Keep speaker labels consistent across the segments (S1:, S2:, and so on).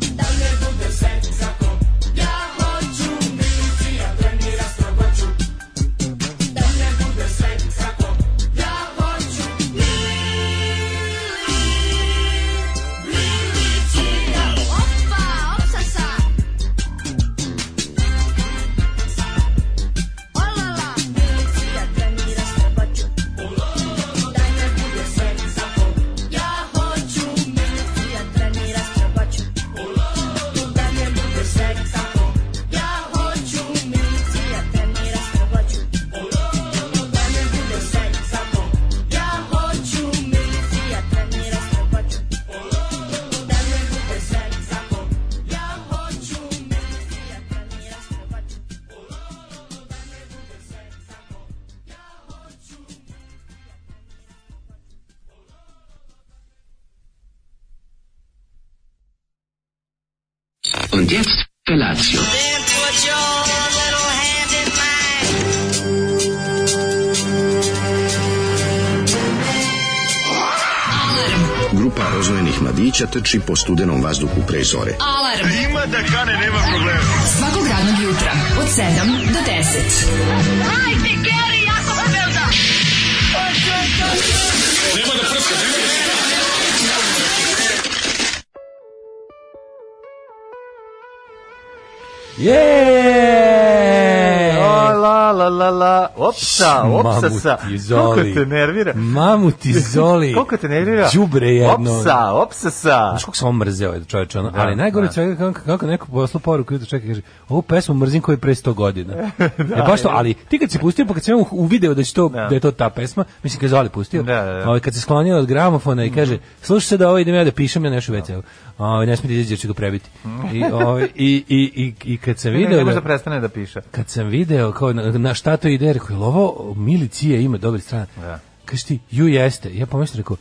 S1: Da da
S2: Und jetzt Felatio.
S3: Then put your little hand in mine.
S4: Grupa rozvojenih mladića trči po studenom vazduhu pre zore.
S1: Alarm. Ima da kane, nema problema. Svakog radnog jutra, od 7 do 10.
S5: Je!
S6: O, la, la, la, la, opsa, opsa sa,
S5: Mamuti,
S6: koliko
S5: Zoli.
S6: te nervira,
S5: Mamuti zoli.
S6: koliko te nervira,
S5: Đubre jedno.
S6: opsa, opsa sa,
S5: Znaš kako sam on mrzeo je čovječ, ono,
S6: Da,
S5: ali najgore
S6: da.
S5: od svega je kako, kako neko posla poruku i čeka i kaže, ovu pesmu mrzim koji je pre 100 godina. e, baš to, ali ti kad si pustio, pa kad sam ja u- uvideo da, će to, da.
S6: Da.
S5: je to ta pesma, mislim kad je Zoli pustio,
S6: Da, da, Mhm. da.
S5: ovaj, kad se sklonio od gramofona i kaže, slušaj se da ovo idem ja da pišem, ja nešto već, evo, ovaj, ne smije da izađe, jer ću ga prebiti. I, ovaj, i, i, i, i kad sam
S6: ne,
S5: video
S6: ne može da
S5: da,
S6: prestane da piše.
S5: kad sam video kao na, na šta to ide, rekao, jel ovo Milicije ima dobri strana.
S6: Da.
S5: Kažeš ti, ju jeste. Ja pomislim, rekao,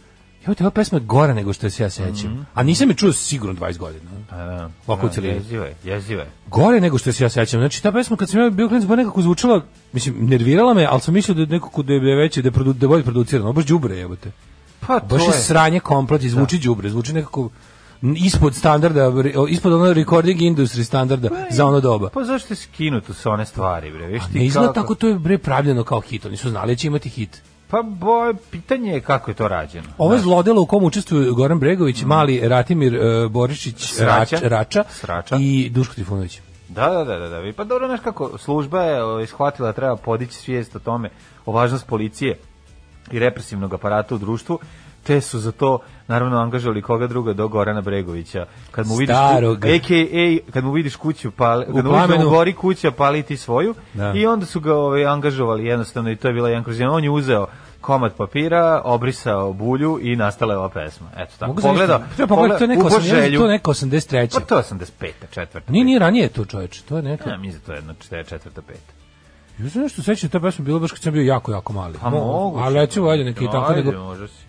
S5: jo, te ova pesma je gora nego što je se ja sećam. A nisam je čuo sigurno 20 godina.
S6: Mhm. Da,
S5: Ovako u
S6: da,
S5: celini.
S6: Jezivo je, jezivo je.
S5: Gore nego što se ja sećam. Znači, ta pesma kad sam ja bio klinac, bar nekako zvučala, mislim, nervirala me, ali sam mislio da je nekako da je veće, da je, produ, da je bolje producirano. Ovo Baš đubre jebote.
S6: Pa Da.
S5: Baš je sranje komplet, i zvuči đubre, zvuči nekako n- ispod standarda, re- ispod ono recording industry standarda za ono doba.
S6: Pa zašto je skinuto sa one stvari, bre, viš
S5: A
S6: ti
S5: ne izgleda
S6: kako-
S5: tako, to je bre pravljeno kao hit, oni su znali da će imati hit. Da.
S6: Pa boj, pitanje je kako je to rađeno.
S5: Ovo je zlodelo u kom učestvuju Goran Bregović, mali Ratimir e, Borišić
S6: Sraća.
S5: Rač- Mm. Rača,
S6: Srača.
S5: i Duško Trifunović.
S6: Da, da, da, da, da. vi- Pa dobro, znaš kako, služba je ovaj, shvatila da treba podići svijest o tome, o važnost policije i represivnog aparata u društvu, te su za to naravno angažovali koga druga do Gorana Bregovića. Kad mu vidiš, ku-
S5: Starog.
S6: AKA, kad mu vidiš kuću, pali, kad mu vidiš da mu
S5: plamenu.
S6: gori kuća, pali ti svoju.
S5: Da.
S6: I onda su ga ovaj, angažovali jednostavno i to je bila jedan kroz jedan. On je uzeo komad papira, obrisao bulju i nastala je ova pesma. Eto tako.
S5: Mogu zamisliti-
S6: Pogledao,
S5: Treba pogledati, to je neko
S6: ubo
S5: 80
S6: želju.
S5: to je neko 83.
S6: Pa to je 85. četvrta.
S5: Nije, nije ranije to čoveče, to je neko.
S6: Ja, mi za da to jedno 4 četvrta peta.
S5: Ja se nešto sećam, ta pesma je bila baš kad sam bio jako, jako mali.
S6: Pa moguće.
S5: Ali ja ću valjda neki tako
S6: Ajde,
S5: nego,
S6: može si.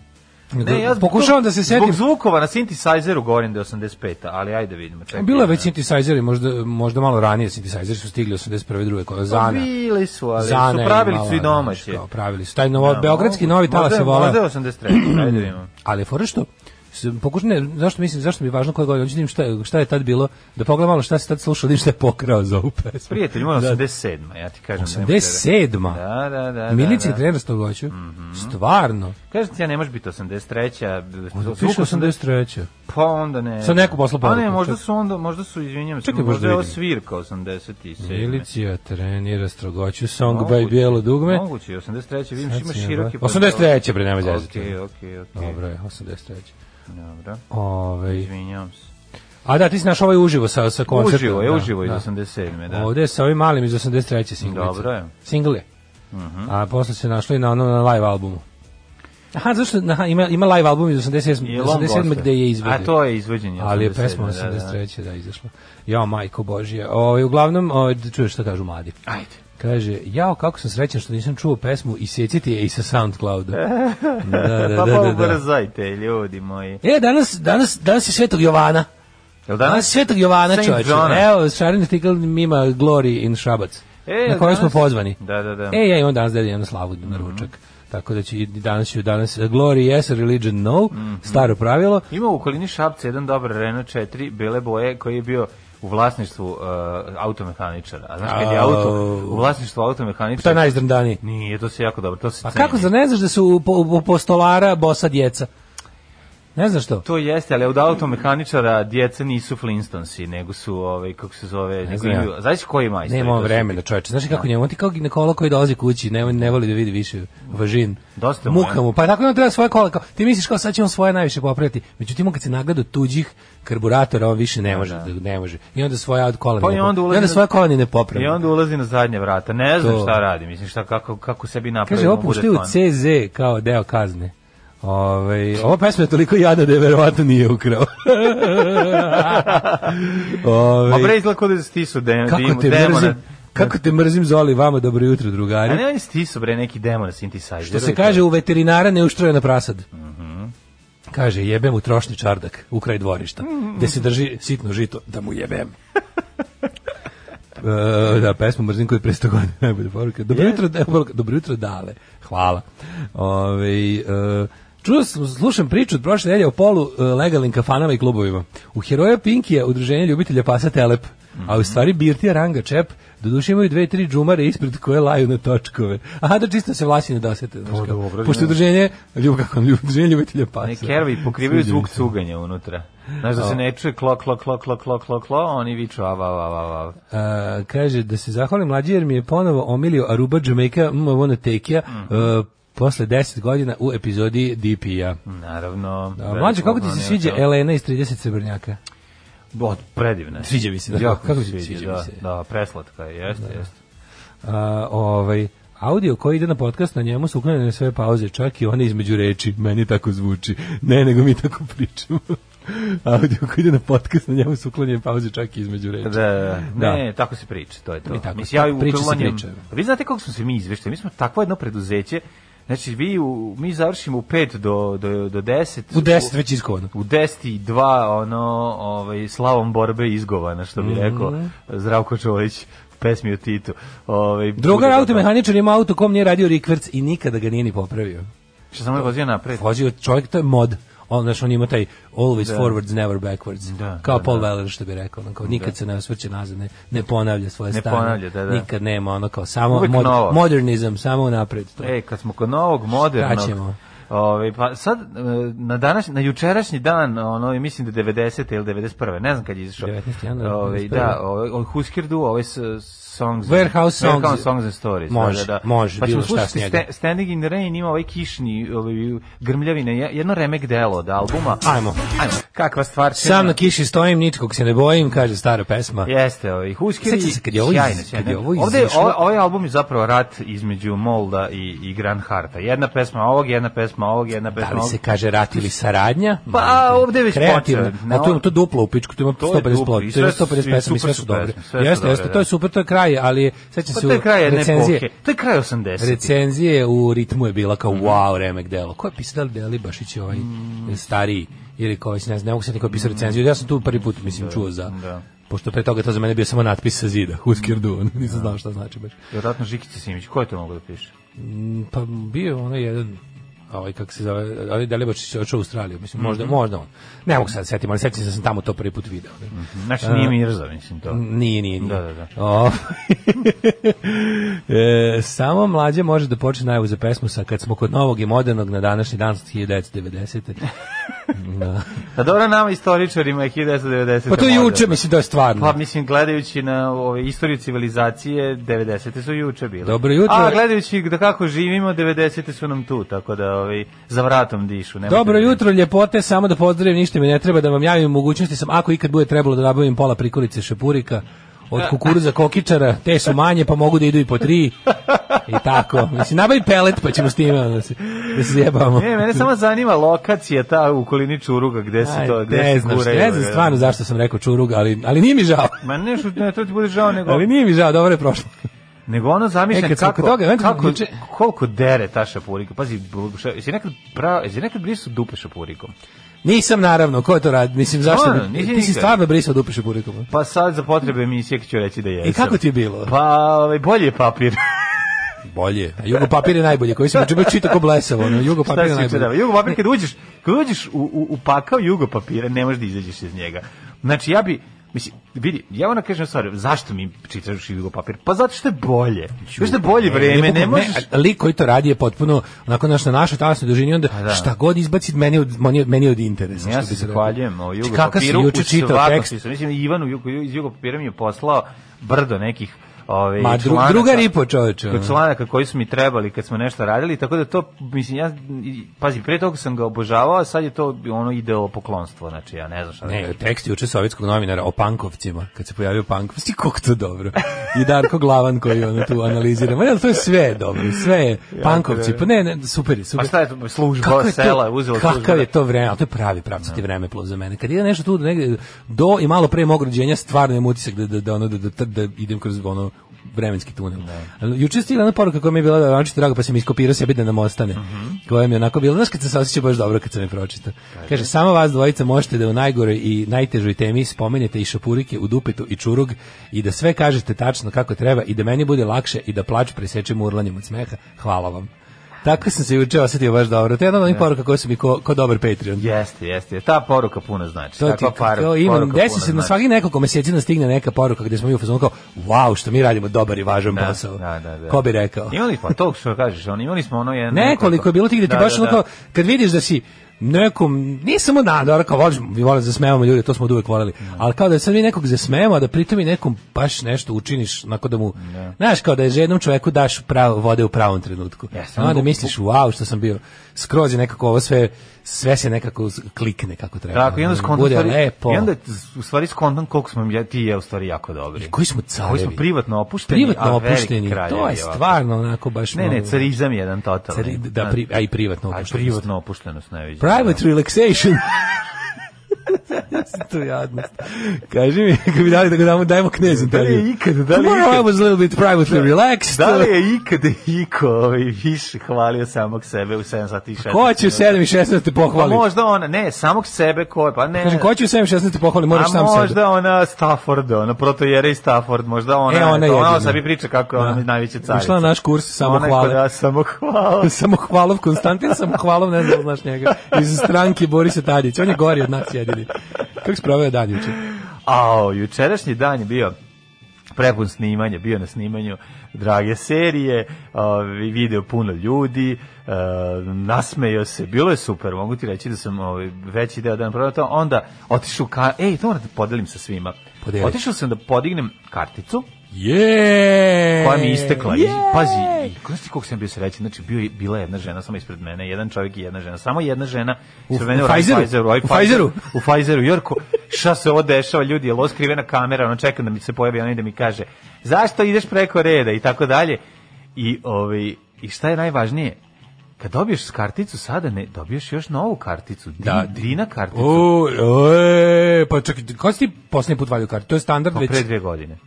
S5: nego
S6: Ne, ja zbog
S5: pokušavam
S6: tog-
S5: da se
S6: Zbog
S5: setim.
S6: zvukova na synthesizeru govorim da je 85-a, ali ajde vidimo. Čekaj,
S5: Bilo je već
S6: Ne.
S5: synthesizeri, možda, možda malo ranije synthesizeri su stigli 81. druge koja Zana.
S6: Bili su, ali
S5: Zana
S6: Pa su
S5: je
S6: pravili
S5: malo,
S6: su i domaći. Da,
S5: znaš, kao, pravili su. Taj novo, beogradski
S6: moguće.
S5: novi talas
S6: Možda
S5: se
S6: je-
S5: volao.
S6: Možda je 83, ajde da vidimo.
S5: Ali je fora što se pokušam, ne, zašto mislim, zašto mi je važno koje godine, hoću da vidim šta, je- šta je tad bilo, da pogledam malo šta se tad slušao, da vidim šta je pokrao za ovu pesmu. Da,
S6: Prijatelj, moja 87 ja ti kažem. nemoj
S5: 87.
S6: da- Da, da, da. da,
S5: Milicija
S6: da.
S5: trener Stogoću. Stvarno.
S6: Kažem ti, ja ne možeš biti 83-a.
S5: Piše 83.
S6: Pa onda ne.
S5: Sad neko poslao
S6: Pa ne,
S5: poruku,
S6: možda
S5: čekaj.
S6: su onda, možda su, izvinjam se,
S5: Čekaj, možda
S6: možda je ovo
S5: vidim.
S6: svirka 87.
S5: Milicija trenira Strogoću, Song
S6: Moguće,
S5: by Bijelo dugme. Znači,
S6: Moguće, 83. vidim što ima
S5: Sad si
S6: široki...
S5: jebao. 83. bre, nemoj zezati.
S6: Okej, okej, okej.
S5: Dobro je, 83.
S6: Dobro.
S5: Ovaj.
S6: Izvinjavam se.
S5: A da, ti si našao ovaj uživo sa, sa koncertom.
S6: Uživo je,
S5: da,
S6: uživo iz
S5: da.
S6: 87. Da.
S5: Ovde je sa ovim malim iz 83. singlica.
S6: Dobro je. Mhm.
S5: Single je. A posle se našlo i na onom na live albumu. Aha, zašto aha, ima, ima live album iz 87.
S6: Je long
S5: 87.
S6: goste.
S5: gde je izvedio.
S6: A to je izvođenje.
S5: Ali je pesma
S6: 87., da, da.
S5: 83. da, izašla. Ja, majko Božija. Ovaj uglavnom, ovaj, da čuješ šta kažu mladi.
S6: Ajde.
S5: Kaže, jao, kako sam srećan što nisam čuo pesmu i sjeciti je i sa Soundclouda. Da, da, da,
S6: Pa
S5: da,
S6: pa
S5: da.
S6: ubrzajte, ljudi moji.
S5: E, danas, danas, danas je Svetog Jovana.
S6: Jel
S5: Danas je Svetog Jovana,
S6: Da? Saint
S5: čovječe.
S6: Johna.
S5: Evo, Šarin Stikl ima Glory in Šabac.
S6: E,
S5: na koju smo
S6: danas-
S5: pozvani.
S6: Da, da, Mhm. da.
S5: E, ja imam danas dedinjanu slavu na ručak. Tako da će i danas, ću- danas e, Glory yes, religion no,
S6: Mhm.
S5: staro pravilo.
S6: Ima u okolini Šapca jedan dobar Renault 4 bele boje koji je bio u vlasništvu uh, automehaničara. A znaš, kad je auto u vlasništvu
S5: To je
S6: automehaničara...
S5: najzdrndani.
S6: Nije, to se jako dobro, to se
S5: Pa
S6: ceni.
S5: kako za ne znaš da su u, po- u postolara bosa djeca? Ne znaš to?
S6: To jeste, ali od automehaničara djeca nisu Flintstonsi, nego su, ovaj, kako se zove, ne
S5: znam ja.
S6: znaš koji je majstor?
S5: Nema on vremena, čoveče. Znaš kako njemu? On ti kao ginekolog koji dolazi kući, ne, ne voli da vidi više važin.
S6: Dosta mu je.
S5: Muka mu. Pa tako on treba svoje kola. Kao, ti misliš kao sad će on svoje najviše popraviti. Međutim, on kad se nagleda tuđih karburatora, on više ne može. Da. ne može. I onda svoja od kola
S6: Pa
S5: ne
S6: i
S5: popravi.
S6: onda
S5: I
S6: ulazi
S5: onda
S6: na-
S5: svoje kola ni ne popravi.
S6: I onda ulazi na zadnje vrata, ne znam
S5: To.
S6: šta radi, mislim šta, kako, kako sebi napravi.
S5: Kaže,
S6: da mu
S5: opušti u
S6: bude fun.
S5: CZ kao deo kazne. Ove, ova pesma je toliko jadna da je verovatno nije ukrao. Ove,
S6: Ma bre, izgleda kod da stisu de,
S5: Ovaj, kako
S6: dim,
S5: te
S6: demona.
S5: mrzim, kako te mrzim Zoli, vama dobro jutro drugari.
S6: A ne, on je stisu, bre, neki demon na synthesizer.
S5: Što se kaže u veterinara neuštrojena prasad. Kaže, jebem u trošni čardak, u kraj dvorišta, gde se drži sitno žito, da mu jebem. E, da, pesma Mrzim koji je pre 100 godina najbolja poruka. Dobro jutro, da, poruka, dobro jutro, dale. Hvala. Ove, e, čuo sam, slušam priču od prošle nedelje o polu e, legalnim kafanama i klubovima. U heroja Pinkija, udruženje ljubitelja pasa Telep, a u stvari Birtija Ranga Čep, Doduše imaju dve, tri džumare ispred koje laju na točkove. Aha, da čisto se vlasi ne dosete. Znaš, kao.
S6: dobro,
S5: Pošto
S6: ne.
S5: udruženje, ljub, kako, udruženje ljubitelja pasa.
S6: Ne, kervi pokrivaju
S5: Sviđa mi
S6: zvuk
S5: se.
S6: cuganja unutra. Znaš da se ne čuje klo, klo, klo, klo, klo, klo, klo, oni viču av, av, av, av, av.
S5: A, kaže da se zahvalim mlađi jer mi je ponovo omilio Aruba Jamaica mm, I wanna take ya, e, posle 10 godina u epizodi DP-a.
S6: Naravno.
S5: Da, mlađe, kako ti se sviđa Elena iz 30 srebrnjaka?
S6: Bod, predivna. je.
S5: Sviđa mi se, da.
S6: Jako
S5: Kako
S6: mi
S5: se sviđa
S6: se sviđa,
S5: mi
S6: da,
S5: se? Da.
S6: da, preslatka je, jeste, jeste.
S5: A, ovaj, audio koji ide na podcast, na njemu su uklanjene sve pauze, čak i one između reči. Meni tako zvuči. Ne, nego mi tako pričamo. audio koji ide na podcast, na njemu su uklanjene pauze, čak i između reči.
S6: Da,
S5: Da.
S6: ne, tako se priča, to je to.
S5: Mi tako,
S6: ja
S5: priča se
S6: uklanjam-
S5: priča. da.
S6: Pa Vi znate kako smo se mi izveštali, mi smo takvo jedno preduzeće, znači vi u, mi završimo u 5 do, do, do 10.
S5: U 10 već iskovano.
S6: u 10 i 2 ono ovaj slavom borbe izgovana što
S5: Mhm.
S6: bi rekao Zdravko Čolić u pesmi o Titu. Ovaj
S5: Drugar
S6: bude
S5: automehaničar ima auto kom nije radio rikverc i nikada ga nije ni popravio.
S6: dobro. Što sam ovaj vozio napred.
S5: vozio čovjek, to je mod. On, znaš, on ima taj always forwards, never backwards.
S6: Da,
S5: kao
S6: da,
S5: Paul Weller što bi rekao. Ono, kao, nikad se ne osvrće nazad, ne, ne ponavlja svoje
S6: Ne
S5: stanje.
S6: ponavlja, da, da.
S5: Nikad nema ono kao samo
S6: Uvek
S5: mod,
S6: novo.
S5: modernizam, samo napred. To.
S6: E, kad smo kod novog modernog.
S5: Šta ćemo?
S6: Ovaj pa sad e, na danas na jučerašnji dan ono i mislim da 90 ili 91. Ne znam kad je izašao.
S5: 19. januar,
S6: Ovaj
S5: 91..
S6: da, ovaj od Husker Du, ovaj s, songs
S5: Warehouse Songs.
S6: Warehouse songs and stories.
S5: Može,
S6: da, da, da.
S5: može,
S6: Pa ćemo
S5: bilo šta s
S6: slušati
S5: njega.
S6: Sta- Standing in the Rain ima ovaj kišni ovaj grmljavine, je- jedno remek delo od albuma.
S5: Ajmo.
S6: Ajmo, kakva stvar će
S5: Sam
S6: na-
S5: na kiši stojim, ničkog se ne bojim, kaže stara pesma.
S6: Jeste, ovaj Huskeri.
S5: Sećam se kad je ovo iz-
S6: sjajno, sjajno.
S5: kad je ovo
S6: Ovde
S5: izašlo-
S6: ovaj, ovaj album je zapravo rat između Molda i i Grand Harta. Jedna pesma ovog, jedna pesma ovog, jedna pesma
S5: Da li
S6: ovog.
S5: se kaže rat ili saradnja?
S6: Pa,
S5: Molim te.
S6: ovde je već
S5: kreativno.
S6: počeo.
S5: A to ima to duplo u pičku, to ima
S6: To je
S5: 150
S6: duplo
S5: plot,
S6: i
S5: to ima
S6: sve su-
S5: 150
S6: i
S5: pesmi, sve
S6: super
S5: su
S6: su
S5: dobre.
S6: pesme, sve su
S5: Jeste,
S6: dobre,
S5: jeste,
S6: da.
S5: to je super, to je kraj, ali sećam
S6: Pa
S5: se
S6: to je
S5: u
S6: kraj jedne
S5: recenzije.
S6: epohe. To je kraj 80.
S5: recenzije u ritmu je bila kao wow remek delo. Ko je pisao da li Deli Bašić je ovaj stariji ili ko već ne znam, ne mogu se niko pisao recenziju. Ja sam tu prvi put mislim čuo za
S6: da.
S5: Pošto pre toga to za mene bio samo natpis sa zida, Husker Du, ono,
S6: Da.
S5: nisam znao šta znači baš.
S6: Vjerojatno Žikica Simić, ko je to mogao da piše?
S5: Mm, Pa bio je ono jedan ovaj kako se zove, ali Delibačić je otišao u Australiju, mislim, možda,
S6: Mhm.
S5: možda on. Ne mogu sad da se setim, ali sećam se da sam tamo to prvi put video. ne.
S6: Znači nije Mirza, mislim to.
S5: Nije, nije, nije.
S6: Da, da, da.
S5: O, e, samo mlađe može da počne najavu za pesmu sa kad smo kod novog i modernog na današnji dan 1990. da.
S6: Pa dobro, nama istoričarima je 1990.
S5: Pa to
S6: možda.
S5: juče mislim da je stvarno.
S6: Pa mislim, gledajući na ove, istoriju civilizacije, 90. su juče bile.
S5: Dobro jutro.
S6: A gledajući da kako živimo, 90. su nam tu, tako da ovaj, za vratom dišu. nemojte
S5: Dobro
S6: da-
S5: jutro, ljepote, samo da pozdravim, ništa mi ne treba da vam javim u mogućnosti sam, ako ikad bude trebalo da nabavim pola prikolice šepurika, od kukuruza kokičara, te su manje, pa mogu da idu i po tri, i tako. Mislim, nabavi pelet, pa ćemo s time ono, da se, da se zjebamo.
S6: Ne, E, mene samo zanima lokacija ta u kolini Čuruga, gde Da se
S5: Aj,
S6: to, gde
S5: ne
S6: se
S5: znam,
S6: guraju,
S5: ne znam
S6: da.
S5: stvarno zašto sam rekao čurug, ali, ali nije mi žao.
S6: Ma ne, što ne, to ti bude žao, nego,
S5: Ali nije mi žao, dobro je prošlo.
S6: nego ono zamišljam
S5: E, kad sam
S6: kako,
S5: kod toga, eventualno
S6: kako,
S5: juče-
S6: koliko dere ta šapurika. Pazi, ša- jesi nekad, pra, jesi nekad blisu dupe šapurikom?
S5: Nisam naravno, ko je to radi? Mislim, zašto?
S6: Stvarno,
S5: bi,
S6: Pa, nisi
S5: ti si
S6: nikad.
S5: stvarno brisao da dupe šepurikom.
S6: Pa sad za potrebe emisije ću reći da jesam.
S5: I kako ti je bilo?
S6: Pa, ovaj, bolje je papir.
S5: Bolje. A jugo papir je najbolje, koji si učeo čita ko blesavo. Ono, jugo papir je
S6: Šta si juče radio?
S5: najbolje.
S6: Jugo papir, kad uđeš, kad uđeš u, u, u pakao jugo papira, ne možeš da izađeš iz njega. Znači, ja bi, mislim, vidi, ja ona kažem stvar, zašto mi čitaš jugo papir? Pa zato što je bolje. Još da je bolje vreme, ne možeš...
S5: a lik koji to radi je potpuno onako naš na našoj talasnoj dužini onda
S6: da.
S5: šta god izbaci meni od meni, od- meni od interesa.
S6: Ja
S5: što
S6: se
S5: bi reklo.
S6: zahvaljujem o
S5: Znači,
S6: Jugo
S5: kakav si
S6: papiru.
S5: juče
S6: u
S5: čitao
S6: svakom
S5: tekst?
S6: smislu. Mislim, Ivan u Jugo, iz Jugo papira mi je poslao brdo nekih Ove,
S5: Ma dru, druga ripo čoveče. ono.
S6: kod članaka koji su mi trebali kad smo nešto radili, tako da to, mislim, ja, i- pazi, pre toga sam ga obožavao, a sad je to ono ideo poklonstvo, znači ja ne znam šta da
S5: Ne, tekst juče sovjetskog novinara o pankovcima, kad se pojavio pankovci, kako to dobro. I Darko Glavan koji ono tu analizira. Ma ne, to je sve dobro, sve je pankovci. Pa ne, ne, super je, super.
S6: Pa šta je to, služba
S5: Kako je Da.
S6: sela,
S5: to,
S6: uzela službu. da.
S5: kakav je to vreme, ali to je pravi pravcati vreme plus za mene. Kad ide nešto tu negde do i malo pre mog rođenja, stvarno je utisak da, da, da, ono, da, da, da idem kroz ono vremenski tunel. Ne. Juče je stigla jedna poruka koja mi je bila da ranče drago, pa sam iskopirao sebi da nam ostane. Mm -hmm. Koja mi je onako bila, znaš kad sam se osjećao baš dobro kad sam je pročitao. Kaže. samo vas dvojica možete da u najgoroj i najtežoj temi spomenete i šapurike u dupetu i čurug i da sve kažete tačno kako treba i da meni bude lakše i da plač presečem urlanjem od smeha. Hvala vam. Tako sam se juče osetio baš dobro. To je jedna od onih poruka koja su mi ko, ko dobar Patreon.
S6: Jeste, jeste. Ta poruka puno znači.
S5: To ti,
S6: Takva par,
S5: to imam,
S6: poruka
S5: desi
S6: puno
S5: se na
S6: znači.
S5: svakih nekoliko meseci nam stigne neka poruka gde smo mi u fazonu kao, wow, što mi radimo dobar i važan posao.
S6: Da, da, da.
S5: Ko bi rekao?
S6: Imali smo, to što kažeš, on, imali smo ono jedno...
S5: Nekoliko je bilo tih gde ti
S6: Da,
S5: baš
S6: da,
S5: ono
S6: da.
S5: kao, kad vidiš da si nekom, nije samo na, dobro, kao volim, mi volim da zasmevamo ljude, to smo od uvek voleli, ali kao da sad mi nekog zasmevamo, a da pritom i nekom baš nešto učiniš, onako da mu, znaš, kao da je jednom čoveku daš pravo, vode u pravom trenutku.
S6: Jeste,
S5: Onda
S6: ono-
S5: misliš, wow, što sam bio, skroz je nekako ovo sve, sve se nekako z- klikne kako treba.
S6: Tako, i onda skontam,
S5: Mm, Bude
S6: stvari,
S5: lepo.
S6: i onda u stvari skontam koliko smo ja, ti i ja u stvari jako dobri.
S5: Koji smo
S6: Koji smo
S5: carevi.
S6: privatno opušteni, a
S5: Privatno
S6: veliki
S5: opušteni,
S6: kraljevi
S5: to je
S6: ovako.
S5: stvarno onako baš
S6: Ne, ne,
S5: malo-
S6: carizam je jedan totalni.
S5: Cari- da, pri, a i privatno
S6: A i
S5: opuštenost.
S6: privatno opuštenost ne vidim.
S5: Private relaxation. to jadnost. Kaži mi, kako bi dali da ga damo, dajmo knezu
S6: Da li je
S5: intervju.
S6: ikad, da li je
S5: Tomorrow
S6: ikad?
S5: I was a little bit privately relaxed.
S6: Da li je ikada Iko ovaj, više hvalio samog sebe u 7 sati i 16
S5: Pa Ko će u 7 i 16 te
S6: Pa
S5: pohvali?
S6: možda ona, ne, samog sebe ko je, pa ne.
S5: Kažem, ko će u 7 i 16 te pohvali, moraš
S6: A da,
S5: sam
S6: možda
S5: sebe.
S6: ona Stafford, ona protojera i Stafford, možda ona,
S5: E, ona
S6: ona, ona
S5: jedina.
S6: sebi priča kako je ona
S5: Da.
S6: najveća carica.
S5: Ušla na naš kurs samo
S6: Ona je
S5: hvale.
S6: kod nas samo hvala.
S5: Samo hvalov Konstantin, samo hvalov, ne znam da li znaš njega, iz stranke Borisa Tadića. On je gori od nas jedini. Kako si proveo dan juče?
S6: Ao, jučerašnji dan je bio prepun snimanja, bio na snimanju drage serije, ovaj, video puno ljudi, eh, nasmejao se, bilo je super, mogu ti reći da sam ovaj, veći deo dana proveo to, onda otišao, ka, ej, to moram da podelim sa svima,
S5: Podeli.
S6: otišao sam da podignem karticu,
S5: Je!
S6: koja mi je istekla. I,
S5: Jej!
S6: pazi, i, znaš ti koliko sam bio srećen, znači bio je, bila je jedna žena samo ispred mene, jedan čovjek i jedna žena, samo jedna žena ispred
S5: u
S6: mene
S5: Pfizeru?
S6: Pfizeru, ovaj
S5: U Pfizeru?
S6: u Pfizeru, Jorko, šta se ovo dešava, ljudi, je li ovo skrivena kamera, ono čekam da mi se pojavi ona i da mi kaže, zašto ideš preko reda i tako dalje. I, ovaj, I šta je najvažnije, kad dobiješ karticu sada, ne, dobiješ još novu karticu, din,
S5: Da,
S6: da,
S5: di-
S6: dina karticu,
S5: O, e, pa čekaj, kada si ti posljednji put valio kartu? To je standard
S6: pa
S5: već.
S6: pre dve Mm. godine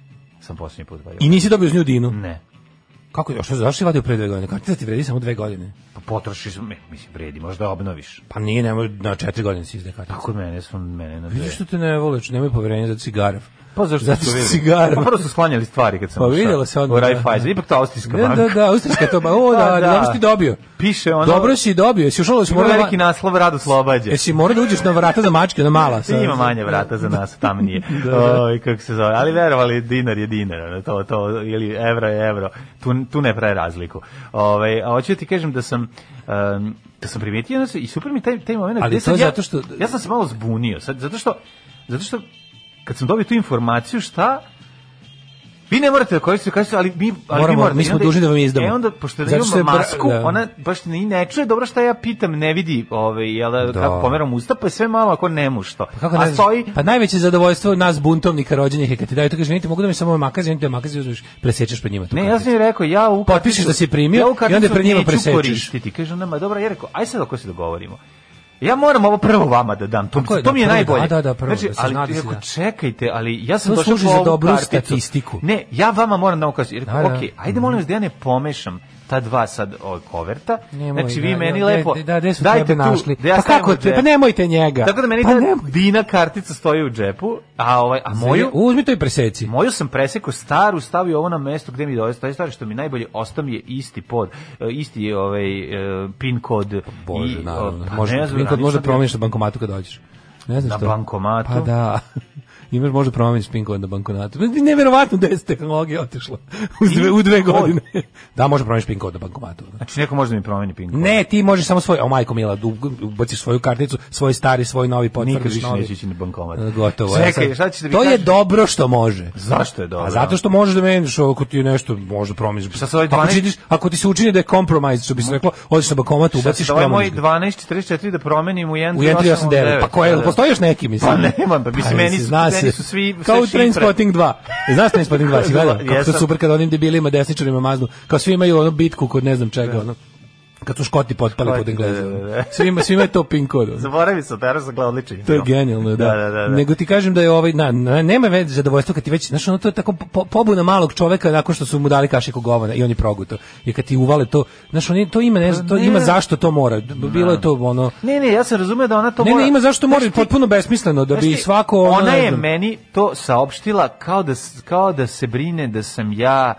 S6: sam posljednji put valjao.
S5: I nisi dobio uz nju dinu?
S6: Ne.
S5: Kako, a što, zašto si vadio pre dve godine? Kartica ti vredi samo dve godine.
S6: Pa potrošiš, mi- mislim, vredi, možda obnoviš.
S5: Pa nije, nemoj, na četiri godine si izde kartica.
S6: Tako mene smo mene na dve.
S5: Vidiš što te ne vole, što nemoj poverenje za cigarav.
S6: Pa zašto
S5: Zato
S6: su
S5: što
S6: videli?
S5: cigara.
S6: Pa prvo su sklanjali stvari kad sam
S5: Pa
S6: ušao.
S5: vidjelo se odmah,
S6: U
S5: da.
S6: Raiffeisen, ipak to austrijska
S5: Da,
S6: banka.
S5: da, da, ustaška to, ba, o, da,
S6: Pa
S5: da,
S6: da.
S5: dobro si ti dobio.
S6: Piše ono...
S5: Dobro si dobio, jesi ušao da si
S6: Ima
S5: morao...
S6: veliki naslov, rado slobađe.
S5: Jesi morao da uđeš na vrata za mačke, na mala. sa-
S6: Ima manje vrata za nas, tam nije.
S5: Da,
S6: Oj, kako se zove. Ali verovali, dinar je dinar, ono, to, to, ili evro je evro. Tu, tu ne praje razliku. Ove, a hoću ti kažem da sam... em, da sam primetio da se- i super mi taj, taj moment.
S5: Ali
S6: gde
S5: to
S6: sad
S5: je
S6: ja,
S5: zato što-
S6: Ja sam se malo zbunio, sad, zato što... Zato što kad sam dobio tu informaciju, šta... Vi ne morate da koristite, kažete, ali mi, ali
S5: Moramo,
S6: vi morate.
S5: mi
S6: I
S5: smo
S6: onda-
S5: dužni da vam izdamo.
S6: E onda, pošto da
S5: Zato što je
S6: imam
S5: bra-
S6: masku,
S5: da.
S6: ona baš ni ne čuje dobro šta ja pitam, ne vidi, ovaj, jel, da.
S5: Da.
S6: kako pomeram usta, pa je sve malo ako nemušto.
S5: Kako
S6: A
S5: ne,
S6: stoji,
S5: Pa najveće zadovoljstvo nas buntovnika rođenih je kad ti daju to kaže, niti mogu da mi samo ovaj makaz, niti makaz uzmeš, presečeš pred njima. tu
S6: ne, ja
S5: karticu."
S6: sam joj rekao, ja u
S5: Potpišeš
S6: karticu-
S5: da si primio
S6: ja u
S5: i onda
S6: karticu
S5: pred njima
S6: neću
S5: presečeš.
S6: koristiti. Kaže ona, ma dobro, ja rekao, aj sad ako se dogovorimo. Ja moram ovo prvo vama da dam, to,
S5: Tako je,
S6: to
S5: da,
S6: mi je
S5: prvo,
S6: najbolje.
S5: da, da, da, prvo,
S6: znači,
S5: da se
S6: ali
S5: zna
S6: ti
S5: da si
S6: rekao,
S5: da.
S6: čekajte, ali ja sam
S5: To
S6: došao
S5: služi
S6: po
S5: za
S6: ovu
S5: dobru
S6: karticu.
S5: statistiku.
S6: Ne, ja vama moram da ukažem. Jer,
S5: Da, da.
S6: ok, ajde molim vas da ja ne pomešam ta dva sad ovaj, koverta.
S5: Nemoj,
S6: znači, vi
S5: da,
S6: meni
S5: da,
S6: lepo...
S5: Da, da, gde su
S6: dajte
S5: tebe
S6: tu,
S5: našli?
S6: da ja
S5: pa
S6: stavim
S5: kako
S6: u
S5: te? Pa
S6: džep.
S5: nemojte njega.
S6: Tako da meni
S5: pa
S6: ta
S5: nemoj.
S6: Dina kartica stoji u džepu, a ovaj a moju
S5: Uzmi to i preseci.
S6: moju sam presekao staru, stavio ovo na mesto gde mi dođe stoji stvari što mi najbolje ostao mi je isti pod e, isti je ovaj e, pin kod
S5: Bože,
S6: i,
S5: naravno.
S6: o, pa
S5: Može,
S6: ne znam,
S5: vi kad
S6: ali
S5: može
S6: sad
S5: promeniš na bankomatu kad dođeš. Ne znam
S6: Na
S5: što.
S6: bankomatu?
S5: Pa da. Imaš možda promeniš pin kod na bankomatu. Ma, Neverovatno da je s tehnologija otišla. U dve, u dve
S6: Pin kod?
S5: godine. Da, može promeniš pin kod na bankomatu.
S6: Znači neko može da mi promeni pin kod.
S5: Ne, ti možeš samo svoj, o majko mila, du- ubaciš svoju karticu, svoj stari, svoj novi potvrdiš
S6: nikad više
S5: novi.
S6: neće ići na bankomat.
S5: E, Gotovo. ja
S6: Čekaj,
S5: sad-
S6: šta ćeš da mi
S5: to je
S6: kažeš?
S5: dobro što može.
S6: Zašto je dobro?
S5: A zato što možeš da meniš ovo ako ti je nešto možda promiš.
S6: Šta sa ovaj
S5: Ako,
S6: 12?
S5: činiš, ako ti se učini da je kompromis, što bi se reklo, odeš na bankomat, ubaciš
S6: Sad ovaj moj
S5: promeniš ga.
S6: 1244 da promenim u 1
S5: U 1389. Pa koje, da. postoji još neki, mislim.
S6: Pa nemam, pa mislim, meni su-
S5: zna
S6: meni
S5: se.
S6: su svi- sve
S5: Kao u
S6: šifre. Da,
S5: Trainspotting 2. E, Znaš Trainspotting 2, si gledao? Kako su
S6: Jesam.
S5: super kad onim debilima, desničarima maznu. Kao svi imaju ono bitku kod ne znam čega, ono. Kad su Škoti potpali
S6: Da. Škoti,
S5: pod Engleze.
S6: da, da, da.
S5: Svima, svima je to pin kod. ono.
S6: Zaboravi se, Tara sam gledao odličan
S5: To je
S6: film.
S5: genijalno, da.
S6: Da, da, da. da.
S5: Nego ti kažem da je ovaj, na, na, nema već zadovoljstvo kad ti već, znaš, ono to je tako po, pobuna malog čoveka nakon što su mu dali kašiku govana i on je proguto. I kad ti uvale to, znaš, on to ima, ne, znam, to
S6: Pa ne.
S5: ima zašto to mora. B- Bilo je to ono...
S6: Ne, ne, ja sam razumeo da ona to
S5: Ne,
S6: mora...
S5: ne, ima zašto
S6: Znaš
S5: mora,
S6: ti-
S5: potpuno besmisleno, da
S6: znaš
S5: bi
S6: ti,
S5: svako... ono,
S6: Ona
S5: ne
S6: je
S5: znam-
S6: meni to saopštila kao da, s- kao da se brine da sam ja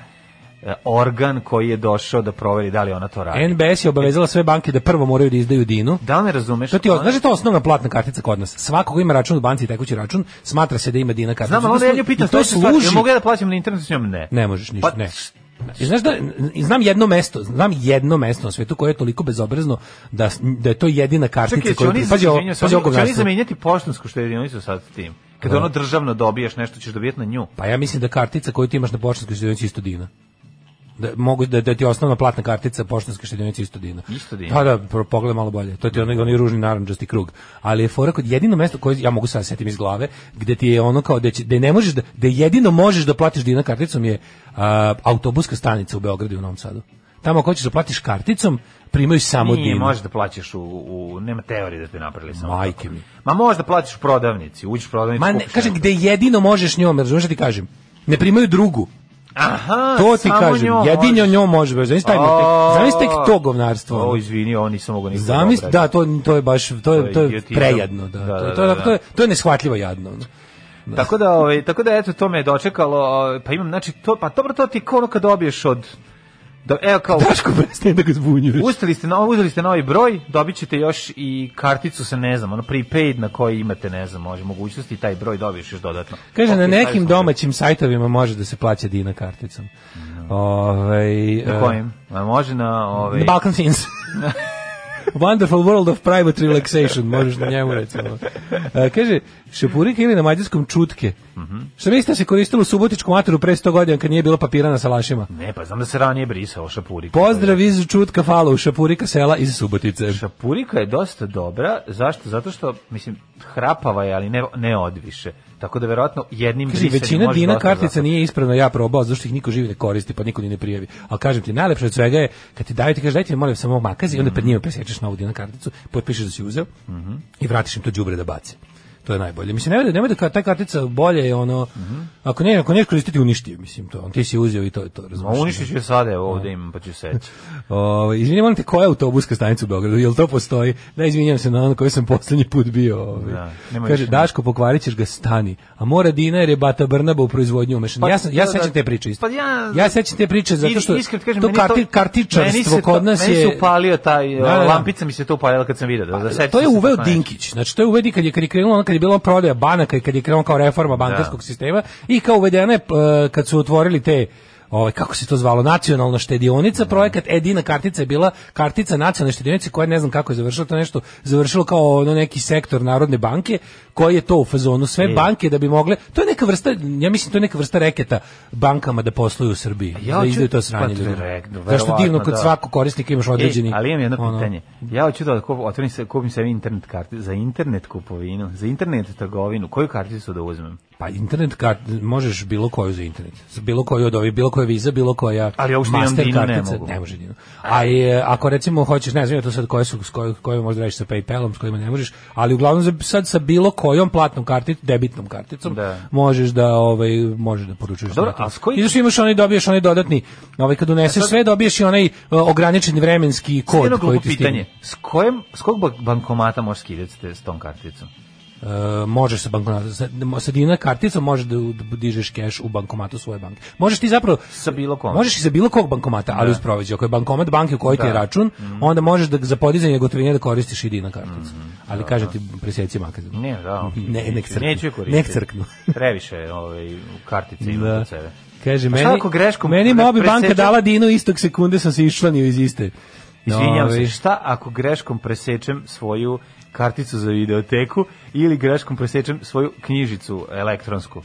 S6: e, organ koji je došao da proveri da li ona to radi.
S5: NBS je obavezala sve banke da prvo moraju da izdaju dinu.
S6: Da li me razumeš?
S5: To ti,
S6: Ona-
S5: znaš da je to osnovna platna kartica kod nas. Svako ko ima račun u banci i tekući račun, smatra se da ima dina karticu.
S6: Znam, ali onda ja nju pitam,
S5: I to
S6: sledeću stvar,
S5: služi.
S6: jel mogu ja da plaćam na internetu s njom? Ne.
S5: Ne možeš ništa,
S6: Pa,
S5: ne. I znaš da, i znam jedno mesto, znam jedno mesto na svetu koje je toliko bezobrazno da, da je to jedina kartica
S6: Čekaj, će
S5: koja...
S6: oni,
S5: Pazi ovo,
S6: izvinjam se,
S5: pazi ovo Da.
S6: oni- će oni
S5: govnarstvo.
S6: zamenjati poštansku štedionicu sad tim? Kada ono državno dobiješ nešto, ćeš dobijeti na nju.
S5: Pa ja mislim da kartica koju ti imaš na poštanskoj štedionici je isto dina. Da, mogu da, da ti je osnovna platna kartica poštanske štedionice isto dina.
S6: Isto dina.
S5: Da, da, pro- pogledaj malo bolje. To ti je onaj, onaj ružni narandžasti krug. Ali je fora kod jedino mesto koje ja mogu sad da setim iz glave, gde ti je ono kao da, će, da ne možeš da, da jedino možeš da platiš dina karticom je a, autobuska stanica u Beogradu i u Novom Sadu. Tamo ako hoćeš da platiš karticom, primaju samo
S6: Nije,
S5: dinu.
S6: možeš da plaćaš u, u nema teorije da te napravili samo.
S5: Majke
S6: tako.
S5: mi.
S6: Ma možeš da plaćaš u prodavnici, uđeš u prodavnicu.
S5: Ma ne,
S6: kupiš
S5: kažem,
S6: nešto.
S5: gde jedino možeš njom, razumiješ šta ti kažem? Ne primaju drugu.
S6: Aha,
S5: To ti
S6: Pa, samo
S5: kažem,
S6: njom
S5: jedino
S6: možeš.
S5: njom može bez. Zamisli taj motek,
S6: A.
S5: zamisli tek to govnarstvo.
S6: O,
S5: ono.
S6: izvini, ovo nisam mogao nikada.
S5: Zamisli, da, to to je baš to je
S6: je
S5: to je
S6: idiotizam.
S5: prejadno, da.
S6: Da,
S5: To to
S6: da, da,
S5: to je
S6: da.
S5: to je neshvatljivo jadno. ono.
S6: Tako da, ovaj, tako da eto to me je dočekalo, ovaj, pa imam znači to, pa dobro to ti je kao ono kad dobiješ od do, evo kao
S5: Daško prestani da ga zbunjuješ.
S6: Uzeli ste, novi, uzeli ste novi broj, dobit ćete još i karticu sa, ne znam, ono prepaid na koji imate, ne znam, može mogućnosti i taj broj dobiješ još dodatno.
S5: Kaže,
S6: Ok,
S5: na
S6: taj sam
S5: nekim
S6: uzeo.
S5: domaćim sajtovima može da se plaća Dina karticom. Ovaj,
S6: Na
S5: e,
S6: kojim? A može na... Ovaj,
S5: The Balkan Things. Wonderful World of Private Relaxation, možeš na njemu recimo. E, kaže, šepurike ili na mađarskom čutke.
S6: Mhm.
S5: Što mislite da se koristilo u subotičkom ataru pre 100 godina kad nije bilo papira na salašima?
S6: Ne, pa znam da se ranije brisao šapurika.
S5: Pozdrav iz Čutka Falo, Šapurika sela iz Subotice.
S6: Šapurika je dosta dobra, zašto? Zato što, mislim, hrapava je, ali ne, ne odviše. Tako da verovatno jednim
S5: Kaže,
S6: brisanjem
S5: većina
S6: može
S5: Dina
S6: dosta
S5: kartica
S6: zapravo.
S5: nije ispravna, ja probao, zašto ih niko živi ne koristi, pa niko ni ne prijavi. Ali kažem ti, najlepše od svega je, kad ti daju, ti kaže, dajte mi molim samo makazi, i onda pred njima presječeš novu Dina karticu, potpišeš da si uzeo
S6: Mhm.
S5: i vratiš im to đubre da bace. To je najbolje. Mislim, nemoj da, nemoj da ka- ta kartica bolje je ono,
S6: Mhm.
S5: ako ne, ako neš koristiti, uništi je, mislim, to. Ti si je uzeo i to je to, razumiješ?
S6: Ma uništit ću je sada, evo
S5: Da.
S6: ovde imam, pa ću seći.
S5: Ovaj izvinjavam molim te, koja je autobuska stanica u Beogradu? Jel to postoji? Da izvinjavam se na ono koji sam poslednji put bio. Ovaj.
S6: Da, nema
S5: Kaže
S6: više
S5: Daško pokvarit ćeš ga stani. A mora Dina jer je Bata Brnaba u proizvodnju umešan.
S6: Pa,
S5: ja sam, ja
S6: da,
S5: sećam
S6: da.
S5: te priče. isto.
S6: Pa ja-
S5: ja sećam te priče zato što
S6: Iskreno ti kažem,
S5: to
S6: meni
S5: karti
S6: meni
S5: kartičarstvo
S6: se
S5: kod
S6: to-
S5: nas
S6: meni
S5: je
S6: se upalio taj e,
S5: Da, da, da.
S6: lampica mi se to upalila kad sam video da, da
S5: to je uveo Dinkić. Znači to je uvedi kad je kad je krenulo ono kad je bilo prodaja banaka i kad je krenulo kao reforma
S6: Da.
S5: bankarskog sistema i kao uvedena je p- e, kad su otvorili te ovaj kako se to zvalo nacionalna
S6: Da.
S5: štedionica projekat Edina kartica je bila kartica nacionalne štedionice koja ne znam kako je završila to je nešto završilo kao ono neki sektor Narodne banke koji je to u fazonu sve
S6: E.
S5: banke da bi mogle to je neka vrsta ja mislim to je neka vrsta reketa bankama da posluju u Srbiji
S6: Ja
S5: da
S6: hoću-
S5: izdaju to sranje
S6: pa to je
S5: ljudima.
S6: rekno,
S5: zašto divno
S6: verovatno,
S5: kod
S6: da.
S5: svakog korisnika imaš određeni
S6: Ej, E, ali imam jedno
S5: ono,
S6: pitanje. Ja hoću da kup, otvorim se, kupim sebi internet kartu za internet kupovinu, za internet trgovinu. Koju karticu da uzmem?
S5: Pa internet kart, možeš bilo koju za internet. Za Bilo koju od ovih, bilo koja viza, bilo koja
S6: Ali ja uopšte imam
S5: master
S6: Dinu, ne
S5: kartica.
S6: mogu.
S5: Ne može Dinu. A i, e, ako recimo hoćeš, ne znam ja to sad koje su, s koje, koje možda radiš sa Paypalom, s kojima ne možeš, ali uglavnom za- sad sa bilo kojom platnom karticom, debitnom karticom,
S6: Da.
S5: možeš da ovaj možeš da poručuješ.
S6: Dobro,
S5: na
S6: a s
S5: to.
S6: koji-
S5: I zašto imaš onaj dobiješ onaj dodatni, ovaj kad uneseš sve dobiješ i onaj e, ograničeni vremenski
S6: Sad jedno
S5: kod koji
S6: glupo
S5: ti stigne.
S6: pitanje. S, kojem, s kog ba- bankomata možeš skidati te- s tom karticom?
S5: E, možeš sa bankomata sa, sa dina karticom možeš da, u- da dižeš keš u bankomatu svoje banke. Možeš ti zapravo
S6: Sa bilo kom? Da.
S5: Možeš i za bilo kog bankomata, ali uz proveđaj. Ako je bankomat banke u kojoj ti je račun,
S6: Mhm.
S5: onda možeš da za podizanje gotovine da koristiš i dina karticu. Ali kažem ti presjeci makaze.
S6: Da, Ne, da.
S5: Ne, nek crknu.
S6: Neću je koristiti.
S5: Nek crknu.
S6: Previše ovaj, kartice ima
S5: Da.
S6: kod sebe.
S5: Kaže,
S6: A šta
S5: meni,
S6: ako greškom
S5: meni
S6: pre-
S5: mobi banka
S6: presečem?
S5: dala dinu istog sekunde sam se išlanio iz iste.
S6: Izvinjam
S5: Ovaj,
S6: se, šta ako greškom presečem svoju karticu za videoteku ili greškom presečem svoju knjižicu elektronsku?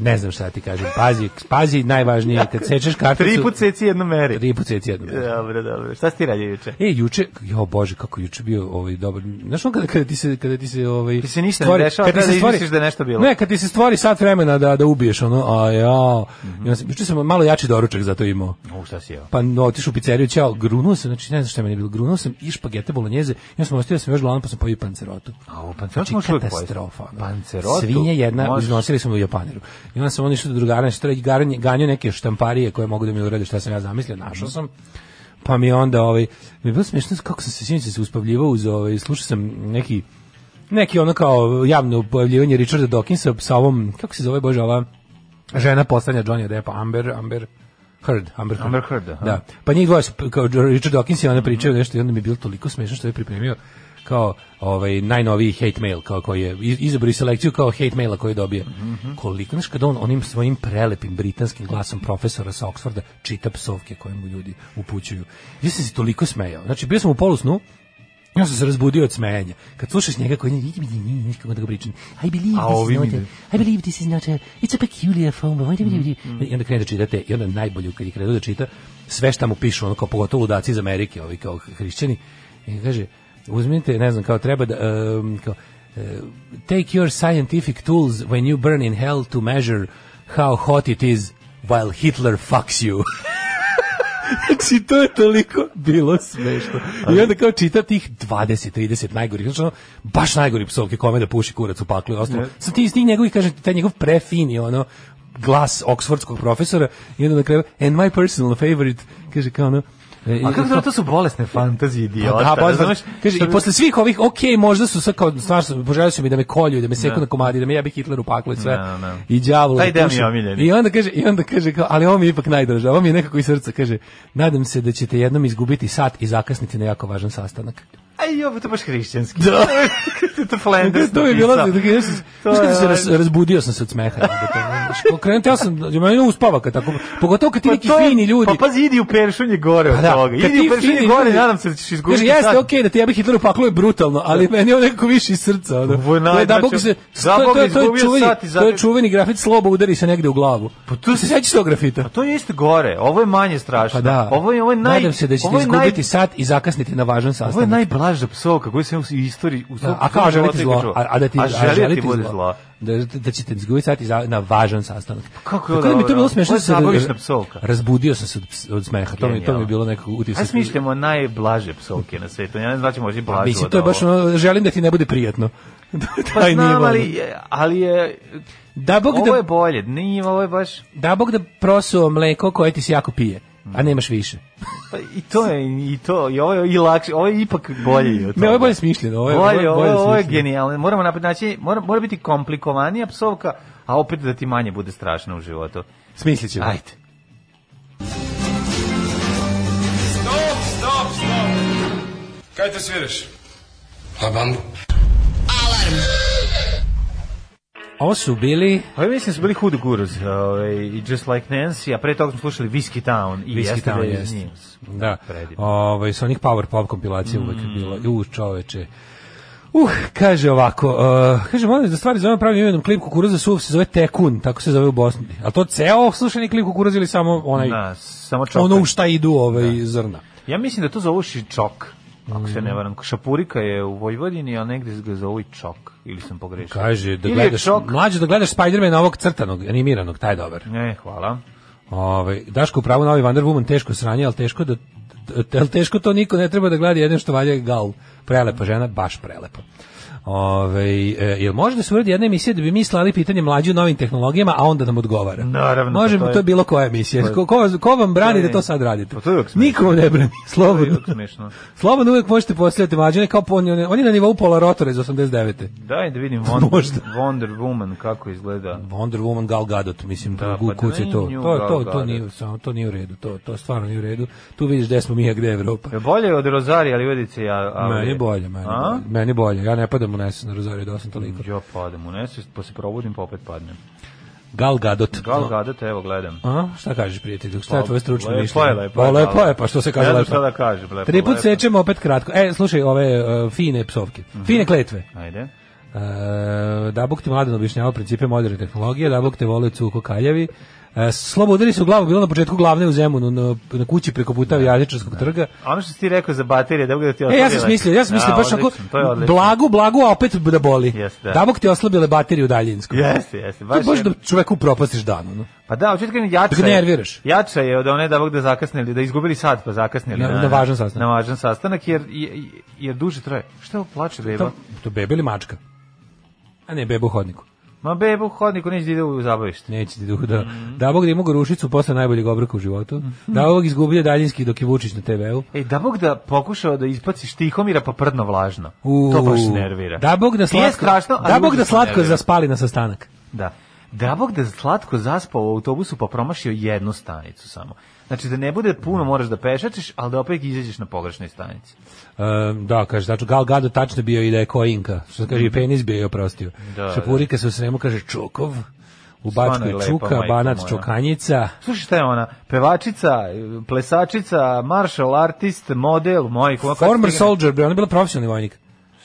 S5: Ne znam šta ti kažem. Pazi, pazi najvažnije kad sečeš karticu.
S6: Tri Da. put seci jednu meri.
S5: tri put seci jednom.
S6: Dobro, dobro. Šta si ti radio juče?
S5: E, juče, jo bože, kako je juče bio ovaj dobar. Znaš on kada, kada ti se kada ti se ovaj
S6: Ti se ništa ne dešava, treba da izmisliš da je nešto bilo.
S5: Ne, kad ti se stvori sat vremena da da ubiješ ono, a ja. Mm -hmm. Juče sam malo jači doručak zato imao.
S6: U, šta si jeo?
S5: Pa no, otišao u pizzeriju, ćao, grunuo sam, znači ne znam šta je meni bilo, grunuo sam i špagete bolognjeze, ja sam ostio da sam još gladan pa sam pojio pancerotu.
S6: A u pancerotu
S5: Znači,
S6: možeš uvijek pojesti.
S5: katastrofa. ono.
S6: Pancerotu
S5: Svinja jedna,
S6: možeš.
S5: iznosili smo je u Japaneru. I onda sam oni išli do drugara, nešto reći, garanje- ganio neke štamparije koje mogu da mi urade šta sam ja zamislio, našao sam. Pa mi je onda, ovaj, mi je bilo smiješno kako sam se sinoć se uspavljivao uz, ovaj, slušao sam neki, neki ono kao javno pojavljivanje Richarda Dawkinsa sa ovom, kako se zove, bože, ova žena postanja Johnny Deppa, Amber, Amber, Heard, Amber Heard.
S6: Amber Heard, aha.
S5: Da. Pa njih dvoje su, p- kao Richard Dawkins i ona pričaju nešto i onda mi je bilo toliko smešno što je pripremio kao ovaj najnoviji hate mail kao koji je iz- izabrao i selekciju kao hate maila koji dobije.
S6: Mhm.
S5: Koliko znaš kad on onim svojim prelepim britanskim glasom profesora sa Oxforda čita psovke koje mu ljudi upućuju. Ja sam se toliko smejao. Znači bio sam u polusnu ja sam se razbudio od smejanja. Kad slušaš njega koji ne kako da ga pričam. I believe
S6: A
S5: this
S6: ovi
S5: is not
S6: mi
S5: a,
S6: ne.
S5: I believe this is not a, it's a peculiar phone, but why do we do
S6: Mm,
S5: I onda krene da čitate, i onda najbolje kad je krenuo da čita, sve šta mu pišu, ono kao pogotovo ludaci iz Amerike, ovi kao hrišćani, i kaže, uzmite, ne znam, kao treba da, um, kao, uh, take your scientific tools when you burn in hell to measure how hot it is while Hitler fucks you. Znači, to je toliko bilo smešno. I onda kao čita tih 20-30 najgorih, znači ono, baš najgori psovke kome da puši kurac u paklu i ostalo. Sad ti iz tih njegovih, kažem, ti, taj njegov prefini, ono, glas oksfordskog profesora i onda na kraju, and my personal favorite, kaže kao ono, e,
S6: A kako
S5: kao-
S6: to, to su bolesne fantazije idiota.
S5: da, pa,
S6: razumeš?
S5: kaže,
S6: Što
S5: i
S6: bi-
S5: posle svih ovih, ok, možda su sad kao, stvarno, poželjali su mi da me kolju, da me seku na komadi, da me jabi Hitler u paklu i sve.
S6: Ne, ne.
S5: I đavo.
S6: Da, Taj deo mi je omiljeni.
S5: I onda kaže, i onda kaže kao, ali ovo mi je ipak najdraže. Ovo mi je nekako iz srca kaže: "Nadam se da ćete jednom izgubiti sat i zakasniti na jako važan sastanak."
S6: Aj, jo, to baš hrišćanski. Da. to Flanders
S5: to je bilo,
S6: napisao.
S5: da ja sam,
S6: To
S5: znaš
S6: je,
S5: kad se raz,
S6: ovaj,
S5: razbudio sam se od smeha. Krenuo ja sam, ja mene uspava kad tako, pogotovo kad ti neki
S6: to je-
S5: fini ljudi.
S6: Pa pazi, idi u peršunje gore od
S5: Pa da,
S6: toga.
S5: kad
S6: Idi
S5: ti
S6: u peršunje
S5: fini
S6: gore,
S5: ljudi-
S6: nadam se da ćeš izgubiti.
S5: Kaže, jeste,
S6: sad. Da.
S5: okej, da ti jebe Hitler u paklu je brutalno, ali meni je on nekako više iz srca. Ono.
S6: Ovo je naj-
S5: To je da Bog
S6: znači,
S5: se,
S6: da
S5: to, je-
S6: Bog
S5: to, je- to, je
S6: izgubio
S5: čuveni,
S6: sat i
S5: to je
S6: zatek-
S5: čuveni grafit sloba udari se negde u glavu. Pa
S6: tu
S5: se
S6: se-
S5: sećaš tog grafita?
S6: Pa to je isto gore. Ovo je manje strašno.
S5: Pa da.
S6: Ovo je, ovo je naj...
S5: Nadam se da ćete
S6: ovo je naj-
S5: izgubiti sat i zakasniti na važan sastanak.
S6: Ovo je najblaža psovka koju sam u istoriji... U svom-
S5: Da, a
S6: u svom
S5: kao želite
S6: životu
S5: zlo,
S6: čuo.
S5: a, a da ti,
S6: a želje ti bude
S5: zlo.
S6: zlo. Pa
S5: Da, da ćete izgubiti sat i za, na važan sastanak.
S6: kako je ovo
S5: Tako da mi je to
S6: dobro?
S5: bilo smešno.
S6: Ovo je
S5: da se-
S6: zabavišna psovka.
S5: Razbudio sam se od, ps- od smeha. To mi, to mi je
S6: Genijalno.
S5: bilo nekako utisak.
S6: Aj smišljamo najblaže psovke na svetu. Ja ne znači može i blažu
S5: Mislim,
S6: od
S5: to je baš
S6: ovo.
S5: ono, želim da ti ne bude prijatno.
S6: Pa
S5: Taj nivo,
S6: znam,
S5: ono.
S6: ali, je- ali je...
S5: Da Bog
S6: Ovo
S5: da
S6: je bolje. Nije, ovo je baš...
S5: da Bog da prosuo mleko koje ti se jako pije,
S6: Mm.
S5: a nemaš više.
S6: Pa i to je, i to, i ovo je i lakše, ovo je ipak bolje. i od
S5: Ne, ovo je
S6: toga.
S5: bolje smišljeno. Ovo je,
S6: Ovo je, ovo je, ovo je
S5: smišljeno.
S6: genijalno. Moramo napred naći, mora, mora biti komplikovanija psovka, a opet da ti manje bude strašno u životu.
S5: Smislit ćemo.
S6: Ajde.
S2: Kaj te sviraš?
S5: Ovo su bili...
S6: Pa ja mislim su bili Hood Gurus ovaj, i Just Like Nancy, a pre toga smo slušali Whiskey Town i
S5: Whiskey Town,
S6: Yesterday
S5: jeste.
S6: News.
S5: Da,
S6: Predivno. Mm.
S5: ovaj, sa onih power pop kompilacija uvek je bilo. U, čoveče. Uh, kaže ovako, uh, kaže, molim da stvari zovem pravim imenom klip kukuruza suv se zove Tekun, tako se zove u Bosni. A to ceo slušani klip kukuruza ili samo onaj,
S6: Da, samo čoka. Da.
S5: ono u šta idu ovaj zrna?
S6: Ja mislim da to zovu Šičok, ako se ne varam. Šapurika je u Vojvodini, a negde ga zovu i Čok, ili sam pogrešio.
S5: Kaže, da
S6: Ili je
S5: gledaš,
S6: Čok.
S5: mlađe da gledaš Spider-Man ovog crtanog, animiranog, taj je dobar.
S6: Ne, E, hvala.
S5: Ovaj Daško pravo novi Wonder Woman teško sranje, ali teško da al teško to niko ne treba da gleda jedno što valja je gal. Prelepa žena, baš prelepa. Ove, e, jel može da se uradi jedna emisija da bi mi slali pitanje mlađi u novim tehnologijama, a onda nam odgovara?
S6: Naravno, pa
S5: Možemo,
S6: to je-
S5: to je bilo koja emisija. Ko, ko, ko vam brani da to sad radite?
S6: Pa to je uvek smešno.
S5: Niko vam ne brani,
S6: To je
S5: slobodno.
S6: uvijek smešno.
S5: Slobodno uvek možete postavljati mlađe, on je kao po- on je, on je na nivou pola rotora iz 89.
S6: Daj da vidim Wonder,
S5: Možda.
S6: Wonder Woman kako izgleda.
S5: Wonder Woman Gal Gadot, mislim,
S6: Da,
S5: da,
S6: pa
S5: gu, kuci
S6: da,
S5: to.
S6: nju
S5: To,
S6: Gal
S5: to, to,
S6: Gadot.
S5: nije, samo, to nije u redu, to, to stvarno nije u redu. Tu vidiš gde smo mi, a gde je Evropa.
S6: Je bolje od Rozarija ili Vodice? Ja, ali...
S5: Meni bolje, meni
S6: A?
S5: bolje, meni bolje. Ja ne padam u nesno na Rozario da sam toliko.
S6: Ja padem u nesvest, pa se probudim, pa opet padnem.
S5: Gal Gadot.
S6: Gal Gadot, evo, gledam.
S5: A, šta kažeš prijatelju? Šta je tvoje stručno
S6: Lepo je,
S5: mišljenje?
S6: lepo je,
S5: Pa, lepo
S6: ali-
S5: je, pa što se kaže
S6: Ne znam
S5: lepo.
S6: šta da kažem, lepo, Mhm.
S5: Tri put
S6: lepo.
S5: sečemo opet kratko. E, slušaj, ove e, fine psovke. Fine kletve.
S6: Ajde.
S5: E, Dabok ti mladen objašnjava principe moderne tehnologije, Dabok te voli cuko kaljavi. E, slobo udari se u glavu, bilo na početku glavne u Zemunu, na, na kući preko puta
S6: Da.
S5: Vjadičarskog trga.
S6: Ono što si ti rekao za baterije, da da ti
S5: E,
S6: oslobila.
S5: ja sam smislio, ja sam mislio baš onako,
S6: To je Da, odlično.
S5: blagu, blagu, a opet da boli.
S6: Jeste, da.
S5: Dabok ti oslabile bateriju u daljinskom.
S6: Jeste,
S5: To
S6: jeste.
S5: je
S6: Baš,
S5: baš
S6: je-
S5: da čoveku propastiš dan. Ono.
S6: Pa da, hoću ti kažem, jača
S5: Da ga
S6: je-
S5: nerviraš.
S6: Jača je od one da ovog da zakasnili, da izgubili sat pa zakasnili.
S5: Na- na važan sastanak.
S6: Na važan sastanak, jer, jer, jer duže traje. Šta ovo plače beba?
S5: To, to bebe ili mačka? A ne, bebe u hodniku.
S6: Ma beba u hodniku neće da ide u zabavište.
S5: Neće ti dugo da...
S6: Mhm.
S5: Da Bog da imao gorušicu posle najboljeg obroka u životu. Da ovog izgubio daljinski dok je Vučić na TV-u.
S6: E, da Bog da pokušao da ispaci Štihomira pa prdno vlažno. to baš nervira.
S5: Da Bog da
S6: Nije
S5: slatko,
S6: strašno, ali
S5: da Bog da
S6: užasno
S5: slatko
S6: nervira.
S5: zaspali na sastanak.
S6: Da. Da Bog da slatko zaspao u autobusu pa promašio jednu stanicu samo. Znači da ne bude puno moraš da pešačiš, ali da opet izađeš na pogrešnoj stanici.
S5: Um, da, kaže, znači, Gal Gadot tačno bio i da je ko Inka. Što se kaže, i penis bio je oprostio.
S6: Da,
S5: Šapurika se u Sremu kaže Čokov, u
S6: Stvarno
S5: Bačkoj
S6: je lepa,
S5: Čuka,
S6: majko
S5: Banat
S6: moja.
S5: Čokanjica.
S6: Slušaj šta je ona? Pevačica, plesačica, martial artist, model, moj... kako-
S5: Former
S6: kako-
S5: soldier, bre, ona je bila profesionalni vojnik.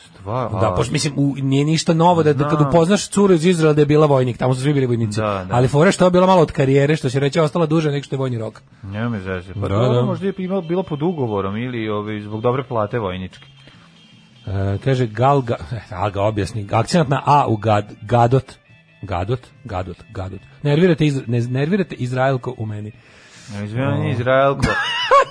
S6: Stvar-
S5: Da,
S6: a,
S5: pošto mislim u, nije ništa novo da, da kad
S6: Znam.
S5: upoznaš curu iz Izraela da je bila vojnik, tamo su svi bili vojnici.
S6: Da, da.
S5: Ali fore što je bila malo od karijere, što se reče ostala duže nego što je vojni rok.
S6: Nema me zeže.
S5: Da,
S6: Pa da,
S5: da.
S6: možda je imala, bila pod ugovorom ili ovaj, zbog dobre plate vojničke.
S5: E, kaže Galga, Alga objasni, akcenat na A u gad, Gadot. Gadot, Gadot, Gadot. Nervirate, Izra, ne, nervirate Izraelko u meni.
S6: Ne, Izvinjam, nije Izraelko.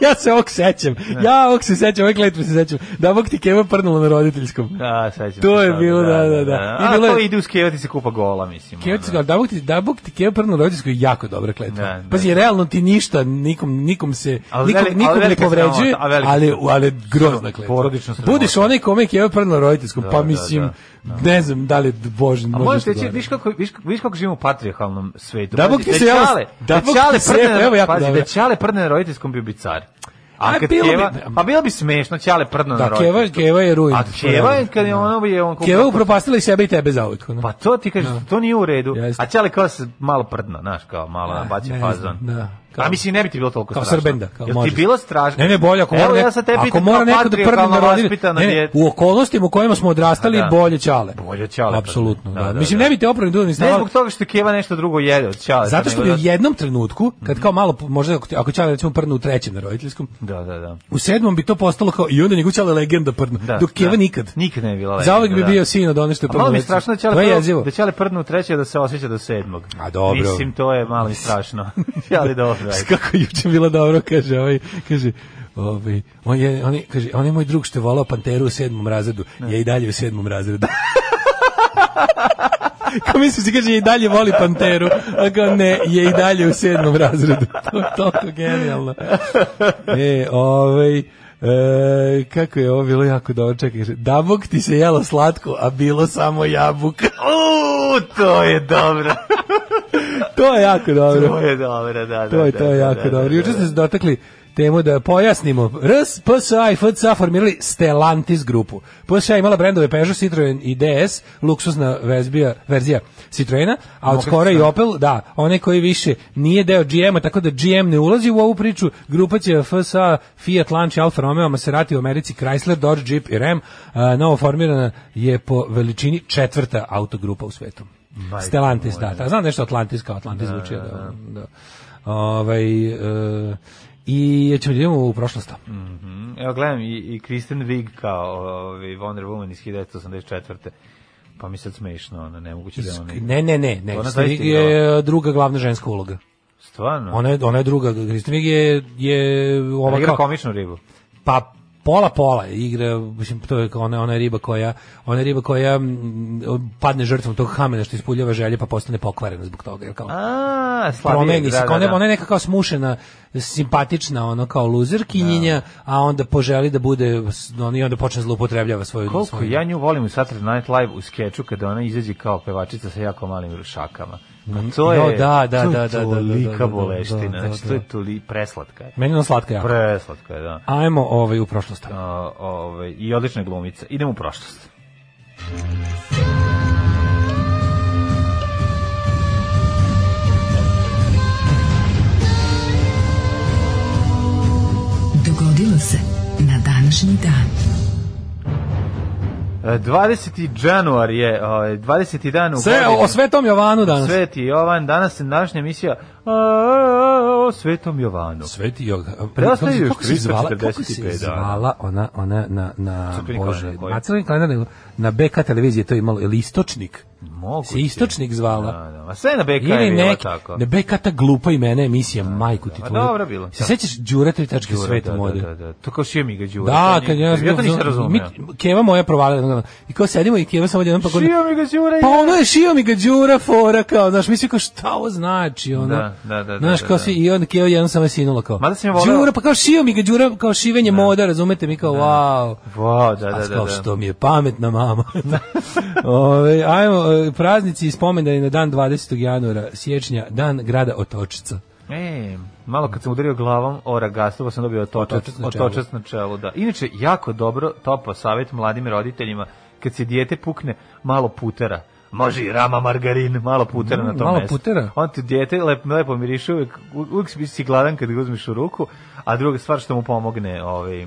S5: ja se ovog sećam. Ja ovog se sećam, ovog letve se sećam. Da bog ti keva prnula na roditeljskom.
S6: Da, sećam se
S5: To je
S6: sad,
S5: bilo, da, da, da. I
S6: A
S5: bilo je-
S6: to ide u skevati se kupa gola, mislim.
S5: Keva ti
S6: ono.
S5: se kao, da bog ti, da bog ti keva prnula na roditeljskom je jako dobra kletva.
S6: Da, da.
S5: Pazi, realno ti ništa, nikom, nikom se,
S6: Ali
S5: nikom,
S6: veli-
S5: nikom
S6: ali
S5: ne
S6: velika
S5: povređuje,
S6: sramota, a velika
S5: ali,
S6: sramota.
S5: ali grozna kletva.
S6: Porodična sramota.
S5: Budiš onaj kome je keva prnula na roditeljskom,
S6: Da,
S5: pa
S6: da,
S5: mislim,
S6: da,
S5: ne znam da li je Božin
S6: A
S5: može
S6: možeš
S5: što
S6: reći,
S5: govori.
S6: viš kako, viš, kako- viš kako živimo u patrijarhalnom svetu.
S5: Da,
S6: Pazi,
S5: Bog ti se jao-
S6: Čale-
S5: da, Bog ti
S6: Čale
S5: se
S6: prdne
S5: jao,
S6: na-
S5: evo, jako
S6: pazi,
S5: dobro.
S6: da Čale prdne na roditeljskom bio bi car. A,
S5: A,
S6: kad
S5: bilo bi-
S6: Keva, pa bilo bi smešno, Ćale prdno na
S5: Da, Keva-
S6: roditeljskom.
S5: Keva je ruin.
S6: A Keva je, kad je ono je on...
S5: Keva upropastila i sebe i tebe zauvek. ono.
S6: Pa to ti kažeš, to nije u redu.
S5: Da. Jeste.
S6: A Ćale kao se malo prdno, znaš, kao malo nabaće
S5: ne
S6: fazon.
S5: znam, da.
S6: A mislim, ne bi ti bilo toliko
S5: Kao
S6: strašno.
S5: Srbenda, kao
S6: Jel
S5: možeš.
S6: ti bilo strašno?
S5: Ne, ne, bolje ako
S6: Evo,
S5: mora,
S6: ja
S5: neko-
S6: sad te
S5: ako
S6: pitam
S5: mora
S6: kao
S5: neko da prvi
S6: patrijarhalno
S5: narodi,
S6: vaspitano
S5: ne, ne,
S6: dijete.
S5: u okolnostima u kojima smo odrastali,
S6: A, da.
S5: bolje ćale.
S6: Bolje ćale,
S5: Apsolutno,
S6: pa
S5: da.
S6: da. Da, da,
S5: Mislim,
S6: da.
S5: ne bi te opravni dudni
S6: Ne
S5: stavali.
S6: zbog toga da- što Keva nešto drugo jede od Ćale.
S5: Zato što bi u jednom trenutku, kad
S6: Mhm.
S5: kao malo, možda ako, ako ćale recimo prnu u trećem na roditeljskom,
S6: Da, da, da.
S5: u sedmom bi to postalo kao i onda njegov ćale legenda prnu,
S6: Da,
S5: dok Keva
S6: da.
S5: nikad.
S6: Nikad ne bi bila legenda.
S5: Zauvek bi
S6: da.
S5: bio sin od one što je
S6: A
S5: prnu
S6: malo mi je
S5: roditeljskom.
S6: strašno da će
S5: To je
S6: prvo,
S5: jezivo.
S6: da će prdnu u treće da se osjeća do sedmog.
S5: A, dobro.
S6: Mislim, to je malo mi strašno. ali dobro. ajde.
S5: Kako je juče bilo dobro, kaže, ovaj, kaže, ovaj, on je, on je, kaže, on je moj drug što je volao Panteru u sedmom razredu, ja i dalje u sedmom razredu. Kao mislim si, kaže, ja i dalje voli Panteru, a kao ne, je i dalje u sedmom razredu. To je toliko genijalno. E, ovaj, e, kako je ovo bilo jako dobro, čekaj, kaže, dabog ti se jelo slatko, a bilo samo jabuka.
S6: U, to je dobro.
S5: to je jako dobro.
S6: To je dobro, da, da.
S5: To je
S6: da,
S5: to
S6: da,
S5: je
S6: da,
S5: jako
S6: da,
S5: dobro.
S6: da,
S5: Juče
S6: da.
S5: ste se dotakli temu da pojasnimo. RS, PSA i FCA formirali Stellantis grupu. PSA imala brendove Peugeot, Citroen i DS, luksuzna vezbija, verzija Citroena, a od skora i Opel, da, one koji više nije deo GM-a, tako da GM ne ulazi u ovu priču, grupa će FSA, Fiat, Lancia, Alfa Romeo, Maserati u Americi, Chrysler, Dodge, Jeep i Ram, a, novo formirana je po veličini četvrta autogrupa u svetu. Stellantis, da, da, znam nešto Atlantis kao Atlantis zvuči, da, da. Ovaj, e, I ja ćemo da idemo u prošlost.
S6: Mhm. Evo, gledam i, i Kristen Wiig kao ovaj, Wonder Woman iz 1984. Pa mi sad smešno, ono, nemoguće da je ona...
S5: Ne, ne, ne, ne.
S6: Ona
S5: Kristen Wiig
S6: zaista
S5: je druga glavna ženska uloga.
S6: Stvarno?
S5: Ona je, ona je druga. Kristen Wiig je, je
S6: Ona
S5: ova
S6: igra
S5: kao,
S6: komičnu ribu.
S5: pa pola pola igra mislim to je kao ona ona riba koja ona riba koja mm, padne žrtvom tog kamena što ispuljava želje pa postane pokvarena zbog toga jer kao
S6: A, slabije.
S5: promeni se,
S6: da,
S5: kao
S6: da,
S5: ne,
S6: da.
S5: ona je neka kao smušena, simpatična, ono kao luzerkinjenja,
S6: Da.
S5: a onda poželi da bude, s- ono, i onda počne da zloupotrebljava svoju...
S6: Koliko
S5: svoju-
S6: ja nju volim u Saturday Night Live u skeču kada ona izađe kao pevačica sa jako malim šakama. Pa to
S5: Jo,
S6: je,
S5: da, da,
S6: to je
S5: da, da, da, da, da, da, da, da, da,
S6: tolika
S5: da,
S6: boleština, znači to je toli preslatka je.
S5: Meni je ona slatka jako.
S6: Preslatka je, da.
S5: Ajmo ovaj, u prošlost.
S6: A, ovaj, I odlična je glumica. Idemo u prošlost.
S1: Dogodilo se na današnji dan.
S6: E, 20. januar je, ovaj, 20. dan u
S5: Sve, o, o Svetom Jovanu danas.
S6: Sveti Jovan, danas je današnja emisija a, a, o Svetom Jovanu.
S5: Sveti Jovan.
S6: Preostaje još
S5: kako se zvala, kako se
S6: 345 dana.
S5: zvala ona, ona na, na
S6: Crkveni
S5: Bože,
S6: kalendar koji?
S5: na crveni kalendar, nego na BK televiziji je to imalo, ili istočnik?
S6: Moguće.
S5: Se istočnik zvala.
S6: Da, da. A sve na BK
S5: Ili
S6: je bilo
S5: neki,
S6: tako.
S5: ne BK ta glupa imena emisija, majku ti
S6: da. A
S5: tvoju.
S6: dobro bilo.
S5: Se sećaš Đure tri tačke
S6: Đure,
S5: sveta
S6: da,
S5: mode?
S6: Da, da, da. To kao šio mi ga Đure.
S5: Da,
S6: to
S5: kad
S6: nije-
S5: ja
S6: ja to nisam razumio.
S5: mi- Keva moja provalila. I kao sedimo i Keva samo odjednom pa kao-
S6: Šio mi ga Đure.
S5: Pa ono je šio mi ga Đura fora kao, znaš, mi svi kao šta ovo znači, ono.
S6: Da, da, da,
S5: Znaš,
S6: da,
S5: kao
S6: da.
S5: svi, i on kao jedan sam je sinulo kao.
S6: Mada sam ja voleo-
S5: Đura, pa kao šio mi ga Đura, kao šivenje moda, razumete mi, kao, wow.
S6: Wow, da,
S5: A
S6: da, da.
S5: kao,
S6: da.
S5: što mi je pametna mama. Ove, ajmo, e, praznici i spomendani na dan 20. januara, siječnja, dan grada Otočica.
S6: E, malo kad sam udario glavom o ragastovo sam dobio otočac,
S5: Otočac na čelu.
S6: otočac na čelu. Da. Inače, jako dobro topo savjet mladim roditeljima kad se dijete pukne malo putera. Može i rama margarin, malo putera na tom
S5: Mm, malo
S6: mestu.
S5: putera?
S6: On ti dijete lepo, lepo miriše, uvijek, u- uvijek si- si gladan kad ga uzmiš u ruku, a druga stvar što mu pomogne, ovaj,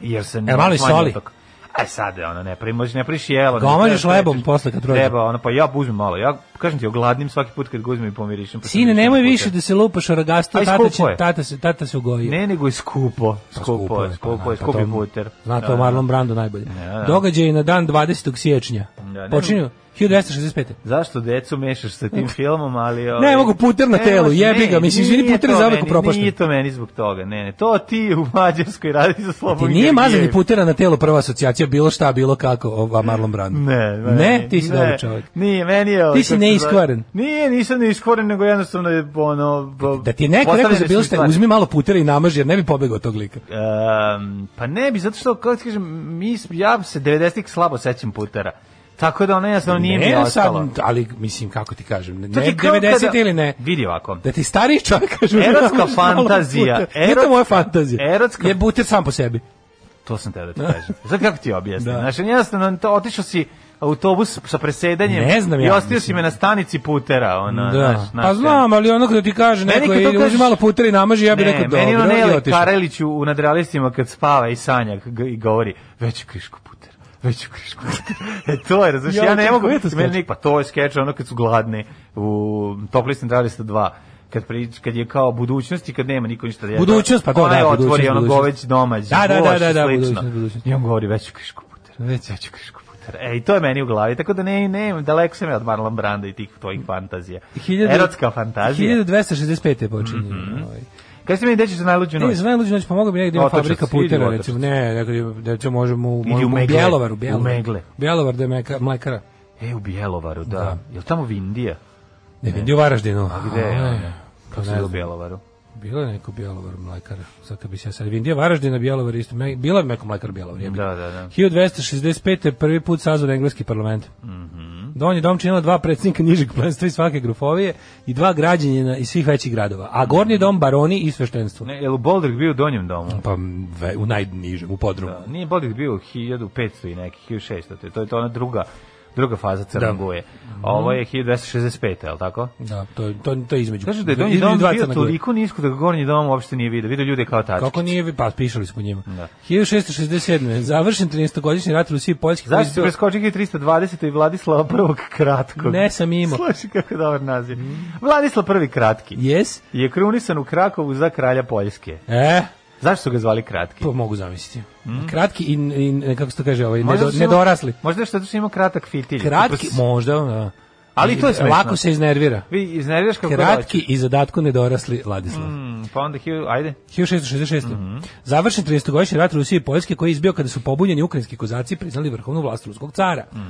S6: jer se ne
S5: E, malo i
S6: smanji
S5: soli.
S6: otok. Aj sad, ono, ne primoži, ne priši jelo. ne
S5: Gomažeš
S6: trebaš
S5: lebom
S6: reći.
S5: posle kad prođe.
S6: Treba, ono, pa ja uzmem malo. Ja, kažem ti, ogladnim svaki put kad ga uzmem i pomirišem. pa sam
S5: Sine,
S6: mirišem
S5: nemoj
S6: putera.
S5: više da se lupaš o ragastu,
S6: A i
S5: tata, će,
S6: skupo je.
S5: tata, se, tata se ugojio.
S6: Ne, nego je skupo.
S5: Pa
S6: Skupo je, skupo je,
S5: pa
S6: skupi
S5: to-
S6: puter.
S5: Zna
S6: Da,
S5: to Marlon Brando najbolje. Događaj na dan 20. siječnja.
S6: Da, ne
S5: Počinju 1265.
S6: Zašto decu mešaš sa tim filmom, ali...
S5: Ne, mogu puter na telu,
S6: može,
S5: jebi ga,
S6: ne,
S5: mislim, izvini,
S6: nije
S5: puter je
S6: to
S5: zauvek
S6: meni,
S5: upropašten.
S6: Nije to meni zbog toga, ne, ne, to ti u Mađarskoj radi za
S5: Ti
S6: slobom.
S5: nije mazanje putera na telo prva asocijacija, bilo šta, bilo kako, ova Marlon Brando.
S6: Ne,
S5: ne, ti si
S6: ne,
S5: dobar čovjek.
S6: Nije, meni je... ovaj,
S5: Ti si
S6: kako se zove-
S5: neiskvaren.
S6: Nije, nisam neiskvaren, nego jednostavno je, ono... bo-
S5: Da ti je neko rekao za
S6: postavljene
S5: bilo
S6: su
S5: šta,
S6: stvari.
S5: uzmi malo putera i namaži, jer ne bi pobegao od tog lika.
S6: Um, pa ne bi, zato što, kako ti kažem, mi, ja se 90-ih slabo sećam putera. Tako da ono jednostavno nije mi
S5: ne,
S6: ostalo.
S5: sad, ali mislim, kako ti kažem, ne,
S6: To ti kao
S5: 90
S6: kada-
S5: ili ne.
S6: Vidi ovako.
S5: Da ti stariji čovjek kaže...
S6: Erotska
S5: namaži malo
S6: fantazija,
S5: putera. Nije to
S6: erotska-
S5: moja fantazija.
S6: erotska-
S5: Je buter sam po sebi.
S6: To sam teo da ti kažem. Sad kako ti objasnim?
S5: Da.
S6: Znaš, jednostavno, to, otišao si autobus sa presedanjem
S5: Ne znam ja,
S6: i ostio si
S5: mislim.
S6: me na stanici putera.
S5: Da.
S6: Ona, znaš, znaš,
S5: Pa znam, ali ono kada ti kaže
S6: Meni
S5: neko,
S6: kad to
S5: ili uzmi
S6: kažeš-
S5: malo putera i namaži, ja bih
S6: ne,
S5: rekao
S6: meni ono
S5: dobro i
S6: Nele
S5: otišao.
S6: Karelić u, u nadrealistima kad spava i sanja g- i govori veću krišku putera veću krišku. putera." e to je, razumiješ,
S5: Ja,
S6: ja, ne
S5: kako
S6: mogu,
S5: je to skeč?
S6: meni nik- pa to je skeč ono kad su gladni u Toplistan Dralista 2 kad prič, kad je kao budućnost i kad nema niko ništa da jede.
S5: Budućnost, pa to,
S6: Ona
S5: da,
S6: je otvori
S5: budućnost,
S6: ono
S5: budućnost.
S6: goveć domać,
S5: Da, da,
S6: gulaš i
S5: da, da, da,
S6: slično.
S5: budućnost, budućnost.
S6: I on govori veću krišku putera,
S5: Već.
S6: veću krišku putera. E, i to je meni u glavi, tako da ne, ne, daleko sam ja od Marlon Branda i tih tvojih fantazija.
S5: Hiljadu-
S6: Erotska fantazija.
S5: 1265. je počinje. ovaj.
S6: Kaj ste mi deći za najluđu
S5: Ne,
S6: noć?
S5: za najluđu noć znači, pomogao bi negdje da ima
S6: Otočac,
S5: fabrika
S6: idi u
S5: putera,
S6: Otočac.
S5: recimo. Ne, nekada, recimo možemo u,
S6: u
S5: možemo u
S6: Megle.
S5: Bjelovaru.
S6: U
S5: Bjelovar.
S6: Megle.
S5: Bjelovar da je meka, mlekara.
S6: E, u Bjelovaru, da. da. Je li tamo Vindija?
S5: Ne, vidi u Varaždinu. A
S6: Gde je
S5: ne,
S6: ona? Kako se zove u Bjelovaru?
S5: Bilo je neko Bjelovar mlekara. Sad kad bi se ja sad... Vindija Varaždina, Bjelovar isto. Me, bilo je neko mlekar Bjelovar. Je
S6: Da, da, da.
S5: 1265. je prvi put sazvan engleski parlament. Mm
S6: Mhm.
S5: Donji dom činila dva predsjednika nižeg plenstva i svake grofovije i dva građanjena iz svih većih gradova. A gornji dom baroni i sveštenstvo.
S6: Ne, je li Boldrik bio u Donjem domu?
S5: Pa m, ve, u najnižem, u podrumu.
S6: Da, nije Boldrik bio u 1500 i neki, 1600. To je, to je to ona druga, druga faza Crnoguje. A Ovo je 1265, je li tako?
S5: Da, to, je- to, to je između.
S6: Kažu da je Donji
S5: između
S6: dom
S5: dva
S6: bio
S5: Crna Gore.
S6: toliko nisko da ga Gornji dom uopšte nije vidio. Vidio ljude kao tački.
S5: Kako nije, pa pišali smo o njima.
S6: Da.
S5: 1667. je Završen 13-godišnji rat u Rusiji i Poljski. koji
S6: Zašto
S5: su-
S6: se preskočio 320. i Vladislava prvog kratkog?
S5: Ne Mhm. sam imao.
S6: Slušaj kako dobar naziv. Vladislav prvi kratki
S5: Yes?
S6: je krunisan u Krakovu za kralja Poljske.
S5: E,
S6: Zašto su ga zvali kratki? Mhm.
S5: pa mogu zamisliti. Kratki i, i, kako se to kaže, ovaj,
S6: Možda
S5: nedo,
S6: su imali-
S5: nedorasli.
S6: Možda što su imao kratak fitilj.
S5: Kratki, možda, da.
S6: Ali to je smešno.
S5: Lako se iznervira.
S6: Vi iznerviraš kako
S5: Kratki i zadatku nedorasli Ladislav.
S6: Mm, pa onda hil, ajde.
S5: 1666.
S6: Mhm.
S5: Završen 13-godišnji rat Rusije i Poljske koji je izbio kada su pobunjeni ukrajinski kozaci priznali vrhovnu vlast ruskog cara.
S6: Mhm.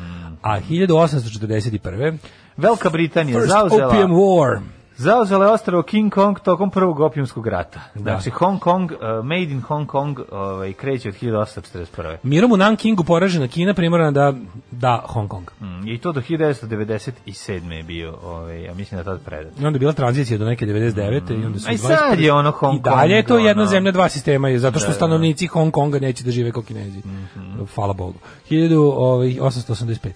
S5: A 1841.
S6: Velika Britanija
S5: First
S6: zauzela
S5: Opium War.
S6: zauzela je ostrvo King Kong tokom prvog opijumskog rata.
S5: Da.
S6: Znači Hong Kong, uh, Made in Hong Kong, ovaj kreće od 1841.
S5: Mirom u Nankingu poražena Kina primorana da da Hong Kong.
S6: Mm, I to do 1997. je bio, ovaj, ja mislim da tad predat.
S5: I onda je bila tranzicija do neke 99. i onda su
S6: A i
S5: 21.
S6: sad je ono Hong
S5: I dalje je to
S6: Kong,
S5: jedna
S6: ono. Da,
S5: zemlja, dva sistema, je, zato što stanovnici Hong Konga
S6: Mhm.
S5: ovaj, neće da žive kao kinezi. Hvala Bogu. 1885.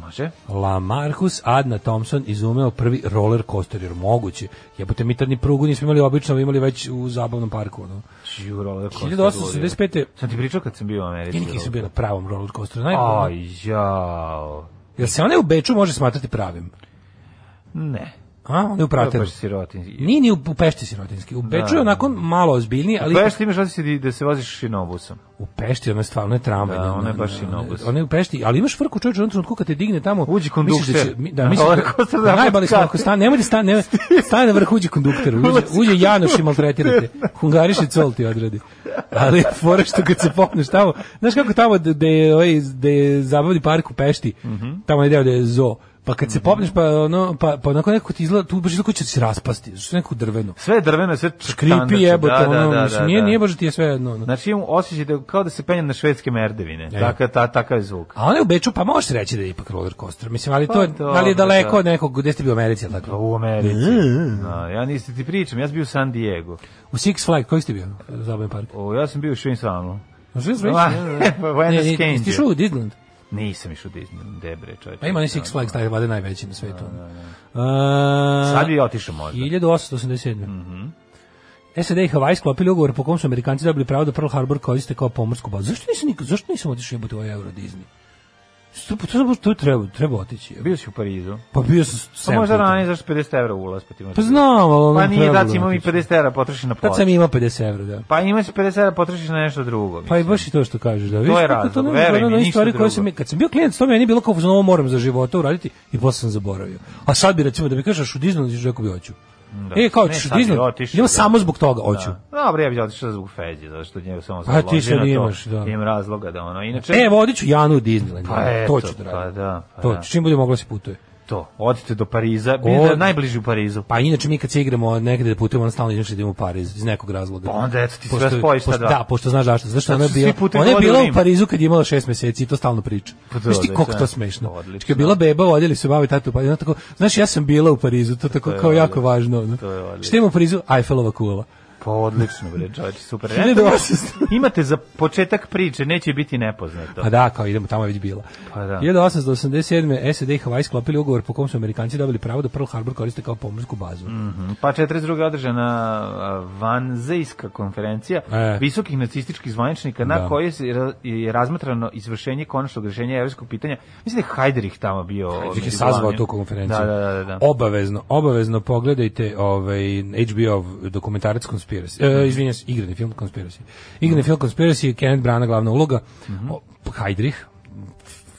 S6: Ma Može.
S5: Lamarcus Adna Thompson izumeo prvi roller coaster, jer moguće. Jebote, mi tad ni prugu nismo imali obično, imali već u zabavnom parku. Ono.
S6: Čiju roller coaster
S5: 1885.
S6: da Sam ti pričao kad sam bio u Americi.
S5: Kiniki su bile na pravom roller coasteru. Naj,
S6: Aj, jao.
S5: Jel se onaj u Beču može smatrati pravim?
S6: Ne.
S5: A, onaj u
S6: To je
S5: Prateru.
S6: baš sirotinski.
S5: Nije ni u, u Pešti sirotinski. U
S6: Da,
S5: Beču je onako malo ozbiljniji, ali...
S6: Peš, ti imaš osjećaj da- da se voziš šinobusom.
S5: U Pešti ona je stvarno je tramvaj.
S6: Da,
S5: ne,
S6: ona je
S5: ne,
S6: baš
S5: ne,
S6: i
S5: ne,
S6: nobus.
S5: Ona je u Pešti, ali imaš frku čovječe, u jednom trenutku kad te digne tamo.
S6: Uđi
S5: misliš Da, će,
S6: kondukter.
S5: mi- da, misliš
S6: Roller coaster
S5: da,
S6: na
S5: da najbali smo
S6: kockat.
S5: ako stane, nemoj da stane, nemoj, stane na vrh uđi kondukter, uđe, uđe Janoš i maltretirate. Hungariš i col ti odradi. Ali je fora što kad se popneš tamo, znaš kako tamo da je, ovaj, da je zabavni park u Pešti,
S6: Mhm.
S5: tamo je deo da je zoo, Pa kad se popneš pa ono pa pa onako nekako ti izgleda tu baš izgleda kao će se raspasti, zato što je neko drveno.
S6: Sve je drveno, sve čkandače.
S5: Kripi jebote,
S6: Da, da,
S5: ono,
S6: da,
S5: mislim,
S6: da,
S5: nije,
S6: da.
S5: nije baš da ti je sve jedno. ono.
S6: Znači imam osjećaj da kao da se penjem na švedske merdevine.
S5: E.
S6: Takav, ta, takav je zvuk.
S5: A ona je u Beču, pa možeš reći da je ipak roller coaster. Mislim, ali to,
S6: Pa
S5: je-
S6: dobro,
S5: ali je daleko
S6: da.
S5: od nekog, gde ste bio Pa u Americi, ali tako?
S6: U Americi. Da, ja nisi ti pričam, ja sam bio u San Diego.
S5: U Six Flags, koji ste bio? Zabavni park.
S6: O, ja sam bio u Švinsanu.
S5: Na Six
S6: Ma,
S5: Flags? Pa,
S6: Pa,
S5: Ne,
S6: Buenos
S5: ne,
S6: Aires.
S5: jesi išao u Disneyland?
S6: Nisam išao u Disney, debre čovječe.
S5: Pa ima onaj Six Flags, taj je vade najveći na svetu. Uh, A,
S6: Da, Sad Mhm. bi ja otišao možda.
S5: 1887. SAD i Havaj sklopili ugovor po kom su Amerikanci dobili pravo da Pearl Harbor koriste kao pomorsku bazu. Zašto nisam nikad, zašto nisam otišao jebote u ovaj Euro Disney? To, to, to, to treba, treba otići.
S6: Bio si u Parizu.
S5: Pa bio sam
S6: Pa
S5: sedam
S6: možda
S5: puta.
S6: ranije zašto 50 evra ulaz, pa ti možda...
S5: Pa znam, ali ono
S6: Pa nije,
S5: trebalo
S6: da ti imam i
S5: otići.
S6: 50 evra potroši na
S5: Tad
S6: plaću.
S5: sam imao 50 evra, da.
S6: Pa imaš 50 evra potrošiš na nešto drugo.
S5: Pa i
S6: mislim.
S5: baš i to što kažeš, da. Vidiš
S6: je
S5: kako
S6: razlog,
S5: ne
S6: veruj
S5: zaboravljam
S6: mi,
S5: na one
S6: ništa
S5: stvari koje sam,
S6: drugo.
S5: kad sam bio klijent, to mi je nije bilo kao za ovo moram za života uraditi i posle sam zaboravio. A sad bi recimo da mi kažeš u Disneyland ćeš rekao bi hoću. E, kao
S6: Da. Ne,
S5: ćeš u
S6: sad bi
S5: Disneyland,
S6: otišao,
S5: idemo
S6: da.
S5: samo zbog toga, hoću.
S6: Da. Dobro, ja bih otišao zbog Feđe, zato što njega samo
S5: Pa ti
S6: založi
S5: sad
S6: na to.
S5: imaš, da.
S6: Imam razloga da ono, inače...
S5: E, vodit ću Janu u Disneyland.
S6: Pa eto,
S5: to ću da
S6: pa
S5: radim.
S6: da, pa
S5: to,
S6: da.
S5: ću, čim bude mogla se putuje.
S6: to, odite do Pariza, bili da
S5: Od-
S6: najbliži u Parizu.
S5: Pa idemo mi kad se igramo negde da putujemo, onda stalno idemo da idemo u Pariz iz nekog razloga.
S6: Pa onda eto ti sve
S5: Pošto-
S6: spojiš ta
S5: pošto-
S6: dva.
S5: Da, pošto znaš zašto. Zašto
S6: Zato
S5: ona je
S6: što
S5: bila,
S6: svi putevi
S5: ona je
S6: vode u
S5: bila u
S6: Rim.
S5: Parizu kad je imala šest meseci i to stalno priča.
S6: Pa to
S5: Znaš ti
S6: odlično.
S5: koliko to smešno.
S6: Odlično.
S5: Znači, Kad je bila beba, vodili su bavi tatu, pa ona tako, znaš, ja sam bila u Parizu, to tako kao jako važno. ono.
S6: To je odlično.
S5: Šta ima u Parizu? Eiffelova kula.
S6: Pa odlično, bre, čovječe, super. E,
S5: 1800.
S6: Imate za početak priče, neće biti nepoznato.
S5: Pa da, kao idemo, tamo je već bila.
S6: Pa da.
S5: 1887. SAD i Hawaii sklopili ugovor po kom su Amerikanci dobili pravo da Pearl Harbor koriste kao pomorsku bazu.
S6: Pa 42. je održana a, vanzejska konferencija
S5: E.
S6: visokih nacističkih zvaničnika na
S5: Da.
S6: kojoj se ra- je razmatrano izvršenje konačnog rješenja evropskog pitanja. Mislim da je Hajderich tamo bio.
S5: Đeki
S6: među
S5: sazvao
S6: glavnim.
S5: tu konferenciju. E.
S6: Da, da, da. da.
S5: Obavezno, obavezno pogledajte ovaj HBO dokumentarac Conspiracy.
S6: Mhm.
S5: E, izvinjam se, igrani film Conspiracy. Igrani film Conspiracy, Kenneth Branagh glavna uloga.
S6: Mhm.
S5: O, Heidrich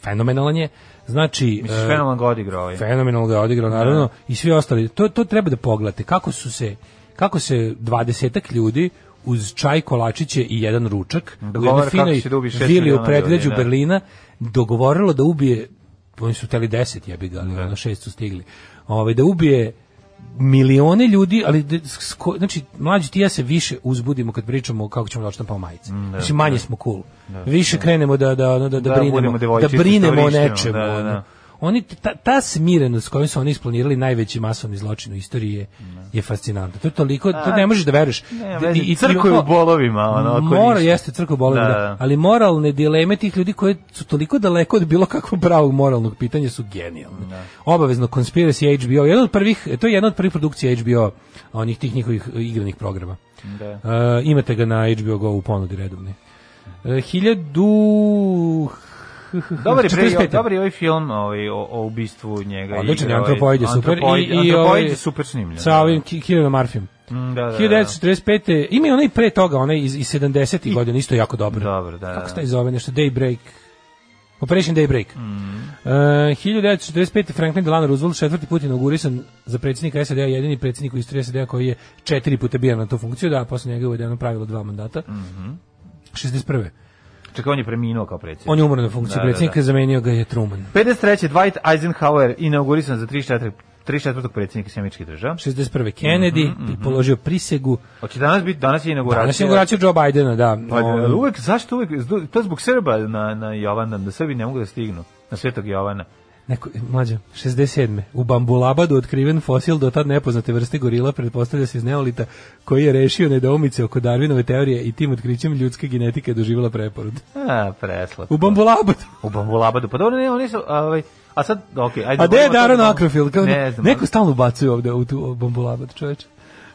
S5: fenomenalan je. Znači,
S6: Misliš,
S5: e,
S6: fenomenalno ga odigrao ovaj.
S5: fenomenalno ga je odigrao naravno i svi ostali. To to treba da pogledate kako su se kako se dvadesetak ljudi uz čaj kolačiće i jedan ručak u jednoj
S6: Dogovore kako
S5: finoj
S6: će da ubi šest
S5: vili u
S6: miliona
S5: predgrađu
S6: ljudi, da.
S5: Berlina dogovorilo da ubije oni su teli 10 jebi ga, ali
S6: Da.
S5: ono šest su stigli. Ovaj da ubije milione ljudi, ali da- s ko- znači mlađi ti i ja se više uzbudimo kad pričamo kako ćemo da odštampamo majice.
S6: Mm,
S5: znači manje smo cool. više krenemo da da ono, da, da,
S6: Da, budemo
S5: brinemo, da
S6: devojčice,
S5: brinemo o
S6: istorištimo,
S5: nečemu.
S6: da, da,
S5: ono
S6: da.
S5: oni ta, ta smirenost koju su oni isplanirali najveći masovni zločin u istoriji je, je fascinantno. To je toliko, to ne možeš da veruješ.
S6: Da. Ne,
S5: Da-
S6: vezi,
S5: i- i-
S6: crkva je
S5: i-
S6: u bolovima, ono, ako
S5: Mora
S6: ništa.
S5: jeste crkva u bolovima,
S6: Da,
S5: da,
S6: da.
S5: ali moralne dileme tih ljudi koji su toliko daleko od bilo kakvog pravog moralnog pitanja su genijalne.
S6: Da.
S5: Obavezno Conspiracy HBO, jedan od prvih, to je jedna od prvih produkcija HBO onih tih njihovih e, igranih programa.
S6: Da.
S5: E, imate ga na HBO Go u ponudi redovni. E, 1000
S6: Dobar je, pre,
S5: 45..
S6: dobar je ovaj film ovaj, o, o ubistvu njega.
S5: Odličan je
S6: igra, ovaj,
S5: antropoid je super.
S6: Antropoid,
S5: I, i ovaj,
S6: je super snimljen. da.
S5: Sa ovim Ki- Kieran Marfim.
S6: Mm, da, da, da.
S5: 1945. Ima i onaj pre toga, onaj iz, iz 70. godina, isto jako dobro.
S6: Dobro, da,
S5: Kako se
S6: da.
S5: taj zove nešto? Daybreak. Operation Daybreak.
S6: Mm.
S5: E, 1945. Franklin Delano Roosevelt četvrti put inaugurisan za predsjednika SAD-a, jedini predsjednik u istoriji SAD-a koji je četiri puta bio na tu funkciju, da, posle njega je uvedeno pravilo dva mandata.
S6: Mhm.
S5: 61.
S6: Čekaj, on je preminuo kao predsjednik.
S5: On je umro na funkciji
S6: Da, da,
S5: predsjednika,
S6: da.
S5: zamenio ga je Truman.
S6: 53. Dwight Eisenhower inaugurisan za 34. 34. predsjednika Sjemičkih država.
S5: 61. Kennedy
S6: mhm,
S5: položio prisegu.
S6: Hoće danas biti, danas je inauguracija.
S5: Danas je inauguracija Joe Bidena, da.
S6: Pa,
S5: Ovaj,
S6: ali uvek, zašto uvek, to je zbog Srba na, na Jovandan, da Srbi ne mogu da stignu na Svetog Jovana.
S5: Neko, mlađa, 67. U Bambulabadu otkriven fosil do tad nepoznate vrste gorila pretpostavlja se iz neolita koji je rešio nedoumice oko Darwinove teorije i tim otkrićem ljudska genetika je doživjela preporod.
S6: A, preslatko.
S5: U Bambulabadu.
S6: U Bambulabadu. Pa dobro, ne, oni su, a, ovaj, A sad, okej, okay, ajde.
S5: A gde je
S6: govorimo o
S5: Daron
S6: tome- da-
S5: Akrofil? Kao,
S6: Ne znam.
S5: neko stalno ubacuje ovde u tu bombulabat, čoveče.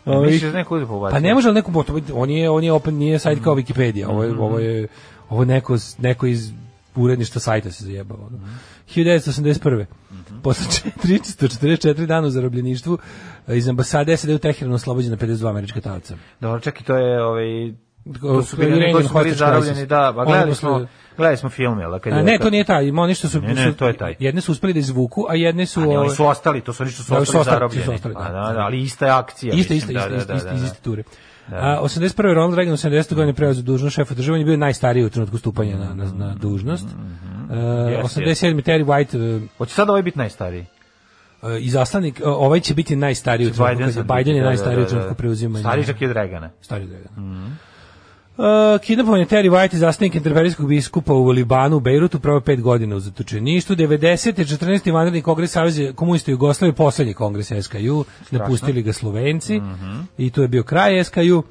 S5: Ovaj,
S6: Misliš da neko uzeo pobacio? Mhm.
S5: Pa ne može ali neko, to- on je, on je open, nije sajt kao Wikipedia, ovo je, ovo je ovo je neko, s- neko iz uredništva sajta se zajebao. ono.
S6: Mhm.
S5: 1981. Posle 344 dana u zarobljeništvu e, iz ambasade SAD u Teheranu oslobođena 52 američka talca.
S6: Dobro, čak i to je ovaj to su
S5: Koji je
S6: bili
S5: Reagan
S6: neki koji su bili
S5: hostage
S6: zarovljeni,
S5: crisis.
S6: da, pa
S5: Ono
S6: gledali
S5: posle-
S6: smo, gledali smo film, jel? da, Kad
S5: A
S6: je-
S5: ne,
S6: kad-
S5: to nije taj, ima oni što su,
S6: Ne, ne,
S5: su-
S6: to je taj.
S5: jedne su uspeli da izvuku, a jedne su... ovaj-
S6: A ne, oni
S5: ove-
S6: su ostali, to su oni što su
S5: Da, oni su
S6: ostali
S5: ostali,
S6: zarobljeni.
S5: su ostali, da.
S6: A, da, da, ali ista je akcija.
S5: Iste, iste,
S6: mislim,
S5: iste,
S6: da,
S5: iste,
S6: da,
S5: iste,
S6: da,
S5: iz
S6: da.
S5: iste ture. A, 81. Ronald Reagan u 70. godini preuzeo dužnost šefa države, on je bio najstariji u trenutku stupanja na, na, na dužnost. E,
S6: Mhm. Jeste,
S5: 87. Terry White
S6: Hoće sad ovaj biti najstariji?
S5: e, i zastavnik, e, ovaj će biti najstariji u trenutku, kad je-
S6: sad
S5: Biden je
S6: biti, da, da,
S5: najstariji
S6: da,
S5: u trenutku
S6: da.
S5: preuzimanja.
S6: Stariji čak i od Regana.
S5: Stariji od Reagana. Uh, kidnapovan je Terry White, zastavnik interferijskog biskupa u Libanu, u Bejrutu, prvo pet godina u zatočeništu. 90. 14. vanredni kongres Savjeza komunista Jugoslavije, poslednji kongres SKU, napustili ga Slovenci
S6: Mhm.
S5: i tu je bio kraj SKU. Uh,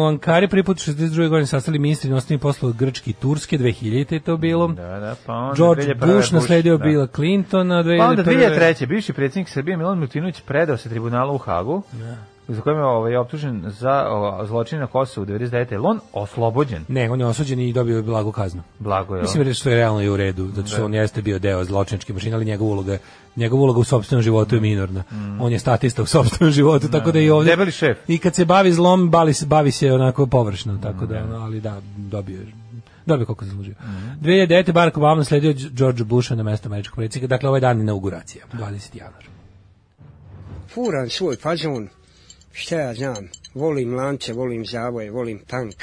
S5: u Ankari prvi put 62. godine sastali ministri inostranih poslova Grčke i Turske, 2000. je to bilo.
S6: Da, da, pa onda
S5: George
S6: 2001
S5: Bush nasledio
S6: da.
S5: Billa Clintona, 2001.
S6: Pa onda 2003. bivši predsjednik Srbije Milan Milutinović predao se tribunalu u Hagu,
S5: Da.
S6: za kojim je ovaj, optužen za o, zločin na Kosovu 99. Jel on oslobođen?
S5: Ne, on je osuđen i dobio je blagu kaznu.
S6: Blago je.
S5: Mislim da što je realno i u redu, zato što on jeste bio deo zločinačke mašine, ali njegova uloga, njegova uloga u sopstvenom životu je minorna. On je statista u sopstvenom životu, tako da i ovde
S6: Debeli šef.
S5: I kad se bavi zlom, bavi se, bavi se onako površno, tako da, ono, ali da, dobio je dobio koliko je zaslužio. 2009. Barack Obama nasledio George Busha na mesto američkog predsjednika, dakle ovaj dan je inauguracija, 20. januar.
S7: furam svoj fazon, šta ja znam, volim lance, volim zavoje, volim tank.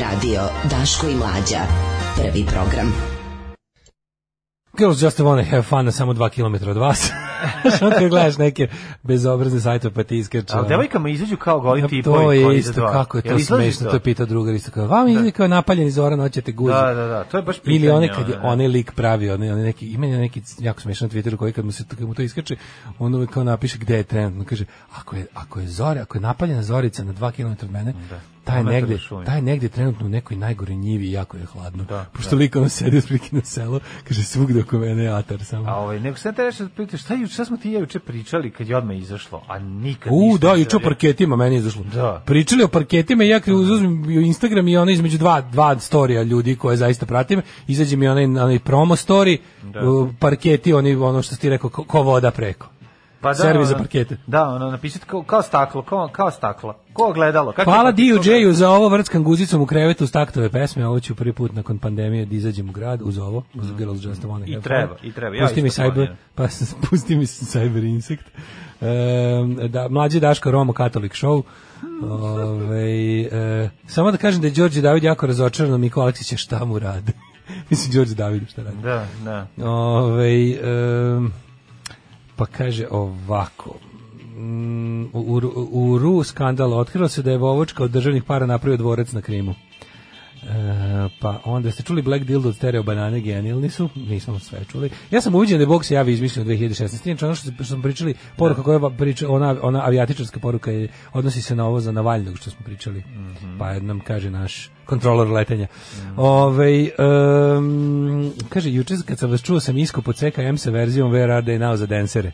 S1: Radio Daško i Mlađa. Prvi program.
S5: Girls just wanna have fun, a samo 2 km od vas. Samo kad gledaš neke bezobrazne sajtove pa ti iskače.
S6: Ali
S5: ono.
S6: devojkama izađu kao goli
S5: Ja,
S6: tipovi.
S5: to
S6: koji
S5: je
S6: iza
S5: isto
S6: dva.
S5: kako je to
S6: Jel izlazi
S5: smešno, to je pitao drugar isto kao, vam izgleda kao napaljeni Zoran, hoćete guzi.
S6: Da, da, da, to je baš pitanje.
S5: Ili one kad je
S6: ono, da.
S5: onaj lik pravi, onaj, onaj neki, ima neki jako smešan na Twitteru koji kad mu, se, kad mu to iskače, on uvek kao napiše gde je trenutno, kaže, ako je, ako je Zora, ako je napaljena Zorica na 2 km od mene, taj je
S6: Dva metra
S5: negde,
S6: u Da. šumi. Da,
S5: taj je negde trenutno u nekoj najgore njivi i jako je hladno. Pošto lik ono sedi u spriki na selo, kaže, svugde oko mene je atar samo.
S6: A ovaj, nego sad te nešto da pitaš, šta, juče, šta smo ti i ja juče pričali kad je odmah izašlo, a nikad
S5: U,
S6: ništa
S5: da,
S6: ne
S5: juče o
S6: radi.
S5: parketima meni je izašlo.
S6: Da.
S5: Pričali o parketima i ja kad uzmem Instagram i ona između dva, dva storija ljudi koje zaista pratim, izađe mi onaj, onaj promo story,
S6: Da.
S5: uh, parketi, oni, ono što si ti rekao, ko, ko voda preko. servis za
S6: Pa ono,
S5: parkete.
S6: Da, ono, napisati kao, kao staklo, kao, kao staklo, kao gledalo. Kako
S5: Hvala
S6: je pa to napisao?
S5: DJ-u za ovo vrckan guzicom u krevetu uz taktove pesme, ovo ću prvi put nakon pandemije da izađem u grad uz ovo, uz Girls Just Wanna Have
S6: Mm. I treba,
S5: Fun.
S6: i treba. Ja
S5: Pusti mi
S6: isto
S5: cyber,
S6: planiram.
S5: pa s- pusti mi s- cyber insect. Ehm, da, mlađi Daško Romo Catholic Show. Ovaj, e, samo da kažem da je Đorđe David jako razočaran, od Miko Aleksića šta mu radi. Mislim, Đorđe David šta radi.
S6: Da, da.
S5: Ovaj, em, pa kaže ovako. Mm, U, u, u Ru skandal otkrilo se da je Vovočka od državnih para napravio dvorac na Krimu. E, pa onda ste čuli Black Dildo od Stereo Banane, genijalni su, nismo sve čuli. Ja sam uviđen da je Bog se javi izmislio 2016. Inače, ono što, se- što smo pričali, poruka koja vam priča, ona, ona avijatičarska poruka je, odnosi se na ovo za Navalnog što smo pričali. Pa nam kaže naš kontrolor letenja. Ovaj, em, kaže, juče kad sam vas čuo sam iskop od CKM sa verzijom Where are they now za dansere.